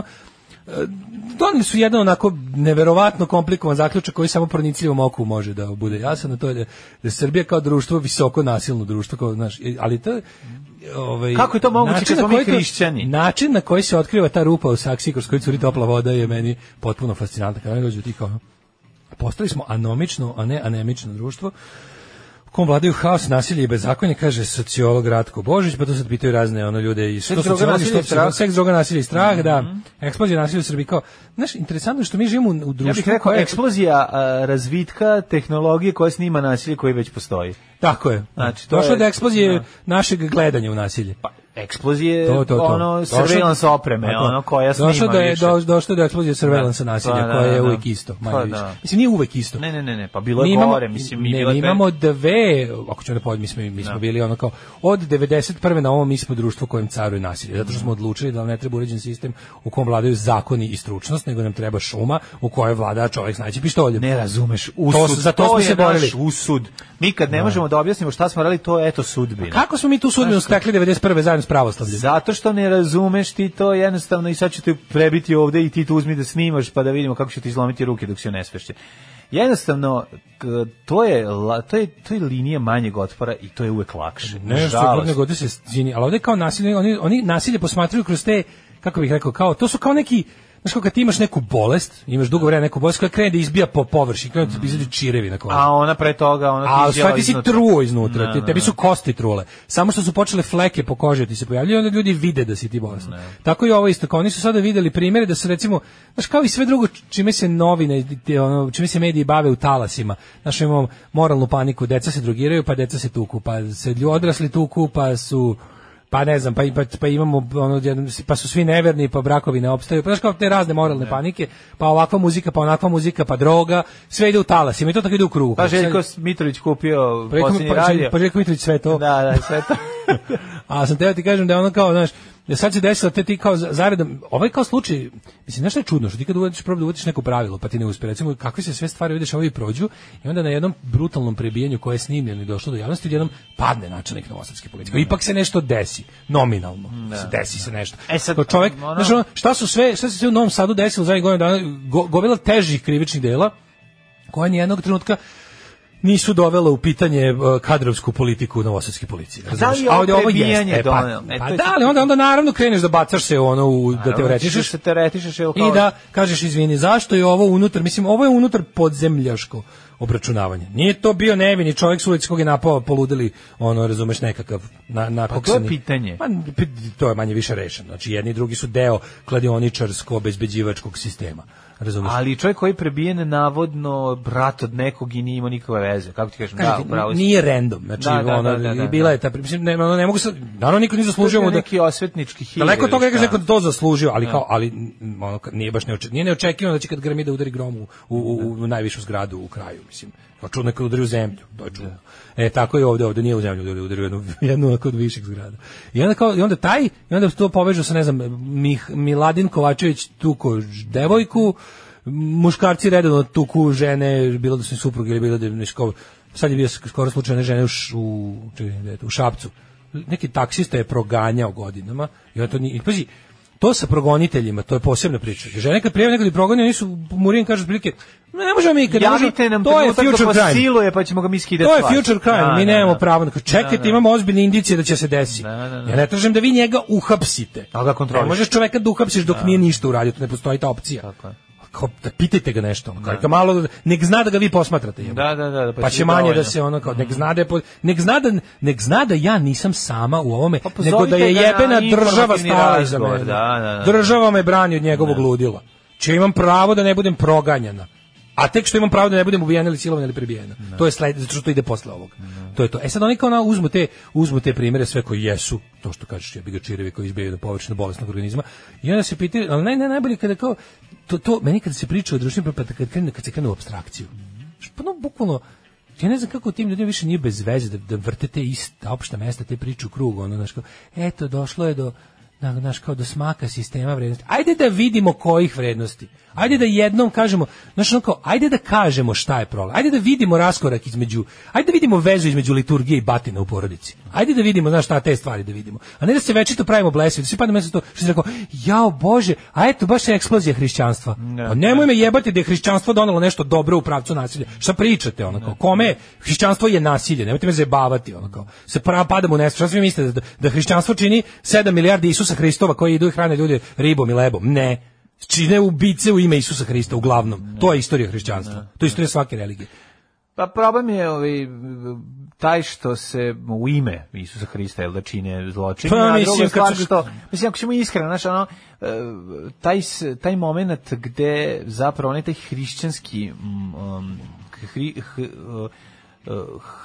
e, doneli su jedan onako neverovatno komplikovan zaključak koji samo pronicljivom oku može da bude jasan, a to je da, da je Srbija kao društvo visoko nasilno društvo, kao, znaš, e, ali to je, ovaj, Kako je to moguće način kad na smo mi koji to- hrišćani? Način na koji se otkriva ta rupa u saksiji kroz koju curi topla voda je meni potpuno fascinantna. Kada dođu ono, ti kao, postali smo anomično, a ne anemično društvo u kom vladaju haos, nasilje i bezakonje, kaže sociolog Ratko Božić, pa to sad pitaju razne ono ljude i što droga, sociologi, nasilje i što strah. Mhm. strah. seks, droga, nasilje i strah, da, eksplozija nasilja u Srbiji kao, znaš, interesantno je što mi živimo u, u društvu Ja bih rekao, koje- eksplozija a, razvitka tehnologije koja snima nasilje koji već postoji. tako je, Znači, znači, to došlo je- je, do eksplozije da. našeg gledanja u nasilje. Pa, eksplozije, to, to, to. ono, Došlo- surveillance opreme, Tako. ono koja snima Došlo do, je, više. do, došlo do eksplozije surveillance Da. nasilja, Pa, da, koja je da, da. uvijek isto, manje Pa, više. da. Mislim, nije uvijek isto. Ne, ne, ne, ne, pa bilo je mi imamo, gore, mislim, mi ne, bilo je mi pe- imamo dve, ako ćemo da pojedemo, mi smo, mi smo bili ono kao, od 91. na ovom mi smo društvo kojem caruje nasilje, zato što smo odlučili da nam ne treba uređen sistem u kom vladaju zakoni i stručnost, nego nam treba šuma u kojoj vlada čovjek s najće pištoljem. Ne razumeš, To usud. su- za to smo je se borili. naš usud. Mi kad ne možemo da objasnimo šta smo radili, to je eto sudbina. Kako smo mi tu sudbinu stekli 91. zajedno s pravoslavljem? Zato što ne razumeš ti to jednostavno i sad ću te prebiti ovde i ti tu uzmi da snimaš pa da vidimo kako će ti izlomiti ruke dok si onesvešće. Jednostavno, k- to je, la- to, je, to je linija manjeg otpora i to je uvek lakše. Nešto Nažalost. godine godine se čini, ali ovdje kao nasilje, oni, oni nasilje posmatraju kroz te, kako bih rekao, kao, to su kao neki, znaš kao kad ti imaš neku bolest, imaš dugo vremena neku bolest koja krene da izbija po površini, krene da ti izađu čirevi na koži. A ona pre toga, ona A u izjela stvari ti si iznutra. truo iznutra, Ne, ti, ne, tebi ne. su kosti trule. Samo što su počele fleke po koži da ti se pojavljaju, onda ljudi vide da si ti bolestan. Tako i ovo isto, kao oni su sada videli primjere da su recimo, znaš kao i sve drugo čime se novine, te, ono, čime se mediji bave u talasima. Znaš imamo moralnu paniku, deca se drogiraju, pa deca se tuku, pa se lju- odrasli tuku, pa su pa ne znam, pa, i- pa, pa imamo ono, jedan- pa su svi neverni, pa brakovi ne opstaju, pa znaš kao te razne moralne panike, pa ovakva muzika, pa onakva muzika, pa droga, sve ide u talasima i to tako ide u krugu. Pa Sad- Željko Mitrović kupio pa posljednji radio. Pa Željko Mitrović sve to. Da, da, sve to. (laughs) A sam teo ti kažem da je ono kao, znaš, da sad se desilo te ti kao za- zaredom, ovaj kao slučaj, mislim, znaš što je čudno, što ti kad uvodiš, probu da uvodiš neko pravilo, pa ti ne uspe, recimo, kakve se sve stvari vidiš, ovi prođu, i onda na jednom brutalnom prebijanju koje je snimljeno i došlo do javnosti, odjednom padne načelnik novosadske politike. Ipak se nešto desi, nominalno, se desi se nešto. E sad, Kao čovjek, ono- znaš, ono, šta su sve, šta se sve u Novom Sadu desilo zadnjih godina dana, go, gomila težih krivičnih dela, koja nijednog trenutka nisu dovela u pitanje e, kadrovsku politiku novosadske policije. razumeš? li je ovo A ovdje prebijanje jeste, e, pa, donelo? E, pa to je da, sad- ali onda, onda naravno kreneš da bacaš se u ono, u, da teoretišeš se teoretišeš, jel, kao- i da kažeš izvini, zašto je ovo unutar, mislim, ovo je unutar podzemljaško obračunavanje. Nije to bio nevini čovjek s ulici kog je napao, poludeli, ono, razumeš, nekakav na, na Pa to je pitanje. Pa, pi- to je manje više rešeno. Znači, jedni i drugi su deo kladioničarsko-obezbeđivačkog sistema. Razumeš? Ali čovjek koji je prebijen navodno brat od nekog i nije imao nikakve veze. Kako ti kažem? Da, Kažete, upravo si. nije random, znači Da, da, ono, da, da, da, i bila da. je ta, pri- mislim, ne, ono, ne mogu se, naravno niko nije To je zaslužio da, neki osvetnički hir. daleko od toga ili da kaže šta? neko to zaslužio, ali kao, ali m, ono, ka- nije baš neočekivano, nije neočekivano da će kad grmi da udari grom u, u, u, u najvišu zgradu u kraju, mislim. Ja čudno kad udari u zemlju, to je čudno. E, tako je ovde, ovde nije u zemlju, ovde udari u jednu, (laughs) jednu kod viših zgrada. I onda, kao, I onda taj, i onda to povežu sa, ne znam, Mih, Miladin Kovačević tuko ž- devojku, muškarci redovno tuku žene, bilo da su im supruge ili bilo da im neško, sad je bio skoro slučaj one žene u, Š- u, čekaj, gde je to, u Šapcu. Neki taksista je proganjao godinama i on to nije, i pazi, to sa progoniteljima, to je posebna priča. Žene kad prijave nekog i progoni, oni su, Murin kaže otprilike, ne možemo mi, kad ne možemo, Javite nam to je trenutak dok future vas crime. siluje, pa ćemo ga mi skidati. To je s vlasti. future crime, Da, mi da, nemamo da. pravo. Dakle, Čekajte, imamo ozbiljne indicije da će se desiti. Ja ne tražim da vi njega uhapsite. Ali ga kontroliš. Ne možeš čoveka da uhapsiš dok nije ništa uradio, to ne postoji ta opcija. Tako da pitajte ga nešto, ono, kao, malo, nek zna da ga vi posmatrate. jebote. Da, da, da, da, pa pa, će će biti manje da dovoljno. Mhm. se ono kao, nek zna da je, po- nek zna da, nek zna da ja nisam sama u ovome, Pa pozovite nego da je ga na jebena država informativni stala iza razgovor, mene. da, da, da. Država me brani od njegovog ludila. Če imam pravo da ne budem proganjana. A tek što imam pravo da ne budem ubijena ili silovana ili prebijena. To je sled, zato što to ide posle ovog. To je to. E sad oni kao na, uzmu te, uzmu te primere sve koji jesu, to što kažeš, ja bi ga čirevi koji izbijaju do površine bolesnog organizma. I onda se pitaju, ali naj, naj, najbolje kada kao, to, to, meni kada se priča o društvenim pa kad, krene, kad se krene u abstrakciju. Znaš, Pa no, bukvalno, ja ne znam kako tim ljudima više nije bez veze da, da vrte te ista opšta mesta, te priče u krug, ono, znaš, kao, eto, došlo je do, na, znaš, kao do smaka sistema vrednosti. Ajde da vidimo kojih vrednosti. Ajde da jednom kažemo, znaš, ono kao, ajde da kažemo šta je problem. Ajde da vidimo raskorak između, ajde da vidimo vezu između liturgije i batina u porodici. Ajde da vidimo, znaš, šta te stvari da vidimo. A ne da se večito pravimo blesavi, da se padamo mjesto to, što si rekao, jao Bože, a eto, baš je eksplozija hrišćanstva. Pa nemoj me jebati da je hrišćanstvo donelo nešto dobro u pravcu nasilja. Šta pričate, ono kao, kome je- hrišćanstvo je nasilje, nemojte me zabavati, ono kao. Se prava padamo u nesvest. Šta svi mislite da, da hrišćanstvo čini 7 milijardi Isusa Hristova koji idu i hrane ljude ribom i lebom? Ne. Čine ubice u ime Isusa Hrista uglavnom. To je istorija hrišćanstva. To je istorija svake religije. Pa problem je ovaj, taj što se u ime Isusa Hrista jel da čine zločin. Pa, a druga mislim, kad stvar su- što, mislim, ako ćemo iskreno, znaš, ono, e, taj, s- taj moment gde zapravo onaj taj hrišćanski mm, um, hri, h, e, e,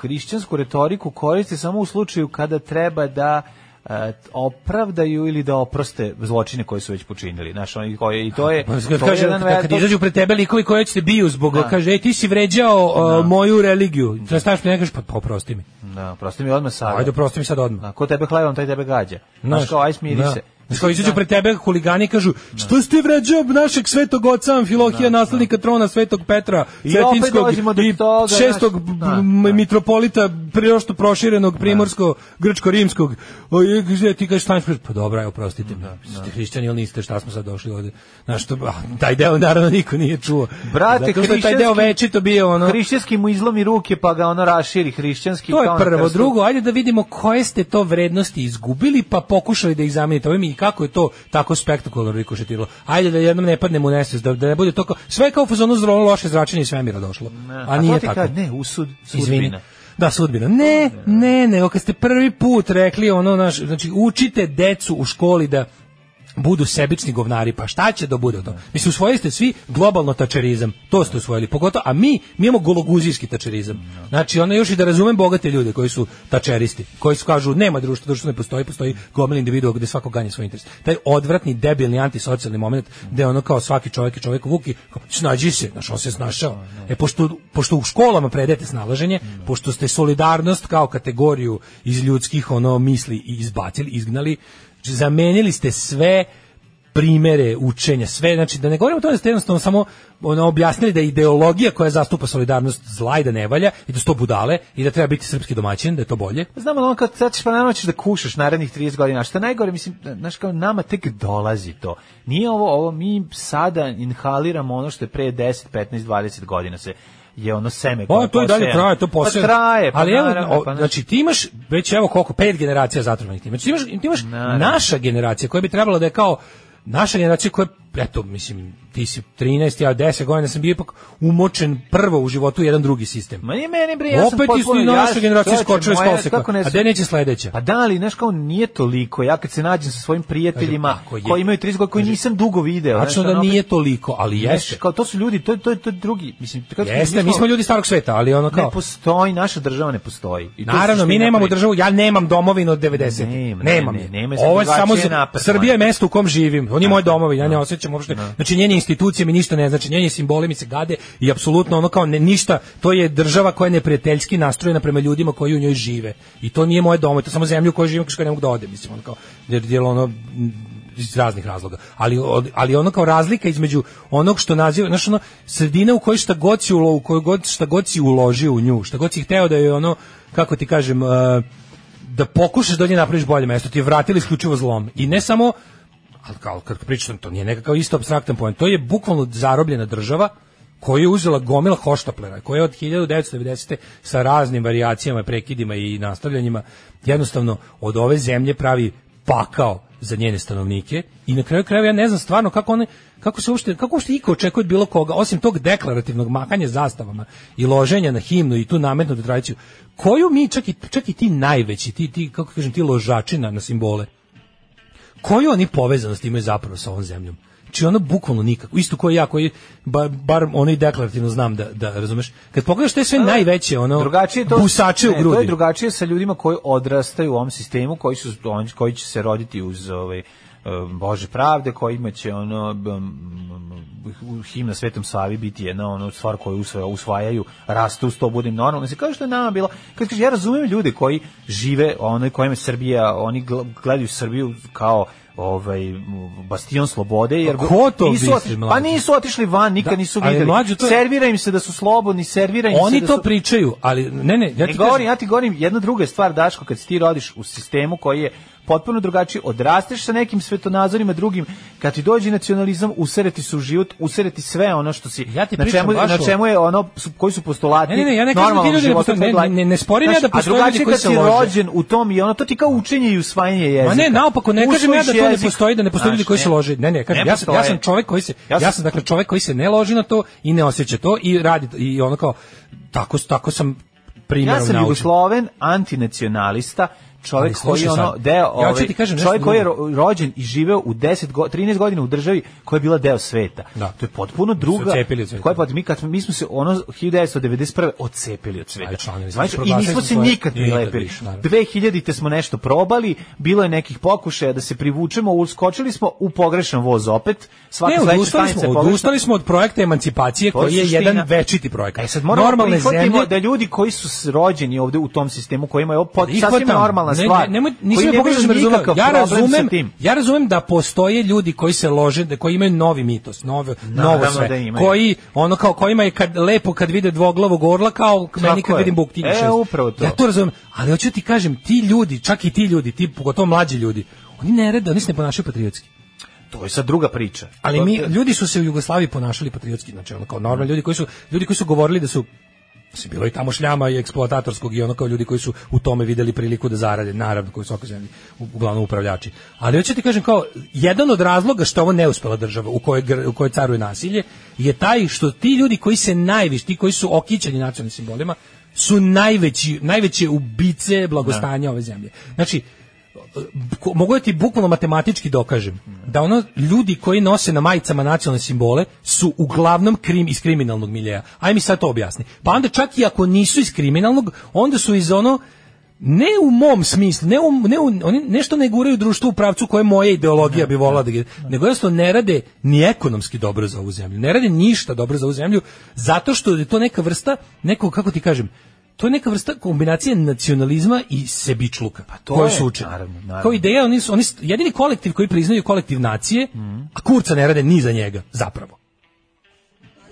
hrišćansku retoriku koriste samo u slučaju kada treba da e, opravdaju ili da oproste zločine koje su već počinili. Znaš, oni koje, I to je... (laughs) Pa, to Kad, je kaže, jedan kad, kad veto- izađu pred tebe likovi koji hoće te biju zbog, kaže, ej, ti si vređao uh, moju religiju. Da. Staviš ne kažeš, pa, pa oprosti mi. Da, prosto mi odmah sada. Ajde, oprosti mi sad odmah. Na, ko tebe hlebom, taj tebe gađa. Znaš, kao, aj smiri da. se. Znaš, kao izađu pred tebe huligani i kažu što ste vređao našeg svetog oca Amfilohija, naslednika trona svetog Petra, I opet Cetinskog dolazimo do i toga, znaš, šestog da, m- da. mitropolita prirošto proširenog primorsko-grčko-rimskog. O, i gdje ti kažeš stanj, pa dobro, evo, prostite mi, ste hrišćani ili niste, šta smo sad došli ovde? Znaš, to, a, taj deo naravno niko nije čuo. Brate, Zato što je taj deo hrišćanski- večito bio ono... Hrišćanski mu izlomi ruke, pa ga ono raširi hrišćanski. To je kao ono na prvo. krstu. Drugo, ajde da vidimo koje ste to vrednosti izgubili, pa pokušali da ih zamenite ovim i kako je to tako spektakularno rikošetiralo. Ajde da jednom ne padnemo u nesvest, da, da ne bude to kao... Sve je kao u fazonu zrolo loše zračenje iz svemira došlo. A to nije ti tako. Kad, ne, usud, sudbina. Izvini. Da, sudbina. Ne, ne, nego kad ste prvi put rekli ono, naš, znači učite decu u školi da budu sebični govnari, pa šta će da bude od toga? Mislim, usvojili ste svi globalno tačerizam, to ste usvojili, pogotovo, a mi, mi imamo gologuzijski tačerizam. Znači, ono još i da razumem bogate ljude koji su tačeristi, koji su kažu, nema društva, društvo ne postoji, postoji globalni individuum gde svako ganje svoj interes. Taj odvratni, debilni, antisocijalni moment gde ono kao svaki čovjek je čovjek u vuki, kao, snađi se, znaš, on se snašao. E, pošto, pošto u školama predete snalaženje, pošto ste solidarnost kao kategoriju iz ljudskih ono misli i izbacili, izgnali, znači, zamenili ste sve primere učenja, sve, znači da ne govorimo o tome da ste jednostavno samo ono, objasnili da je ideologija koja zastupa solidarnost zla i da ne valja i da su to budale i da treba biti srpski domaćin, da je to bolje. Znam, ali ono kad sad ćeš pa nama ćeš da kušaš narednih 30 godina. A Što je najgore, mislim, znaš kao nama tek dolazi to. Nije ovo, ovo mi sada inhaliramo ono što je pre 10, 15, 20 godina se je ono seme. koje O, Pa, to i dalje posejano. traje, to posebno. Pa traje, pa Ali evo, naravno, o, pa, znaš. znači ti imaš već evo koliko, pet generacija zatrovnih tima. Znači ti imaš, ti imaš Naravno. naša generacija koja bi trebala da je kao naša generacija koja, eto, mislim, ti si 13, ja 10 godina sam bio ipak umočen prvo u životu u jedan drugi sistem. Ma nije meni bre, ja sam Opet potpuno- isti naša ja- generacija čoveče, skočila iz moja, koloseka. kako ne A gde neće sledeća? Pa da, ali znaš kao nije toliko. Ja kad se nađem sa svojim prijateljima Kažem, ako je- koji imaju 30 godina, koji nisam dugo video. znaš, Tačno da ono, nije opet- toliko, ali znaš, jeste. Kao to su ljudi, to to to je drugi, mislim, kako Jeste, mi smo ljudi starog sveta, ali ono Ne kao... postoji, naša država ne postoji. I to je Naravno, mi suština nemamo priče. državu, ja nemam domovinu od 90. Nema, Nema, ne, nemam ne, je. nema, Ovo je drugačije samo je za- napredovan. Srbija je mesto u kom živim. On je moj domovin, ja ne osjećam osjećam uopšte. Znači njene institucije mi ništa ne znači, njeni simboli mi se gade i apsolutno ono kao ne, ništa, to je država koja je neprijateljski nastrojena prema ljudima koji u njoj žive. I to nije moje domo, to je samo zemlja u kojoj živim, koja ne mogu da odem, mislim, ono kao, jer, jer ono, m, iz raznih razloga. Ali, od- ali ono kao razlika između onog što naziva, znaš ono, sredina u kojoj šta god si, ulo, u kojoj god, šta god si uložio u nju, šta god si hteo da je ono, kako ti kažem, e, da pokušaš da od nje napraviš bolje mesto, ti je vratili isključivo zlom. I ne samo, ali kao, kad pričam, to nije nekakav isto abstraktan pojem, to je bukvalno zarobljena država koju je uzela gomila hoštaplera, koja je od 1990. sa raznim varijacijama, prekidima i nastavljanjima jednostavno od ove zemlje pravi pakao za njene stanovnike i na kraju krajeva ja ne znam stvarno kako one kako se uopšte kako uopšte iko očekuje od bilo koga osim tog deklarativnog mahanja zastavama i loženja na himnu i tu nametnutu tradiciju koju mi čak i, čak i ti najveći ti ti kako kažem ti ložačina na simbole koju oni povezanost imaju zapravo sa ovom zemljom? Či ono bukvalno nikako. Isto koji ja, koji bar, bar ono i deklarativno znam da, da razumeš. Kad pogledaš te sve najveće, ono, drugačije je to busače u ne, To je grudi. drugačije sa ljudima koji odrastaju u ovom sistemu, koji su on- koji će se roditi uz ovaj eh, Bože pravde, koji imaće ono b- m- m- himna Svetom Savi biti jedna ono stvar koju usvaja, usvajaju, rastu, sto budem normalno. Se kaže što je nama bilo, kad kaže ja razumijem ljude koji žive, ono kojima je Srbija, oni gl- gledaju Srbiju kao ovaj m, bastion slobode jer Pa ko to nisu misli, otišli, pa mlađe? nisu otišli van nikad Da, nisu ali videli mlađe, to je- servira im se da su slobodni servira im se Oni da to su... pričaju, ali ne, ne, ja Ne ti govorim, kažem, ja ti govorim, jedna druga je stvar, Daško, kad se ti rodiš u sistemu koji je potpuno drugačiji, odrasteš sa nekim svetonazorima drugim, kad ti dođe nacionalizam, usereti su u život, usereti sve ono što si, Ja ti na, pričam čemu, baš na o- čemu je ono, su- koji su postulati Ne, ne, ne, ja ne kažem da ti normalnog ljudi ne života, postoje, ne, ne, ne sporim ja da Znaš, postoje A ljudi drugačije koji kad se si lože. rođen u tom i ono, to ti kao učenje i usvajanje jezika. Ma ne, naopako, ne kažem ja da Usvojiš to ne jezik. postoji, da ne postoji ljudi Znaš, koji se lože. Ne, ne, kažem, Ne ja, sam, ja sam postoje. čovjek koji se, Ja ja sam- sam, dakle čovjek koji se ne loži na to i ne osjeća to i radi, i ono kao, tako, tako sam primjerom Ja sam naučen. jugosloven antinacionalista, čovjek Ali slušaj koji je ono sad, deo, ja hoću ovaj, ti kažem nešto čovjek koji je ro- rođen i živeo u 10 go, 13 godina u državi koja je bila deo sveta. Da. To je potpuno druga. odcepili od sveta. Koja je pot- mi kad smo- mi smo se ono 1991. odcepili od sveta. Ali članovi smo, Znači, i proglasili nismo smo se svoje- nikad nikad prilepili. više, naravno. 2000-te smo nešto probali, bilo je nekih pokušaja da se privučemo, uskočili smo u pogrešan voz opet. Svaka Ne, sledeća odustali stanica je smo, pogrešna. odustali smo od projekta emancipacije To je koji je suština. jedan večiti projekat. E sad moramo Normalne prihvatimo zemlje- da ljudi koji su s- rođeni ovde u tom sistemu koji imaju ovo pot, Ih, sasvim hvatam. normalna Ne, stvar. Ne, nemoj, koji nisam ja ne pokušao vidim da razumem. nikakav Ja problem sa razumem, tim. ja razumem da postoje ljudi koji se lože, da koji imaju novi mitos, novo, novo sve. da imaju. koji ono kao kojima je kad lepo kad vide dvoglavog orla kao k- meni Tako kad je. vidim buk tinja E, šest. upravo to. Ja to razumem, ali hoću ti kažem, ti ljudi, čak i ti ljudi, ti pogotovo mlađi ljudi, oni ne rade, oni se ne ponašaju patriotski. To je sad druga priča. Ali To- mi ljudi su se u Jugoslaviji ponašali patriotski, znači ono kao normalni ljudi koji su ljudi koji su govorili da su mislim, bilo i tamo šljama i eksploatatorskog i ono kao ljudi koji su u tome videli priliku da zarade, naravno koji su u svakoj zemlji, u- uglavnom upravljači. Ali hoću ti kažem kao, jedan od razloga što je ovo neuspela država u kojoj, gr- u kojoj caruje nasilje je taj što ti ljudi koji se najviše, ti koji su okićeni nacionalnim simbolima, su najveći, najveće ubice blagostanja ove zemlje. Znači, ko- mogu da ti bukvalno matematički dokažem da ono ljudi koji nose na majicama nacionalne simbole su uglavnom krim iz kriminalnog miljeja. Aj mi sad to objasni. Pa onda čak i ako nisu iz kriminalnog, onda su iz ono ne u mom smislu, ne, u, ne u- oni nešto ne guraju društvo u pravcu koje moja ideologija bi volala da ga- nego jednostavno ne rade ni ekonomski dobro za ovu zemlju, ne rade ništa dobro za ovu zemlju, zato što je to neka vrsta, neko, kako ti kažem, to je neka vrsta kombinacije nacionalizma i sebičluka, pa to je, su učeni. naravno, naravno. Kao ideja, oni su, oni su jedini kolektiv koji priznaju kolektiv nacije, Mhm. a kurca ne rade ni za njega, zapravo.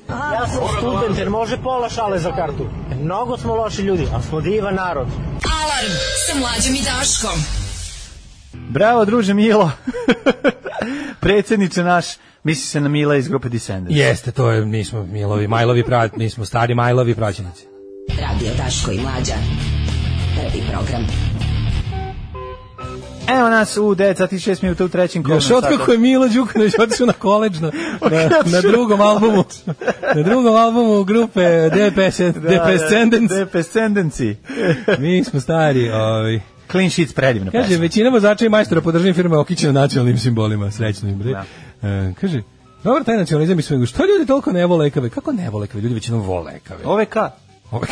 Ja sam student, jer može pola šale za kartu. Mnogo smo loši ljudi, ali smo divan narod. Alarm sa mlađom i Daškom. Bravo, druže Milo. (laughs) Predsjedniče naš, misli se na Mila iz grupe Descendants. Jeste, to je, mi smo milovi, majlovi, pra, mi smo stari majlovi praćenici. Radio Daško i Mlađa. Prvi program. Evo nas u 9 sati i 6 minuta u trećem kolom. Još otkako je Milo Đukanović otišao na (laughs) koleđ na, na, na drugom albumu, na drugom (laughs) albumu grupe DPS, DPS Depescendenci. mi smo stari, ovi. Clean Sheets predivna Kaže, pesma. većina vozača i majstora podržim firme okićena nacionalnim simbolima, srećno im bre. E, kaže, dobar taj nacionalizam i sve, što ljudi toliko ne vole ekave? Kako ne vole ekave? Ljudi većinom vole ekave. OVK. Ove-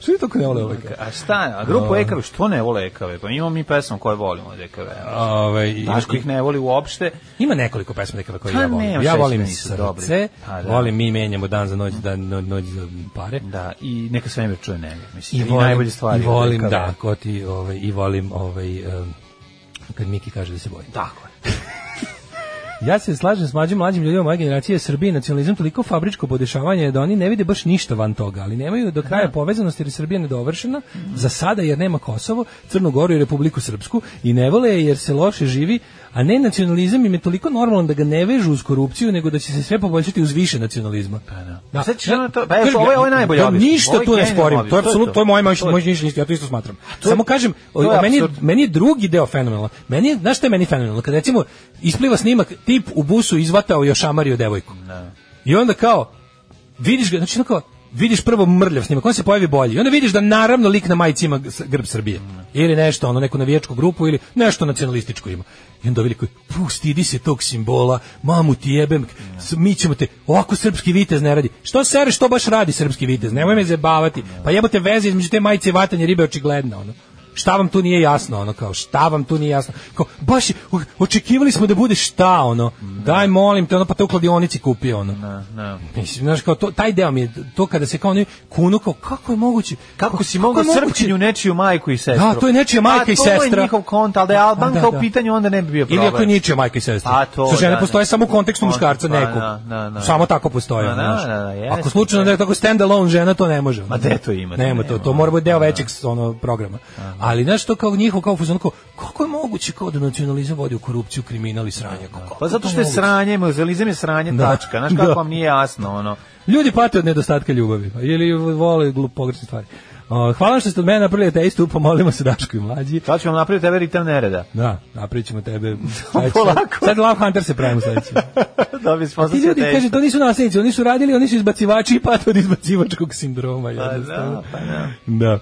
Što je tako ne vole ove kave? A šta, a grupu A. Ekave, što ne vole Ekave? Pa imamo mi pesmu koju volimo od E Ekave. Ove, i- Daško ih ne voli uopšte. Ima nekoliko pesama Ekave koje Pa ja volim. nema Ja šta volim reći, nisu dobri. srce, Pa da. volim mi menjamo dan za noć, dan, no- noć za pare. Da, i neka sve čuje njega. Mislim, I i, volim, najbolje stvari. I volim, od Ekave. da, ko ti, ovaj, i volim, ovaj, em, kad Miki kaže da se boji. Tako je. Ja se slažem s mlađim mlađim ljudima moje generacije Srbije nacionalizam toliko fabričko podešavanje je da oni ne vide baš ništa van toga, ali nemaju do kraja povezanosti jer je Srbija nedovršena za sada jer nema Kosovo, Crnu Goru i Republiku Srpsku i ne vole je jer se loše živi, a ne nacionalizam im je toliko normalan da ga ne vežu uz korupciju nego da će se sve poboljšati uz više nacionalizma. Da. Pa Sad ćeš ono to- pa evo, Kažem, ovo je- ovo je najbolje ja objašnjenje. Ništa Ovo je tu ne genijalno sporim. To je objašnjenje. apsolutno to je moje To je- moje mišljenje, ja to isto smatram. to je- Samo kažem, to je o- meni je apsurd. meni je drugi deo fenomenal. Meni je, znaš šta je meni fenomenalno? Kad recimo ispliva snimak, tip u busu izvatao i ošamario devojku. I onda kao, vidiš ga, znači ono kao, vidiš prvo mrljav snimak, on se pojavi bolji. I onda vidiš da naravno lik na majici ima s- grb Srbije. Ili nešto, ono, neku navijačku grupu ili nešto nacionalističko ima. I onda vidi koji, puh, stidi se tog simbola, mamu ti jebem, s- mi ćemo te, ovako srpski vitez ne radi. Što sereš, što baš radi srpski vitez, nemoj me zabavati. Pa jebote veze između te majice i vatanje ribe je očigledna, ono. Šta vam tu nije jasno, ono kao, šta vam tu nije jasno? Kao, baš, je, o- očekivali smo da bude šta, ono, daj molim te, ono, pa te u kladionici kupio, ono. Da, da. Mislim, znaš, kao to, taj deo mi je, to kada se kao oni kunu, kao, kako je moguće? Kako si je mogao moguće? srpkinju nečiju majku i sestru? Da, to je nečija majka Pa, i To je sestra. njihov kont, ali da je Da, Albanka da, da. u pitanju, onda ne bi bio problem. Ili ako je ničija majka i sestra. A to, Sa žene da, postoje da. samo u kontekstu muškarca Pa, da, nekog. da, da. Samo tako postoje. Da, da, znaš. da, da, jeste. ako slučajno da je tako stand alone žena, to ne može. Ma gde to ima? Nema to, to mora biti deo većeg ono, programa. Ali znaš to kao njihov, kao fuzon, kao, kako je moguće kao da nacionalizam vodi u korupciju, kriminal i sranje? Kao, kako Pa zato to što je moguće? sranje, mozalizam je sranje Da. tačka. Znaš kako Da. vam nije jasno, ono. Ljudi pate od nedostatka ljubavi pa, ili vole glup pogrešne stvari. O, hvala vam što ste od mene napravili ateistu, pomolimo se Daško i mlađi. Sad ću vam napraviti tebe ritam nereda. Da, napravit ćemo (laughs) tebe. Polako. Sad Love Hunter se (laughs) pravimo sledeći. (laughs) da bi smo Ti ljudi kaže, to nisu nasljednici, oni su radili, oni su izbacivači i pate od izbacivačkog sindroma. Pa jednostavno. da, pa da. Da.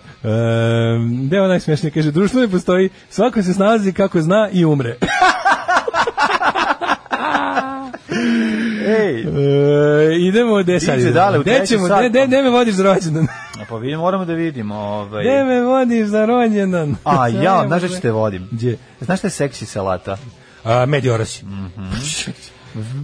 Ehm, deo najsmešnije kaže, društvo ne postoji, svako se snalazi kako zna i umre. (laughs) Ej, E, idemo, gde sad? Iđe idemo? dale, u Gde treći ćemo, sat. gde, gde, gde me vodiš za (laughs) rođendan? a pa vidimo, moramo da vidimo. Ovaj. Gde me vodiš za rođendan? (laughs) A ja, znaš da ću te vodim. Gdje? Znaš šta je seksi salata? A, Mediorasi. Mhm.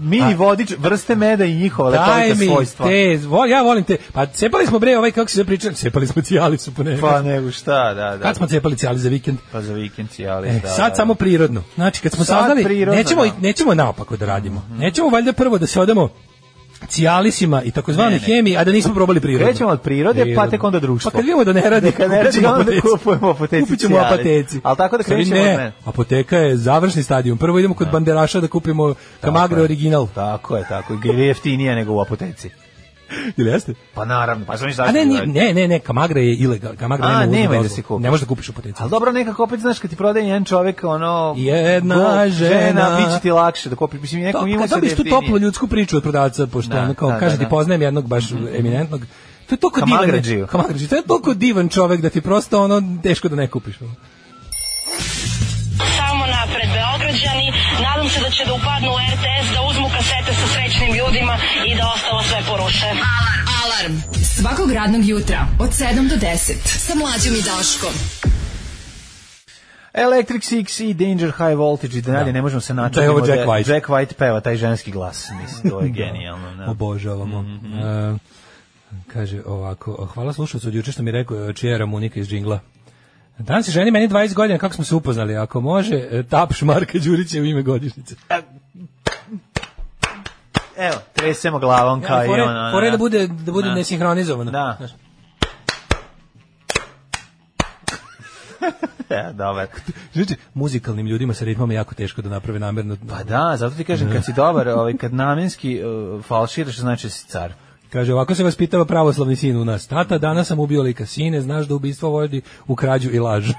Mini vodič, vrste meda i njihova Daj lekovita mi svojstva. te, vol, ja volim te. Pa cepali smo bre, ovaj kako se pričali, cepali smo cijalicu po nekako. Pa nego šta, da, da. Kad smo cepali cijali za vikend? Pa za vikend cijali, E, da. sad da. samo prirodno. Znači, kad smo Sad saznali, prirodno, nećemo, da. Mhm. nećemo naopako da radimo. Nećemo valjda prvo da se odemo cijalisima i takozvanoj Ne, ne. hemiji, a da nismo probali prirodno. Krećemo od prirode, pa tek onda društvo. Pa kad vidimo da ne (laughs) radi, Kad ne radi, kupit ćemo onda apoteci. kupujemo apoteci Kupit ćemo cijalis. apoteci. Ali tako da Sorry, krećemo ne, od mene. Apoteka je završni stadion. Prvo idemo kod banderaša da kupimo Tako Kamagre je. original. Tako je, tako je. Jer je jeftinije nego u apoteci. Ili jeste? Pa naravno, pa znaš A zašto. ne, bi ni- radio. ne, ne, ne, Kamagra je ilegal. Kamagra A, nema uvoznu nema da dozvolu. se kupi. Ne možeš da kupiš u potenciju. Ali dobro, nekako opet, znaš, kad ti prodaje jedan čovjek, ono... Jedna gol- žena. Biće ti lakše da kupiš. Mislim, nekom ima Kad se dobiješ tu jeftinije. toplu ljudsku priču od prodavca, pošto Da, ono kao da, da, kaže ti da. Mhm. poznajem jednog baš eminentnog, to je toliko Kamagrađiju. divan, Kamagrađiju, to je toliko divan čovek da ti prosto ono teško da ne kupiš. ono. Samo napred Beograđani, nadam se da će da upadnu u RTS, da uzmu kasete sa srećnim ljudima i da ostalo sve poruše. Alarm. Alarm. Svakog radnog jutra od 7 do 10 sa mlađom i Daškom. Electric Six i Danger High Voltage i dalje, ne možemo se načuti. Da je ovo Jack White. Jack White peva taj ženski glas, mislim, (laughs) to je genijalno. Da. Mhm, Obožavamo. E, kaže ovako, hvala slušalcu od juče što mi je rekao e, čija je Ramunika iz džingla. Danas je ženi meni 20 godina, kako smo se upoznali, ako može, e, tapš Marka Đurića u ime godišnjice. Evo, tresemo glavom kao i Fore- ono. fore da bude, da bude Da. nesinhronizovano. Da. Znaš. E, dobar. Znači, muzikalnim ljudima sa ritmom je jako teško da naprave namerno. Pa da, zato ti kažem, kad si dobar, ovaj, kad namenski uh, falširaš, znači da si car. Kaže, ovako se vas pitava pravoslavni sin u nas. Tata, danas sam ubio lika sine, znaš da ubistvo vodi u krađu i (laughs) laž.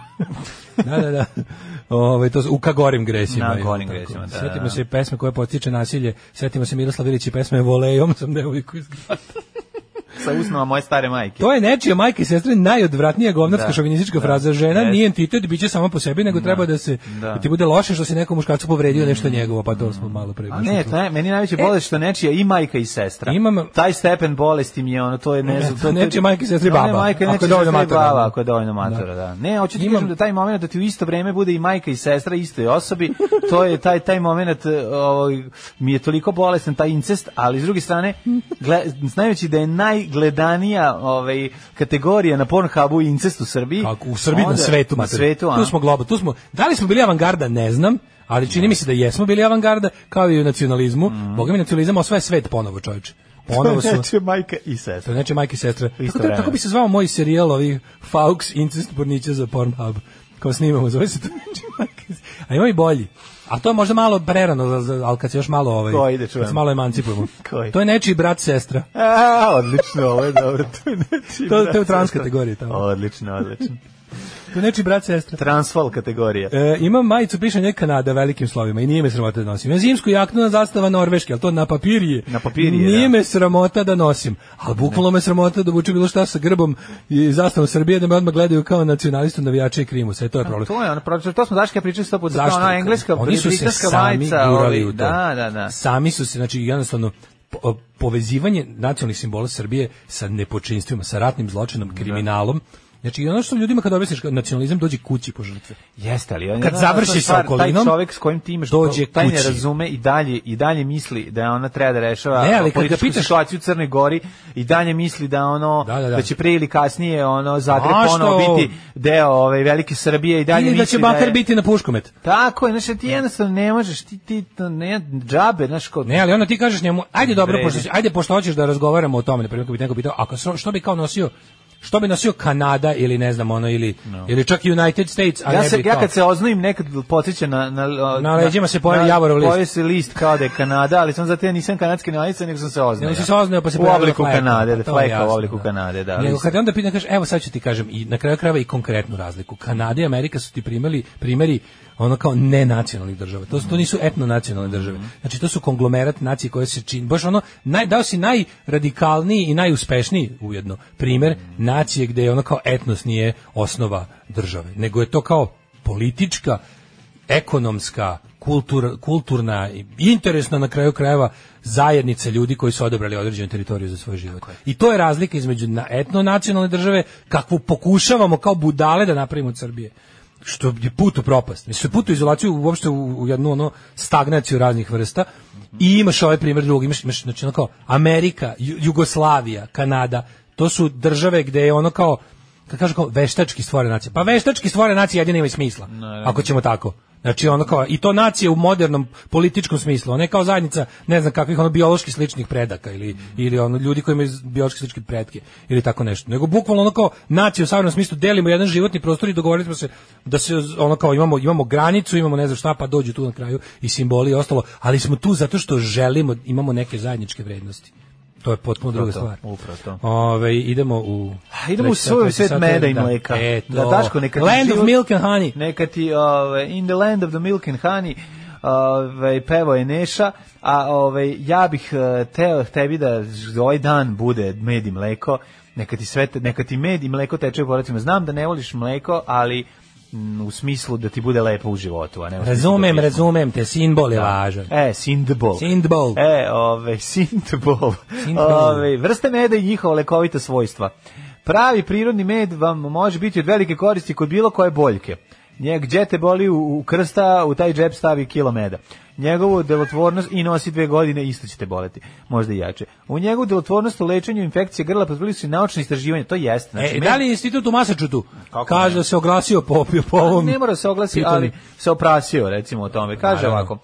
da, da, da. Ove, to, su- u kagorim gresima. Na je li gorim tako? gresima, da, da, Sjetimo da. se (laughs) pesme koje potiče nasilje, sjetimo se Miroslav Ilić i pesme Volejom sam devojku iz grada. sa usnama moje stare majke. To je nečija majka i sestra najodvratnija govnarska Da, šovinistička da, fraza žena, jest. nije entitet, biće sama po sebi, nego treba da se da. Mm. da. ti bude loše što si nekom muškarcu povredio nešto njegovo, pa to smo malo pre. A ne, to je, meni je najveća bolest što nečija i majka i sestra. e, Imam- Taj stepen bolesti mi je ono, to je ne znam. to- to- Nečija majka i sestra i To ne baba, Majka, i ako je nečija dovoljno sestra i matora. baba, ako je dovoljno matora, da. Ne, hoću ti kažem da taj moment da ti u isto vreme bude i majka i sestra istoj osobi, to je taj, taj moment e, ovaj, mi je toliko bolestan, taj incest, ali s druge strane, gle, znajući da je najgledanija ovaj, kategorija na Pornhubu incest u Srbiji. (laughs) Kako, u Srbiji na onda- svetu, Na mater. svetu, a? Tu (laughs) smo globa, tu smo. Da li smo bili avangarda, ne znam, ali čini mi se da jesmo bili avangarda, kao i u nacionalizmu. Mhm. Boga mi nacionalizam osvaja svet ponovo, čovječe. Ponovo (laughs) ono su... Nečija majka i sestra. To je nečija majke i sestra. Tako, vreme. tako bi se zvao moj serijal ovih Faux incest pornića za Pornhub. Kao snimamo, zove se to nečija majka i sestra. A ima i bolji. A to je možda malo prerano, za- za- ali kad se još malo ovaj, Koji ide, kad se čujem. (laughs) malo emancipujemo. Koji? To je nečiji brat sestra. A, odlično, ovo je dobro. (laughs) To je, nečiji To- to je u brat, trans sestra. kategoriji tamo. Odlično, odlično. To je nečiji brat sestra. Transfal kategorija. E, imam majicu piše nje Kanada velikim slovima i nije me sramota da nosim. Ja zimsku jaknu na zastava Norveške, ali to na papir je. Na papir je, Nije da. me sramota da nosim, ali bukvalno me sramota da obučem bilo šta sa grbom i zastavom Srbije da me odmah gledaju kao nacionalistu, navijača i krimu. Sve to je problem. To je ono, pročito, to smo Daška pričali sto puta, Zašto? kao ona engleska, Oni su se britanska sami majica, gurali ovi- u to. Da, da, da. Sami su se, znači jednostavno po- povezivanje nacionalnih simbola Srbije sa nepočinstvima, sa ratnim zločinom, kriminalom. Znači, i ono što ljudima kad objasniš kao nacionalizam dođe kući po žrtve. Jeste ali on ono Kad završi sa okolinom, taj čovjek s kojim ti imaš dođe taj ne kući. razume i dalje i dalje misli da ona treba da rešava Ne, ali kad ga političku pitaš- situaciju u Crnoj Gori i dalje misli da ono da, Da, da, da. će prije ili kasnije ono Zagreb A ponovo što? biti deo ove velike Srbije i dalje Ili da misli će bakar je- biti na puškomet. Tako je, znači ti jednostavno ne možeš, ti, ti to ne, džabe, znaš, kod... Ne, ali onda ti kažeš njemu, ajde dobro, Vredi. pošto, si- ajde pošto hoćeš da razgovaramo o tome, na primjer, kad bi te neko pitao, ako so- što bi kao nosio, što bi nosio Kanada ili ne znam ono ili ili čak United States, a ja, ne se, bi ja to. kad se oznojim nekad podsjeća na... Na, Na leđima se pojavi na- Javorov list. Pojavi se list kao da je Kanada, ali sam zato ja nisam kanadski nalica, nego sam se oznojio. Nego si se oznojio, pa se U pojavila obliku fleka, Kanade, da pa to je fleka u jasno, obliku da. Kanade, da. Nego list. kad onda pita kažeš, evo sad ću ti kažem i na kraju krajeva i konkretnu razliku. Kanada i Amerika su ti primjeli primjeri ono kao nenacionalnih država. To, su- to nisu etno nacionalne države. Mhm. Znači to su konglomerat nacije koje se čini. Baš ono naj dao si najradikalniji i najuspešniji ujedno primjer Mhm. nacije gdje je ono kao etnos nije osnova države, nego je to kao politička ekonomska, kultur, kulturna i interesna na kraju krajeva zajednica ljudi koji su odabrali određenu teritoriju za svoj život. I to je razlika između na- etno-nacionalne države kakvu pokušavamo kao budale da napravimo od Srbije. Što je put u propast. Mislim, put u izolaciju, uopšte u, u jednu ono stagnaciju raznih vrsta. I imaš ovaj primjer drugi, imaš, imaš znači, ono kao Amerika, Ju- Jugoslavija, Kanada, to su države gde je ono kao kad kažu kao veštački stvorena nacija. Pa veštački stvorena nacija jedina ima i smisla. Ako ćemo tako. Znači ono kao i to nacije u modernom političkom smislu, ona je kao zajednica ne znam kakvih ono biološki sličnih predaka ili ili ono ljudi koji imaju biološki slične pretke ili tako nešto. Nego bukvalno ono kao nacija u savremenom smislu delimo jedan životni prostor i dogovorili smo se da se ono kao imamo imamo granicu, imamo ne znam šta pa dođu tu na kraju i simboli i ostalo, ali smo tu zato što želimo, imamo neke zajedničke vrednosti. To je potpuno druga to, stvar. upravo to. Ove, idemo u... A, idemo u treći svoj treći svet sat, meda i da. mleka. E, Da, to. Daško, neka ti Land život- of milk and honey. Neka ti, ove, in the land of the milk and honey, ove, pevo je Neša, a ove, ja bih e, teo tebi da ž- ovaj dan bude med i mleko, neka ti, sve, te- neka ti med i mleko teče u poracima. Znam da ne voliš mleko, ali m, u smislu da ti bude lepo u životu. A ne u smislu Razumem, da ti- razumem te, simbol je važan. E, Sindbol. Sindbol. E, ove, Sindbol. Sindbol. Ove, vrste meda i njihova lekovita svojstva. Pravi prirodni med vam može biti od velike koristi kod bilo koje boljke. Njeg gdje te boli u, u krsta, u taj džep stavi kilo meda. Njegovu delotvornost i nosi dve godine, isto ćete boleti, možda i jače. U njegovu delotvornost u lečenju infekcije grla potvrdili su i naučne istraživanja, to jeste. E, med- da li je institut u Masačutu? znači, Kako Kaže ne? da se oglasio po, po Pa, ovom... Ne mora se oglasi, pitanju. ali se oprasio recimo o tome. Kaže Naravno. ovako.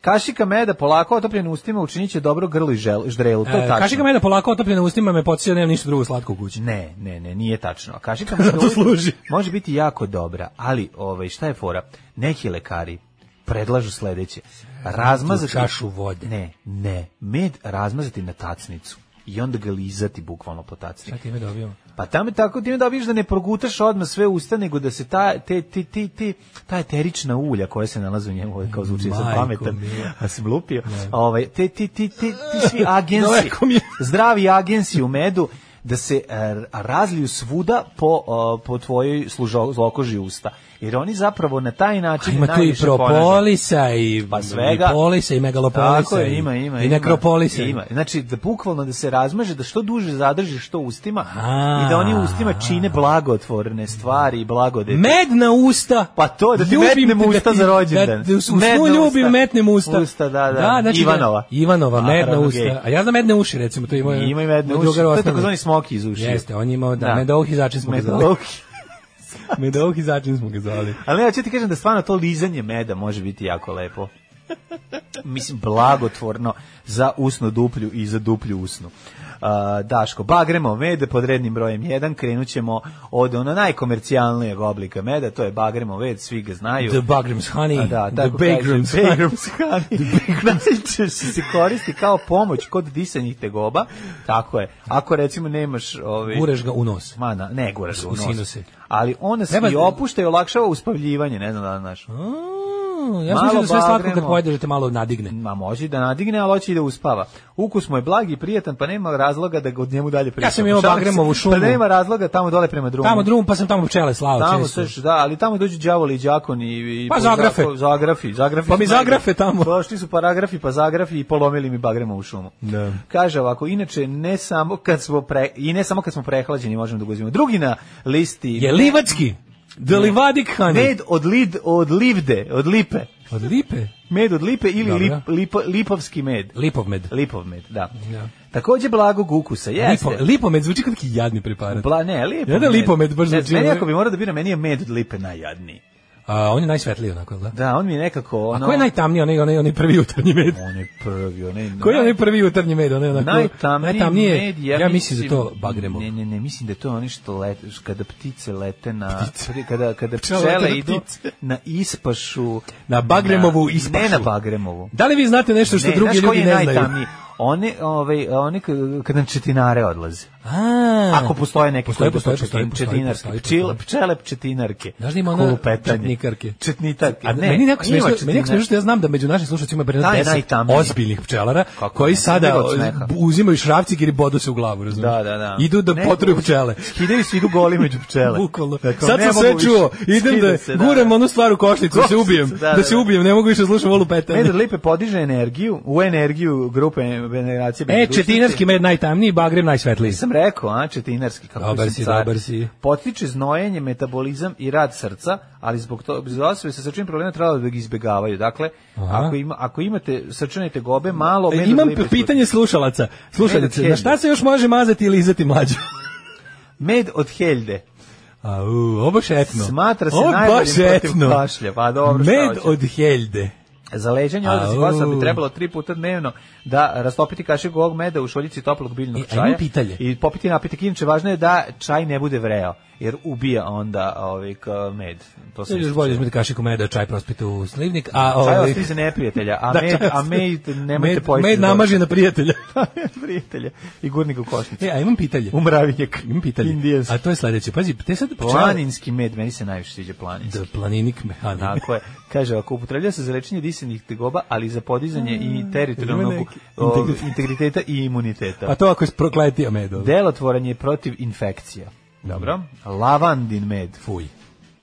Kašika meda polako otopljena ustima učinit će dobro grlu i žel- ždrelu. To je E, tačno. kaži ga mene polako otopljena ustima me podsjeća, nemam ništa drugo slatko u kući. Ne, ne, ne, nije tačno. A Kašika meda Zato služi. može biti jako dobra, ali ovaj, šta je fora? Neki lekari predlažu sledeće. Razmazati... U čašu vode. Ne, ne. Med razmazati na tacnicu i onda ga lizati bukvalno po tacnici. Šta time dobijamo? Pa tamo je tako ti da vidiš da ne progutaš odmah sve usta, nego da se ta, te, ti, ti, ti, ta eterična ulja koja se nalazi u njemu, ovo je kao zvuči sa Majko pametan, mila. a sam lupio, ovaj, te, ti, ti, ti, ti svi agensi, Daleko mi je. zdravi agensi u medu, da se e, razliju svuda po, e, po tvojoj služo, zlokoži usta. Jer oni zapravo na taj način Ima tu i najviše ponažu. propolis-a i Pa svega. i polisa i megalopolisa. Tako je, ima, ima. I ima. nekropolisa. Ima. Znači, da bukvalno da se razmaže, da što duže zadržiš to ustima A. i da oni u ustima čine blagotvorne stvari i blagodete. Med na usta. Pa to, da ti Ljubim metnem te, da usta ti- za rođendan. Da, da, u snu Med na ljubim, usta. metnem usta. Usta, da, da. znači Ivanova. Ivanova, A, med na naravno, usta. gej. A ja znam medne uši, recimo. To ima, Ima i medne uši. To je takozvani smoki iz ušiju. Jeste, on je imao, da, Da. medouhi začin smo ga zvali. Medouhi. (laughs) Medouhi začin smo (laughs) ga zvali. Ali ja ću ti kažem da stvarno to lizanje meda može biti jako lepo. Mislim, blagotvorno za usnu duplju i za duplju usnu. A, Daško, bagremo med pod rednim brojem 1, krenut ćemo od ono najkomercijalnijeg oblika meda, to je bagremo med, svi ga znaju. The Bagrams Honey, A da, The tako kaže, (laughs) Bagrams Honey. Bagrams Honey. Najčešće se koristi kao pomoć kod disanjih tegoba, tako je. Ako recimo nemaš... Ovaj, Gureš ga u nos. Ma, na, ne guraš ga u U nos. sinuse. Ali ona se Treba- i opušta i olakšava uspavljivanje, ne znam da li znaš. Mm, Ja Malo sam mislio da sve slatko kad bagremo. pojedete malo nadigne. Ma može i da nadigne, ali hoće i da uspava. Ukus mu je blag i prijatan, pa nema razloga da ga od njemu dalje pričamo. sam imao Šalim se. bagremovu šumu. Pa nema razloga tamo dole prema drumu. Tamo drugom, pa sam tamo pčele slao. Tamo često. seš, da, ali tamo dođu đavoli i đakoni i, i Pa zagrafe. zako- zagrafi, zagrafi. Pa mi su najgori. zagrafe tamo. Došli su paragrafi, pa zagrafi i polomili mi bagremovu šumu. Da. Kaže ovako, inače ne samo kad smo pre, i ne samo kad smo prehlađeni možemo da ga uzimamo. Drugi na listi Je livatski. The Livadik Honey. med od lid od livde, od lipe. Od lipe. Med od lipe ili Dobro. lip, lipo- lipovski med. Lipov med. Lipov med, da. Ja. Takođe blagog ukusa, jeste. Lipo, lipomed zvuči kao neki jadni preparat. Bla, ne, lipo. Jedan lipomed baš Ne, zvuči, Meni ono- ako bi morao da biram, meni je med od lipe najjadniji. A, on je najsvetliji onako, jel da? Da, on mi je nekako A ono... koji je najtamniji, onaj, onaj, onaj prvi jutarnji med? On je prvi, onaj... Koji je onaj prvi jutarnji med? Onaj, onako, Najtamniji najtamnije, med, ja, ja, mislim da to bagremo. Ne, ne, ne, mislim da je to ono što lete, kada ptice lete na... Ptice. Kada, kada Pčele pčele, lete na idu ptice. na ispašu... Na bagremovu ispašu. Ne na bagremovu. Da li vi znate nešto što Ne, drugi znaš koji ljudi je ne znaju? najtamniji? One, ovaj, one k- kad nam četinare odlaze. A, Ako postoje neke postoje, koje su postoje, postoje, četin- postoje, četinarke, postoje, pčil- postoje. pčele pčetinarke, Znaš da ima ona kolupetanje, četnikarke? četnitarke. A ne, meni ima nekako smešno, meni četinar- nekako smešno što ja znam da među našim slušateljima ima Taj prema 10 najtamniji. ozbiljnih pčelara Kako koji ne, sada umire od smeha. bu- uzimaju šrafcik jer i bodu se u glavu, razumiješ? Da, da, da. Idu da Ne, potruju mogu- pčele. Skidaju se, idu goli među pčele. Bukvalno. Dakle, Sad ne sam mogu sve više. čuo. Idem Skida da se, guram onu stvar u košnicu, da se Košnicu, ubijem. da, Da da, se da. ubijem, ne mogu više da slušam olu petanje. Med od lipe podiže energiju, u energiju grupe generacije. E, budućnosti. četinarski med najtamniji, bagrem najsvetliji. sam rekao, a četinarski kako Dobar sam si, car. dobar si. Potiče znojenje, metabolizam i rad srca, ali zbog toga zbog osobe sa srčanim problemima treba da ga izbegavaju. Dakle, Aha. ako ima ako imate srčane tegobe, malo E, med od Imam lipe služi. pitanje slušalaca. Slušalice, Med na od šta Henry. se još može mazati ili izati mlađu? (laughs) Med od heljde. Au, ovo šetno. Smatra se Ovo baš najboljim protiv šetno. kašlja. Pa dobro, šta Med hoćeš? od Helde. Za leđanje odlazi Au. kosa bi trebalo tri puta dnevno da rastopiti kašiku ovog meda u šoljici toplog biljnog E, a čaja. imam pitanje. I popiti napitak. Inače, važno je da čaj ne bude vreo, jer ubija onda ovaj, k- med. To Sve se još bolje uzmete kašiku meda, čaj prospite u slivnik, a Čaj ovaj ostavi se neprijatelja, a (laughs) Da, med, čaj a ostavi- med nemojte med- pojesti. Med za (laughs) namaži na prijatelja. (laughs) dodatno. prijatelja i gurnik u košnicu. e, a imam pitanje. Umravinjak. Imam pitanje. Indijanski. A to je sledeće. Pazi, te sad pčele- Planinski med, meni se najviše sviđa planinski. Da, planinik mehanik. Tako je. Kaže, ako upotrebljava se za lečenje disenih tegoba, ali i za podizanje i Mm, Ima teritorijalnog neki o, integritet. Pa- integriteta i imuniteta. A to ako je prokletio med. ovaj. Delotvoran je protiv infekcija. Dobro. Lavandin med. Fuj.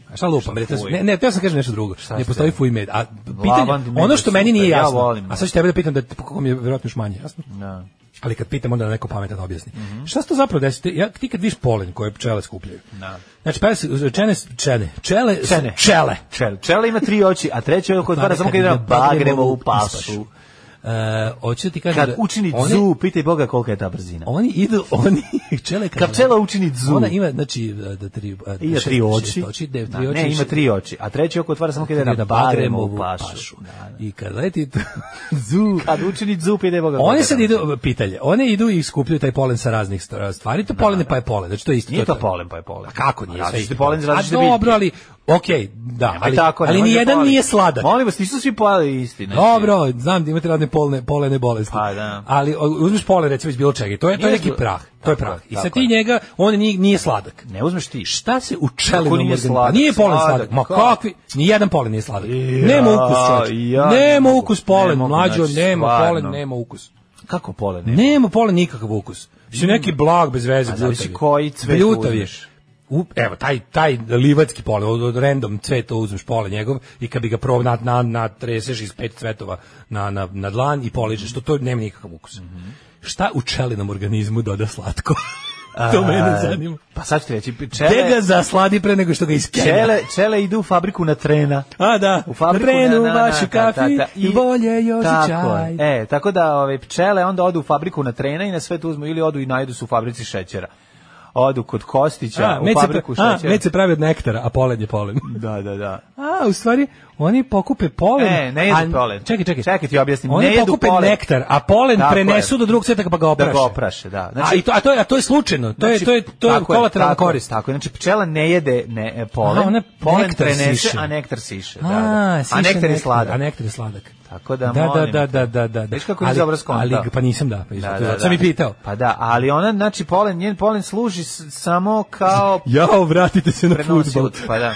A šta lupam? bre, to su- fuj? Ne, ne, teo sam kažem nešto drugo. ne ste? postoji fuj med. A pitanje, Lavandi med ono je što meni super, nije ja jasno, volim. Mhm. a sad ću tebe da pitam da kako mi je verovatno još manje jasno. Da. Ali kad pitam onda neko pametan objasni. Mhm. Šta se to zapravo desite? Ja ti kad vidiš polen koje pčele skupljaju. Da. Znači pa se čene čene, čele, Čene. čele. Čel, čela ima tri oči, a treće je oko otvara samo kad ide ide na na bagremovu ispašu. pasu. E, hoću ti kažem Kad da učini one- dzu, pitaj Boga kolika je ta brzina. Oni idu, (laughs) oni čele kad Kad pčela učini dzu, Ona ima znači da tri da ima šest- tri oči. šest oči, devet, Da, tri oči. Ne, ima šest- tri oči, a treće oko otvara samo kad ide na bagremovu pašu. Da, da. I kad leti (laughs) to- zu... Kad učini dzu, pitaj Boga kolika One je sad ta idu, pitanje, one idu i skupljaju taj polen sa raznih st- stvari, to polen je pa je polen, znači to je isto. Nije je to polen, pa je polen. A kako nije? A sve različiti isto polen za različite A biljke. dobro, ali, okej, da, Nemoj ali, tako, ali nemoj da nijedan polen. nije sladak. Molim vas, nisu svi pojeli isti. znači. Dobro, znam da imate razne polne, polene bolesti. Pa, da. Ali o, uzmeš polen recimo iz bilo čega i to je, to je Nije neki zlo- prah. To je Tako prah. je, I sad tako ti je. njega, on nije, nije sladak. Ne uzmeš ti. Šta se u čelinom nije organizmu? sladak? Pa Nije polen sladak. Sladak, Ma kako? kakvi? Nijedan polen nije sladak. Ja, nema ukus, čovječe. ja ne nema mogu, ukus ne polen, mogu, mlađo, znači, nema polen, stvarno. nema ukus. Kako polen? Nema polen nikakav ukus. Si neki blag bez veze. A Pa zavisi bljutav je. koji cvet Bljutav je. uzmeš. U, evo, taj, taj livatski pole, od, od random cveta uzmeš pole njegov i kad bi ga prob na, na, natreseš iz pet cvetova na, na, na dlan i poližeš, to, to nema nikakav ukus. Mhm. Šta u čelinom organizmu doda slatko? (laughs) to mene A, zanima. Pa sad ću ti reći, Gde ga čele, zasladi pre nego što ga iskenja? čele, čele idu u fabriku na trena. A da, u fabriku Brenu na- na- na- ta- vašu ta- kafi ta. i bolje još i tako, čaj. je. E, tako da ove pčele onda odu u fabriku na trena i na sve to uzmu ili odu i najdu su u fabrici šećera. Odu kod Kostića A, u med se, fabriku pra- a, šećera. med se pravi od nektara, a polen je (laughs) polen. Da, da, da. A, u stvari, oni pokupe polen. E, ne jedu a- polen. Čekaj, čekaj. Čekaj ti objasnim. Oni ne jedu pokupe polen. nektar, a polen Tako prenesu je. do drugog cveta pa ga Da opraše. ga opraše, da. Znači, a, i to, a, to je, a to je slučajno, to je, to je, to je tako kolateralna tako je, korist. Tako je, znači pčela ne jede ne, e, polen, A, ona polen nektar prenese, siše. a nektar siše. Da, A, da. siše a nektar je sladak. A nektar je sladak. Tako da, da, da, molim da, te. da, da, da. Viš kako Ali- nisi dobro skontao. Ali, pa nisam da, pa Da, da, da, sam da. i pitao. Pa da, ali ona, znači, polen, njen polen služi s- samo (laughs) kao Jao, vratite se na prenosi, futbol. pa da.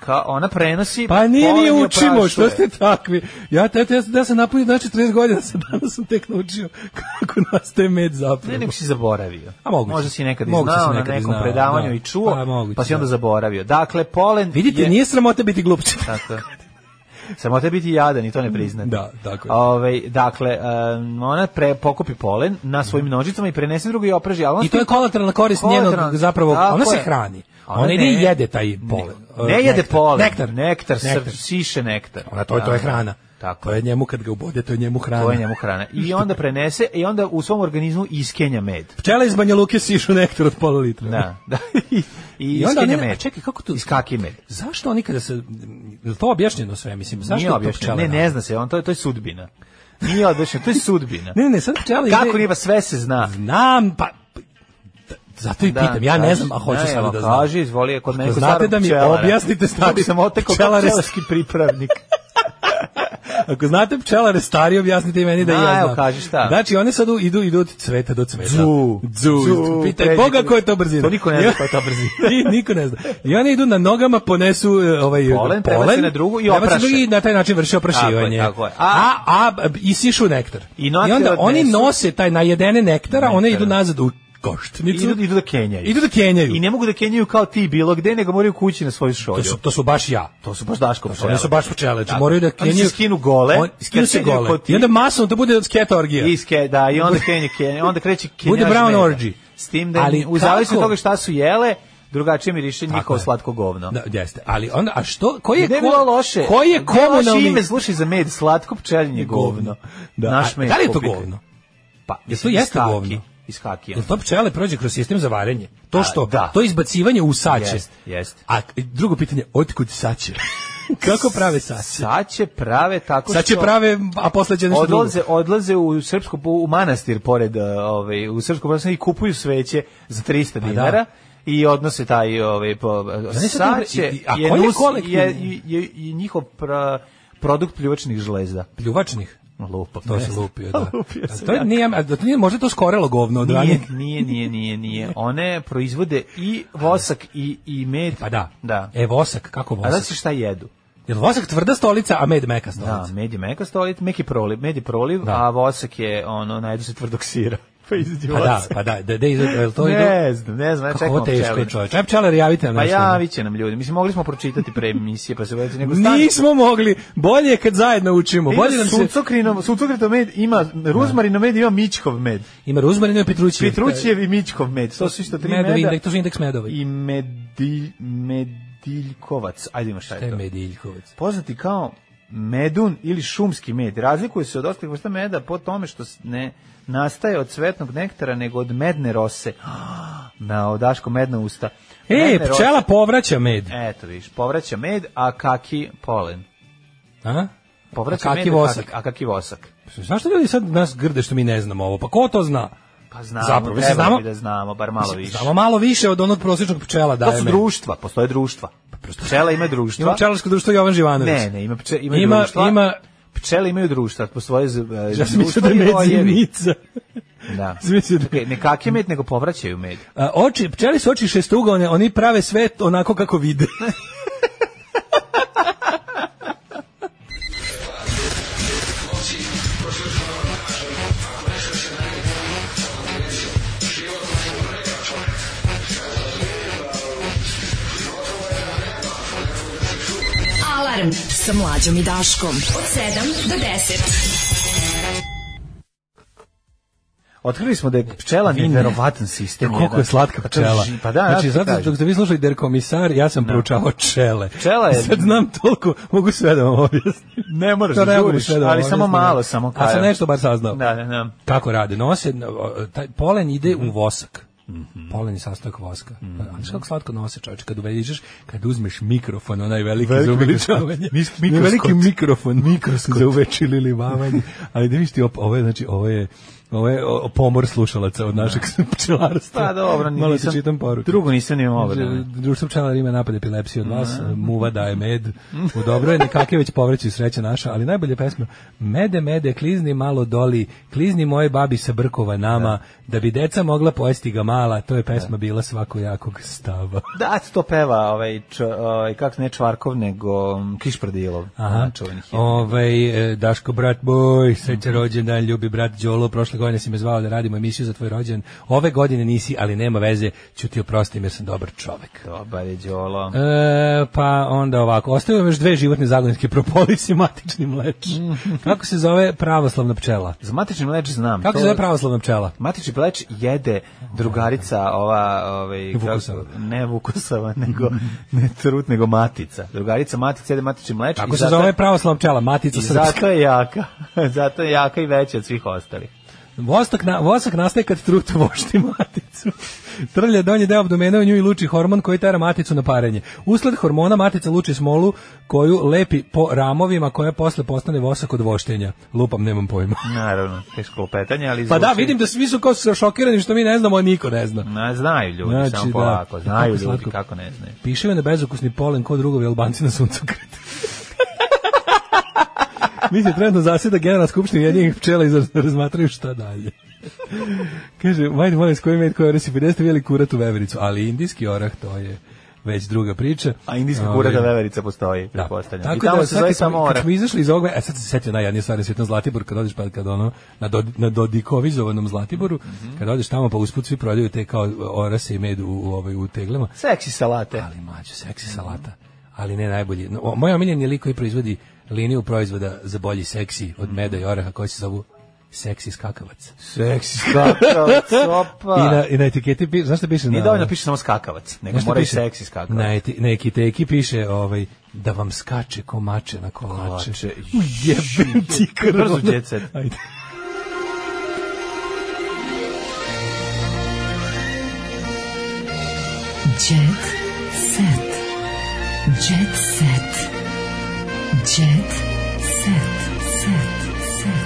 Kao, ona prenosi Pa nije polen mi i učimo, oprašuje. što ste takvi. Ja, te, te, ja sam- da sam napunio na 14 godina, (laughs) sam danas sam tek naučio kako nastaje med zapravo. Ne, nego si zaboravio. A moguće. Možda si nekad i Moguće znao sam na nekad i nekom znao, predavanju da. i čuo, Pa, pa, moguće, si onda da. zaboravio. Dakle, polen Vidite, je... nije sramota biti glupče. Tako je. Samo te biti jadan i to ne priznati. (laughs) Mm, Da, tako je. Ovaj, dakle, em, ona pre, pokupi polen na svojim nožicama i prenese drugo i opraži. Ali ona Mm. I to je stipa- kolateralna korist Kolateralna- njenog zapravo, Tako ona se je. hrani. Ona Ona ide i ne- jede taj polen. Ne, e, jede nektar. polen. Nektar. Nektar, sr- Nektar. siše nektar. Ona to je to je Da. hrana. Tako To je njemu kad ga ubode, to je njemu hrana. To je njemu hrana. I onda prenese i onda u svom organizmu iskenja med. Pčela iz Banja Luke sišu nektar od pola litra. Da, da. I, i, (laughs) I onda iskenja oni- a med. čekaj, kako to- Iskaki med. Zašto oni kada se je li to objašnjeno sve, mislim, zašto Nije to objašnjeno. pčela Ne, radi? ne zna se, on to je to je sudbina. Nije objašnjeno, to je sudbina. (laughs) Ne, ne, sad pčela ide- Kako riba sve se zna. Znam, pa da, zato i pitam, ja ne kaži- znam, a hoću ne, sada evo, da znam. Kaži, izvoli, je kod Ako mene kod znate starog da mi pčelara. objasnite, stari Kako sam otekao kao pčelare s- pčelarski (laughs) pripravnik. Ako znate pčelare stari, objasnite i meni da A, i ja evo, znam. kaži šta. Znači, one sad u- idu, idu od cveta do cveta. Dzu, Dzu. dzu, Pitaj pređi Boga kod- koja je to brzina. To niko ne I zna on- koja je to brzina. (laughs) I niko ne zna. I oni idu na nogama, ponesu e, ovaj Polen, prebace na drugu i prebace opraše. drugu I na taj način vrši Tako oprašivanje. je, tako je. A, A- a, isišu nektar. I nektar onda odnesu. oni nose taj najedene nektara, one Nektara. idu nazad u koštnicu. Idu, idu da kenjaju. Idu da kenjaju. I ne mogu da kenjaju kao ti bilo gde, nego moraju kući na svoju šolju. To su, to su baš ja. To su baš Daško pčele. Oni su baš pčele, znači Tako. moraju da Oni se kenjaju. skinu gole, On- skinu kad se kenjaju gole. kod ti- I onda masovno to bude sketa orgija. Iske, da, i onda kenje, kenje, onda kreće kenjaž Bude brown meda. orgy. S tim da, Ali Ali u zavisnosti od kako? toga šta su jele, drugačije miriše njihovo je. slatko govno. Da, jeste. Ali onda, a što, koji je, Gde je ko- bilo loše? koji je Gde loše komunalni ime slušaj za med, slatko pčelinje govno. Da. Naš A med da li je to kupite. govno? Pa, Jel to jeste iskaki, govno? Iskaki. Jel to pčele prođe kroz sistem za varenje? To A, što, da. to izbacivanje u sače. Jest, jest. A drugo pitanje, otkud (laughs) sače? Kako prave sače? Saće prave tako Sače što- prave, a posle će nešto drugo. odlaze odlaze u srpsku u manastir pored e, ovaj u srpsku manastir i kupuju sveće za Pa 300 dinara i odnose taj ovaj po Znaš šta dobro, saće i- i- a je, koji je nus- kolektivni? je, je- je njihov pra- produkt pljuvačnih žlezda Pljuvačnih. lupa To se lupio, da. (laughs) Lupio A se, to, da. nije, a to nije, možda to skorelo govno od ranije. nije, nije, nije, nije, nije. One proizvode i vosak i, i med. Pa da. Da. E, vosak, kako A vosak? znači šta jedu? Jel vosak tvrda stolica, a med meka Da, stolica? med je meka stolit, meki proliv, med je proliv, Da. a vosak je ono, najdu se tvrdog sira. (laughs) Pa izađe Pa da, vosak. pa da, da, da, iza- jel to ide... ne znam, ne znam, ja Kako čekam ovo teško je pčelinje. čovječ. Aj pčelar, javite nam Pa nešto. javit će nam ljudi. Mislim, mogli smo pročitati pre emisije, pa se voditi nego stani. Nismo mogli, bolje je kad zajedno učimo. Bolje nam se... Sucokrino, sucokrito med ima, ruzmarino med ima mičkov med. Ima Ruzmarin, ima Petrućev. Petrućev i mičkov med. To su isto tri Medovi meda. indeks, to su indeks medova. I medilj, mediljkovac. Ajde ima šta Šta je je to. Mediljkovac? Poznati kao medun ili šumski med. Razlikuje se od ostalih vrsta meda po tome što s- ne nastaje od cvetnog nektara, nego od medne rose. (gasps) Na, odaško medna usta. E, Medne rose- pčela povraća med. Eto viš, povraća med, a kaki polen. A? Povraća A kaki med, vosak? A, kak- a kaki vosak. Zašto ljudi sad nas grde što mi ne znamo ovo? Pa ko to zna? Pa znamo, Zapravo, mislim, trebalo znamo- bi da znamo, bar malo više. Znamo malo više od onog prosječnog pčela daje to su med. Pa društva, postoje društva. Pčela ima društva. Ima pčelarsko društvo Jovan Živanović. Ne, ne, ima, pče, ima, Ima- društva. ima- Pčele imaju društva, postoje z- e, Ja sam društva mislio da je i med rojevi. zimnica. Da. Sam mislio da- Čekaj, ne kaki med, nego povraćaju med. A, oči, pčeli su oči šestugaone, oni prave sve onako kako vide. Alarm sa mlađom i Daškom. Od 7 do 10. Otkrili smo da je pčela neverovatan sistem. (laughs) Koliko jedan. je slatka Pa to je pčela. ži- Pa da, znači, ja ti zato kažem. dok ste vi slušali der komisar, ja sam proučavao pčele. Pčela je- (laughs) Sad znam toliko, mogu sve da vam objasnim. Ne moraš To da ne mogu žuriš, sve da vam ali samo objasnim, malo, da. samo A sam kajem. nešto bar saznao. Da, da, da. Kako rade? Nose, o, taj polen ide Mhm. u vosak. Polen je sastojak voska. Mm -hmm. Znaš kako slatko nose čovječe, kad uvediš, kad uzmeš mikrofon, onaj veliki, Veliki za (laughs) uveličavanje. mikroskop. Ne, veliki (laughs) mikrofon Mikroskop. za uvečili ili vavanje. Ali da vidiš ti, op- ovo je, znači, ovo je, ovo je o- pomor slušalaca od našeg pčelarstva. Pa dobro, Malo ti nisam- čitam poruke. Znači, drugo nisam imao ovo, da. Dru- Društvo pčelara ima napad epilepsije od vas, e, muva daje med. U dobro je nekakve već povreću sreća naša, ali najbolje pesma Mede, mede, klizni malo doli, klizni moje babi sa brkova nama, da, bi deca mogla pojesti ga mala, to je pesma bila svakojakog stava. Da, to peva ovaj, č, ovaj kako se ne Čvarkov, nego um, Kišprdilov. Aha. Čuvenih je. Ovaj e, Daško brat moj, sreća rođendan, ljubi brat Đolo, prošle godine si me zvao da radimo emisiju za tvoj rođendan. Ove godine nisi, ali nema veze, ću ti oprostim jer sam dobar čovek. Dobar je Đolo. E, pa onda ovako, ostaju vam još dve životne zagonetke, propolis i matični mleč. Kako se zove pravoslavna pčela? Za matični mleč znam. Kako to- se zove pravoslavna pčela? Matični mleč jede drugarica ova ovaj kako- Vukusava. ne Vukusava nego ne trut nego matica. Drugarica matica jede matični mleč Kako i se zato- zove pravoslavna pčela? Matica i srpska. zato je jaka. (laughs) zato je jaka i veća od svih ostalih. Vostok, na, vosak nastaje kad trut vošti maticu. Trlja donji deo abdomena u nju i luči hormon koji tera maticu na parenje. Usled hormona matica luči smolu koju lepi po ramovima koja posle postane vosak od voštenja. Lupam, nemam pojma. Naravno, teško lupetanje, ali Pa da, zvuči- vidim da svi su kao šokirani što mi ne znamo, a niko ne zna. Na, znaju ljudi, Znači, samo da. polako, Kako znaju ljudi slatko. kako ne znaju. Piše na bezukusni polen kod drugovi Albanci (laughs) na suncokretu. Mi se trenutno zaseda generalna skupština jedinih pčela i raz- razmatraju šta dalje. Kaže, majde molim s kojim med koji orasi 50 veli kurat u vevericu, ali indijski orah to je već druga priča. A indijska Ovaj, kurata veverica postoji, Da. pretpostavljam. I Tako tamo da, se sad zove kad smo- samo Kad orah. smo izašli iz ovoga, e, sad se setio najjadnije stvari svijetno Zlatibor, kad odeš pa kad ono, na, Dodi- na Dodikovizovanom Zlatiboru, Mhm. kad odeš tamo pa usput svi prodaju te kao orase i med u, u, ovaj, u teglama. Seksi salate. Ali mlađe, seksi salata. Ali ne najbolji. No, o, moj omiljen je lik koji proizvodi liniju proizvoda za bolji seksi Mhm. od meda i oraha koji se zovu seksi skakavac. Seksi (laughs) skakavac, opa. I na, i na etiketi piše, znaš šta piše? Nije na- dovoljno piše samo skakavac, nego znaš šta mora i piše? seksi skakavac. Na, eti, na ekiteki piše ovaj, da vam skače komače na (laughs) kolače. Kolače. Ujebem ti krvno. Brzo jet set. (laughs) Ajde. Jet set. Jet set. Jet set. Set.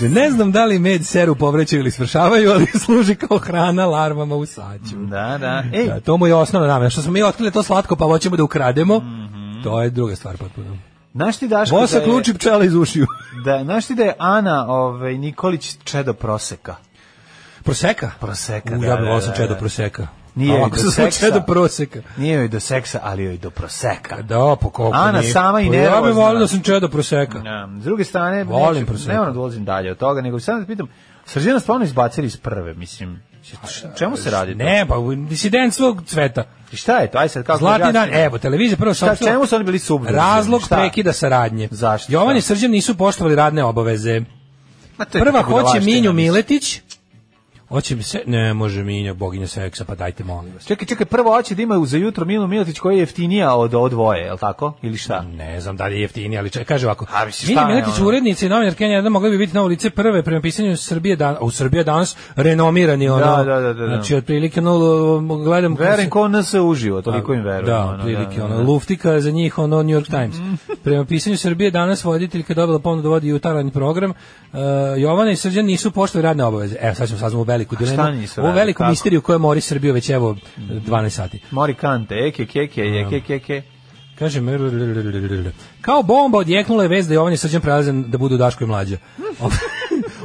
Kaže, Ne znam da li med seru povrećaju ili svršavaju, ali (laughs) služi kao hrana larvama u saću. Da, da. Ej, Da, to mu je osnovna namena. Što smo mi otkrili to slatko, pa hoćemo da ukrademo, to je druga stvar potpuno. Mhm. znaš ti Daško da Vosak je, luči pčela iz ušiju. da, znaš ti da je Ana ovaj, Nikolić čedo proseka? Proseka? Proseka, U, da, ja bih da, volao sam da, čedo da. proseka. Nije A joj ovako do sam seksa. čedo proseka. Nije joj do seksa, ali joj do proseka. Da, po koliko Ana nije. sama i Pa Ja bih nervozna. volio da sam čedo proseka. Ja, Um, s druge strane, Volim neću- proseka. ne moram da ulazim dalje od toga, nego samo da te pitam, Srđana stvarno izbacili iz prve, mislim, š- čemu se radi to? Pa, Ne, pa u- disidentstvo cveta. I šta je to? Aj sad kako Zlatni dan, objasnimo? evo, televizija prvo Šta, saopštila- čemu su oni bili subverzivni? Razlog Šta? prekida saradnje. Zašto? Jovan i Šta? Srđan nisu poštovali radne obaveze. Ma, to je Prva neka hoće budalaština, Minju mislim. Miletić. Hoće mi se, ne može Minja, boginja seksa, pa dajte molim vas. Čekaj, čekaj, prvo hoće da imaju za jutro Milu Miletić koja je jeftinija od od dvoje, je li tako? Ili šta? Ne znam da li je jeftinije, ali čekaj, kaže ovako. A, mislim, Minja šta je Miletić, ono? urednica i novinar Kenja, jedan mogli bi biti novo lice prve prema pisanju Srbije dan, a u Srbije danas renomirani ono. da, da, da, da. Znači, otprilike ono, l- gledam... Verujem ko nas uživo, toliko im verujem. Pa, Da, otprilike, ono, luftika za njih, ono, New York Times. Prema pisanju Srbije, danas voditeljka dobila ponudu da vodi jutarnji program. Uh, Jovana i Srđan nisu poštovali radne obaveze. Evo, sad ćemo saznamo u veliku dilemu. šta nisu U radili, veliku kako? misteriju koja mori Srbiju već, evo, 12 sati. Mori kante, eke, keke, eke, keke. Kaže, kao bomba odjeknula je vez da Jovan i Srđan prelaze da budu Daško i mlađa.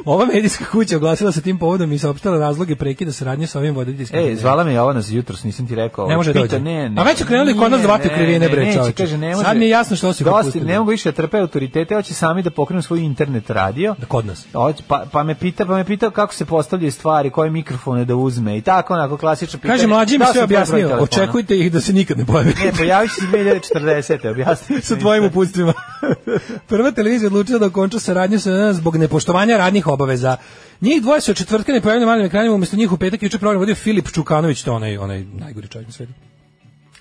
Ova (laughs) medijska kuća oglasila se tim povodom i saopštila razloge prekida saradnje sa ovim voditeljskim. Ej, E, zvala me Jovana za jutros, nisam ti rekao. Ne može Pita, dođe. Ne, ne. A već su krenuli kod nas da vate u krivine, bre, neće, čoveče. kaže, ne Sad može. mi je jasno što su ih Dosta, otpustili. Ne mogu više da trpe autoritete, hoće sami da pokrenu svoj internet radio. Da kod nas. pa, pa me pita, pa me pitao kako se postavljaju stvari, koje mikrofone da uzme i tako onako klasično pitanje. Kaže, mlađi mi Dao sve sam tvoj broj objasnio. telefona. Očekujte ih da se nikad ne pojave. (laughs) Ne, pojavit će se 2040. objasni. sa tvojim uputstvima. (laughs) Prva televizija odlučila da okonča saradnju sa NN zbog nepoštovanja radnih obaveza. Njih dvoje se od četvrtka ne pojavljaju na malim ekranima, umjesto njih u petak juče program vodio Filip Čukanović, to je onaj, onaj najgori čovjek na svijetu.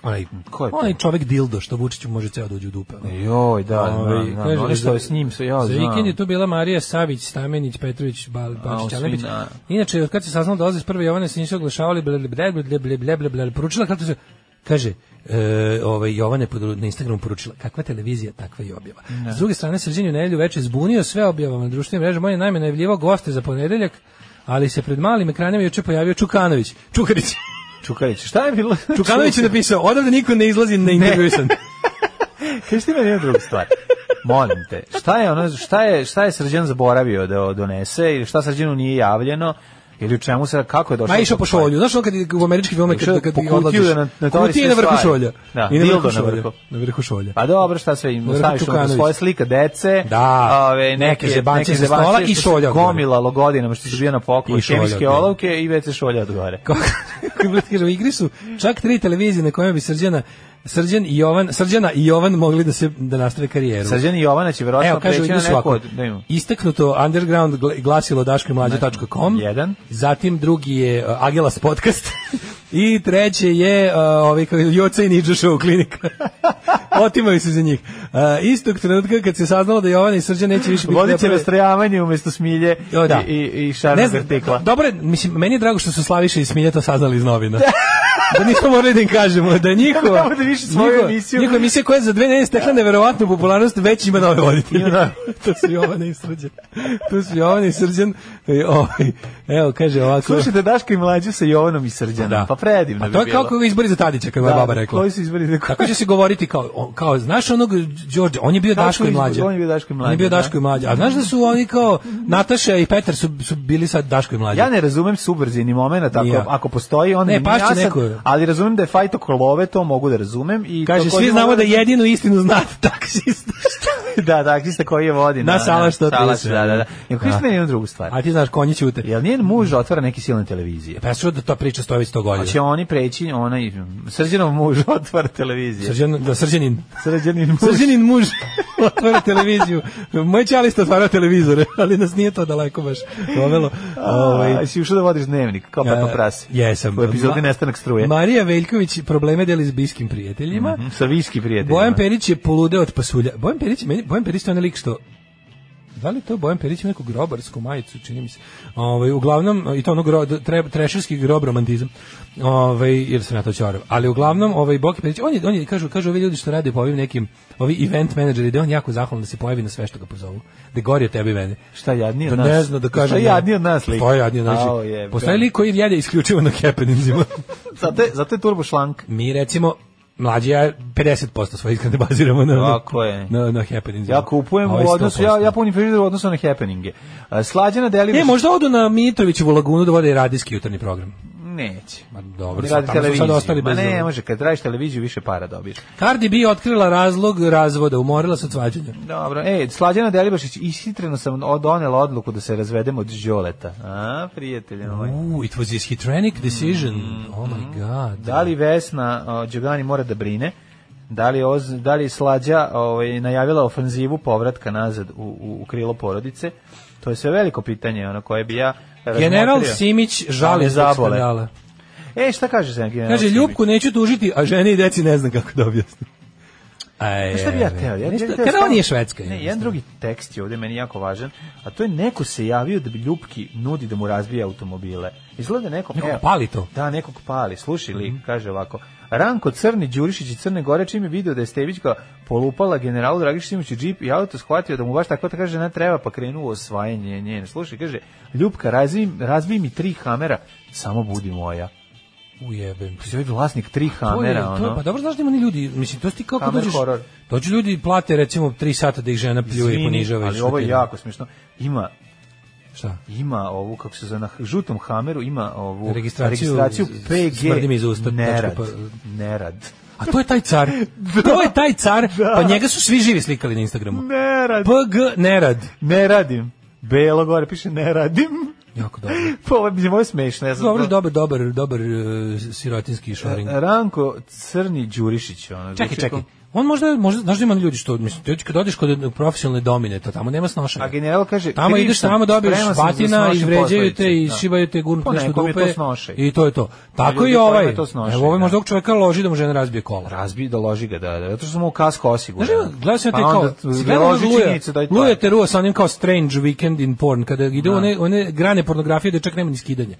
Onaj, Ko je to? onaj čovjek dildo što Vučiću može ceo da uđe u dupe. ono. Joj, da, Ovaj, da, da, kaže, oni što za- je s njim, sve ja Za znam. vikend je tu bila Marija Savić, Stamenić, Petrović, Bal, u Bačić, Alepić. svina. Inače, od kad se saznalo da dolaze iz prve Jovane, se nisu oglašavali, ble, ble, ble, ble, ble, ble, ble, ble, ble, poručila kako se, kaže, e, ovaj, Jovane podru- na Instagramu poručila, kakva televizija, takva i objava. Da. S druge strane, Srđan u nedelju večer zbunio sve objavama na društvenim mrežama, on je najme najavljivao goste za ponedeljak, ali se pred malim ekranima juče pojavio Čukanović. (laughs) Čukarić. Čukarić, šta je bilo? Čukanović je napisao, odavde niko ne izlazi na intervju (laughs) sam. Kaži ti meni jednu drugu stvar. Molim te, šta je, ono, šta je, šta je Srđan zaboravio da donese ili šta Srđanu nije javljeno ili u čemu se, kako je došlo? Ma išao do po šolju. Znaš ono kad je u američkim filmima Išao kad, kad po kutiju odlaziš? da na- natovari Kutija sve na vrhu stvari. šolja. Da, I na dildo vrhu na šolja. vrhu. Na vrhu šolja. Pa dobro, šta sve im Vrhu staviš ono, Čukanović. svoje slike dece, Da. ove, Neke neke, zebancije neke sa stola zebancije i što šolja se od gore. Gomilalo godinama što je bio na I poklon, šolja od kemijske gore. olovke i WC šolja od gore. Kako (laughs) kako bi kaže, u igri su čak tri televizije na kojima bi Srđana Srđan i Jovan, Srđana i Jovan mogli da se da nastave karijeru. Srđan i Jovana će Evo verovatno kaže preći na idu su neko ovako. od... Da imam. Istaknuto underground gl- glasilo daškomlađa.com. Znači, Jedan. Zatim drugi je uh, Agelas podcast. (laughs) I treće je uh, ovaj kao Joca i Nidža show klinika. (laughs) Otimaju se za njih. Uh, istog trenutka kad se saznalo da Jovana i Srđan neće više biti Vodit će zapravo- rastrojavanje umjesto smilje Jo, da. i, i, i šarnog artikla. dobro, je, mislim, meni je drago što su Slaviša i Smilja to saznali iz (laughs) novina. da nismo morali da im kažemo da je njihova, Da više svoju njihova, emisiju. njihova emisija koja je za dve nedelje stekla neverovatnu popularnost već ima nove voditelje. Ima nove. (laughs) to su Jovana i Srđan. To su Jovana i Srđan. E, ovaj, evo, kaže ovako. Slušajte Daško i Mlađu sa Jovanom i Srđanom. Da. Pa predivno A bi to bilo. je kao kako izbori za Tadića, kako je Da, baba rekla. koji su izbori- Tako će se govoriti kao, on- kao znaš onog Đorđe, on je bio Kako Daško i izbor- mlađe. on je bio Daško i On mlađe, je bio da. Daško i mlađe. A znaš da su oni kao Nataša i Petar su, su bili sad Daško i mlađe. Ja ne razumem subrzini moment, ako, Ni ja. ako postoji, onda Ne, mi pašće jasan, neko je. ali razumem da je fajt oko love, to mogu da razumem. I Kaže, to svi koji znamo da vodi- jedinu istinu zna (laughs) taksista. (laughs) da, taksista koji je vodi. Na Salaš 130. Salaš, da, da, da. Nego, kaži Da. meni jednu drugu stvar. A ti znaš, konji ćute. Jel njen muž otvara neke silne televizije? Pa ja čuo da ta priča stoji već 100 Pa godina. će oni preći, onaj, srđanov muž (laughs) otvara televizije. Srđan, da, srđanin. Srđanin muž. Srđanin muž (laughs) otvara televiziju. Moj čalista otvara televizore, ali nas nije to daleko baš dovelo. Ovaj, Ovaj si ušao da vodiš dnevnik, kao Pepo E, Prasi. Jesam. U epizodi Ma- Nestanak struje. Marija Veljković probleme deli s bliskim prijateljima. Mhm, Sa viski prijateljima. Bojan Perić je poludeo od pasulja. Bojan Perić, meni, Bojan Perić to je onaj lik što Da li to Bojan Perić ima neku grobarsku majicu, čini mi se. Ovaj uglavnom i to ono gro, tre, trešerski grob romantizam. Ovaj jer sam ja to ćorav. Ali uglavnom ovaj Boki Perić, on je on je kažu kažu ovi ljudi što rade po ovim nekim ovi event menadžeri, da je on jako zahvalan da se pojavi na sve što ga pozovu. Da je gori od tebe i mene. Šta je jadnije Da od nas? ne zna da kaže. Šta je jadnije od nas lik? To je jadnije od nas. Au, jebe. Postoji lik koji jede isključivo na (laughs) happeningzima. Zato je, zato je turbo šlank. Mi recimo mlađi ja 50% svoje iskrene baziramo na na, Tako je. na, Ovaj na happeningzima. Ja kupujem A ovi u odnosu, 100%. ja, ja punim frižider u odnosu na happeninge. A, Slađana deli... Ne, možda odu na Mitrovićevu lagunu da vode radijski jutarnji program. Neće. Ma dobro, Oni sad, radi tamo su sad ostali televiziju. Ma bez ne, ne, može, kad radiš televiziju više para dobiješ. Cardi B otkrila razlog razvoda, umorila se od svađanja. Dobro, ej, Slađana Delibašić, ishitreno sam od- donela odluku da se razvedem od Đoleta. A, prijatelje moj. Ooh, it was this hitranic decision. oh my god. Mm-hmm. Da li Vesna o, Đogani mora da brine? Da li, je oz, da li je Slađa ovaj, najavila ofanzivu povratka nazad u, u, u krilo porodice? To je sve veliko pitanje ono koje bi ja razmotrio. General Simić žali Ali zbog zabole. skandala. E, šta kaže se general Kaže, Simić? Ljubku neću tužiti, a žene i deci ne znam kako da objasnim. Aj, Znaš E, šta bi ja teo? Ja, Nešto- ja, ja, kada on stalno- je švedska? Ne, jedan drugi tekst je ovdje meni jako važan, a to je neko se javio da bi Ljupki nudi da mu razbije automobile. Izgleda neko... E, Nekog evo, pali to. Da, nekog pali. Slušaj lik, kaže ovako. Ranko Crni, Đurišić i Crne Gore, čim je video da je Stevićka polupala generalu Dragišić Simiću džip i auto shvatio da mu baš tako da kaže ne treba, pa krenuo u osvajanje njen. Slušaj, kaže, Ljupka, razbi, razbi mi tri hamera, samo budi moja. Ujebem. Znači, ovaj vlasnik tri To je- hamera, to je- ono. pa dobro znaš da ima ni ljudi, mislim, to si ti kako Kamer dođeš, horor. dođu ljudi i plate recimo 3 sata da ih žena pljuje i Izvini, ponižava. i Ali što ovo je ti- jako smiješno. Ima Šta? Ima ovu, kako se zove, na žutom hameru ima ovu Registraciju registraciju s- PG. smrdi mi iz usta, Nerad. tačka pa- Nerad. A to je taj (laughs) car. To je taj car, pa njega su svi živi slikali na Instagramu. Pa Nerad. PG nerad. Ne radim. Belo gore piše ne radim. (laughs) Jako dobro. Pa ovo je ovo je smešno. Ja sam Dobro, to- dobar, dobar, dobar e, sirotinski E, šoring. Ranko Crni Đurišić. Ono, Čekaj, zvuči čekaj. kao- On možda, možda, znaš da ima ljudi što, mislim, ti kad odeš kod profesionalne domine, to tamo nema snošanja. A general kaže, Tamo kriv ideš, sam, tamo dobiješ spreman sam za batina, snošenje izvređaju te i posledica, da. šibaju te gurnu Pa nešto nekom dupe. je to snošaj. I to je to. Tako ljudi i ovaj. kojima to snošaj, Evo ovaj da. možda ovog čoveka loži da mu žena razbije kola. Razbi da loži ga, da, da. Zato što smo u kasko osiguran. Znaš, ima- gledao sam ja Pa te kao, onda si gledao loži ono Luja, činjenicu da je to. Luja te ruo sa onim kao strange weekend in porn, kada ide u Da. one, one grane pornografije da čak nema ni skidanja.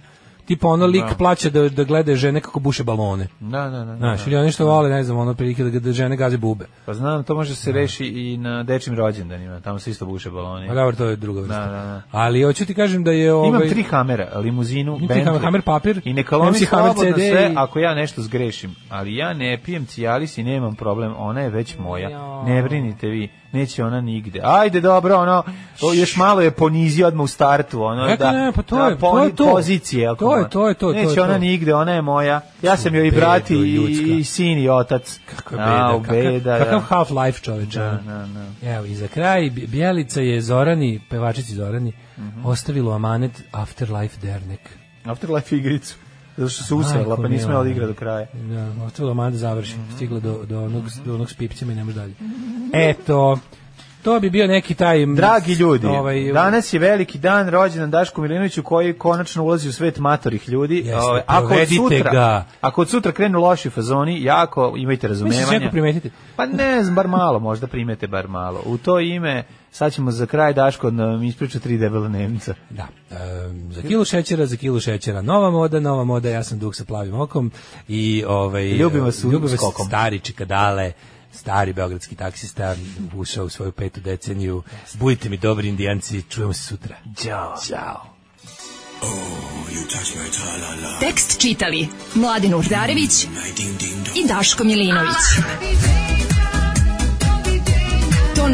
Tipa ono lik Da. plaća da, da gleda žene kako buše balone. Da, da, da. da. Znaš, ili oni što vole, ne znam, ono prilike da, da žene gaze bube. Pa znam, to može se reši i na dečim rođendanima, tamo se isto buše baloni. A Pa dobro, to je druga vrsta. E. Da, da, da. Ali hoću ti kažem da je ovaj... Imam tri hamera, limuzinu, Imam tri hamera, hammer papir, i neka lomi MC hammer slobodno CD sve i- ako ja nešto zgrešim. Ali ja ne pijem cijalis i nemam problem, ona je već moja. Ne brinite vi, neće ona nigde. Ajde, dobro, ono, o, još malo je ponizio odmah u startu, ono, Eto, da, ne, pa to da je- to je to. pozicije. ako To ono. je to, je to, to Neće je ona to. nigde, ona je moja. Ja sam joj i bedo brati ljudska. i, i sin i otac. Kakva A, u beda, kakav, beda, kakav da. half-life čoveče. ono. Da, da, da. Evo, i za kraj, Bj- Bjelica je Zorani, pevačici Zorani, Mhm. ostavilo amanet Afterlife Dernek. Afterlife igricu. Zato što se usrala, Majko pa nismo je mila. odigra do kraja. Da, ostavilo amanet da završi, Mhm. stigla do, do, onog, do onog s pipcima i ne može dalje. Eto, to bi bio neki taj... m, Dragi ljudi, ovaj, danas je veliki dan rođendan Dašku Milinoviću koji konačno ulazi u svet matorih ljudi. Jeste, Ovaj, ako od provedite sutra, ga. ako od sutra krenu loši fazoni, jako imajte Misliš da će razumevanja. neko primetiti? Pa ne znam, bar malo, možda primete bar malo. U to ime, sad ćemo za kraj Daško da mi ispriča tri debela Nemca. Da, em, za kilu šećera, za kilu šećera, nova moda, nova moda, ja sam duh sa plavim okom i ovaj, Ljubim vas u- ljubim skokom. stari čikadale, stari beogradski taksista, ušao u svoju petu deceniju, budite mi dobri indijanci, čujemo se sutra. Ćao. Ćao. Tekst čitali Mladin Urdarević i Daško Milinović. Ton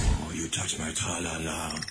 You touch my tra-la-la.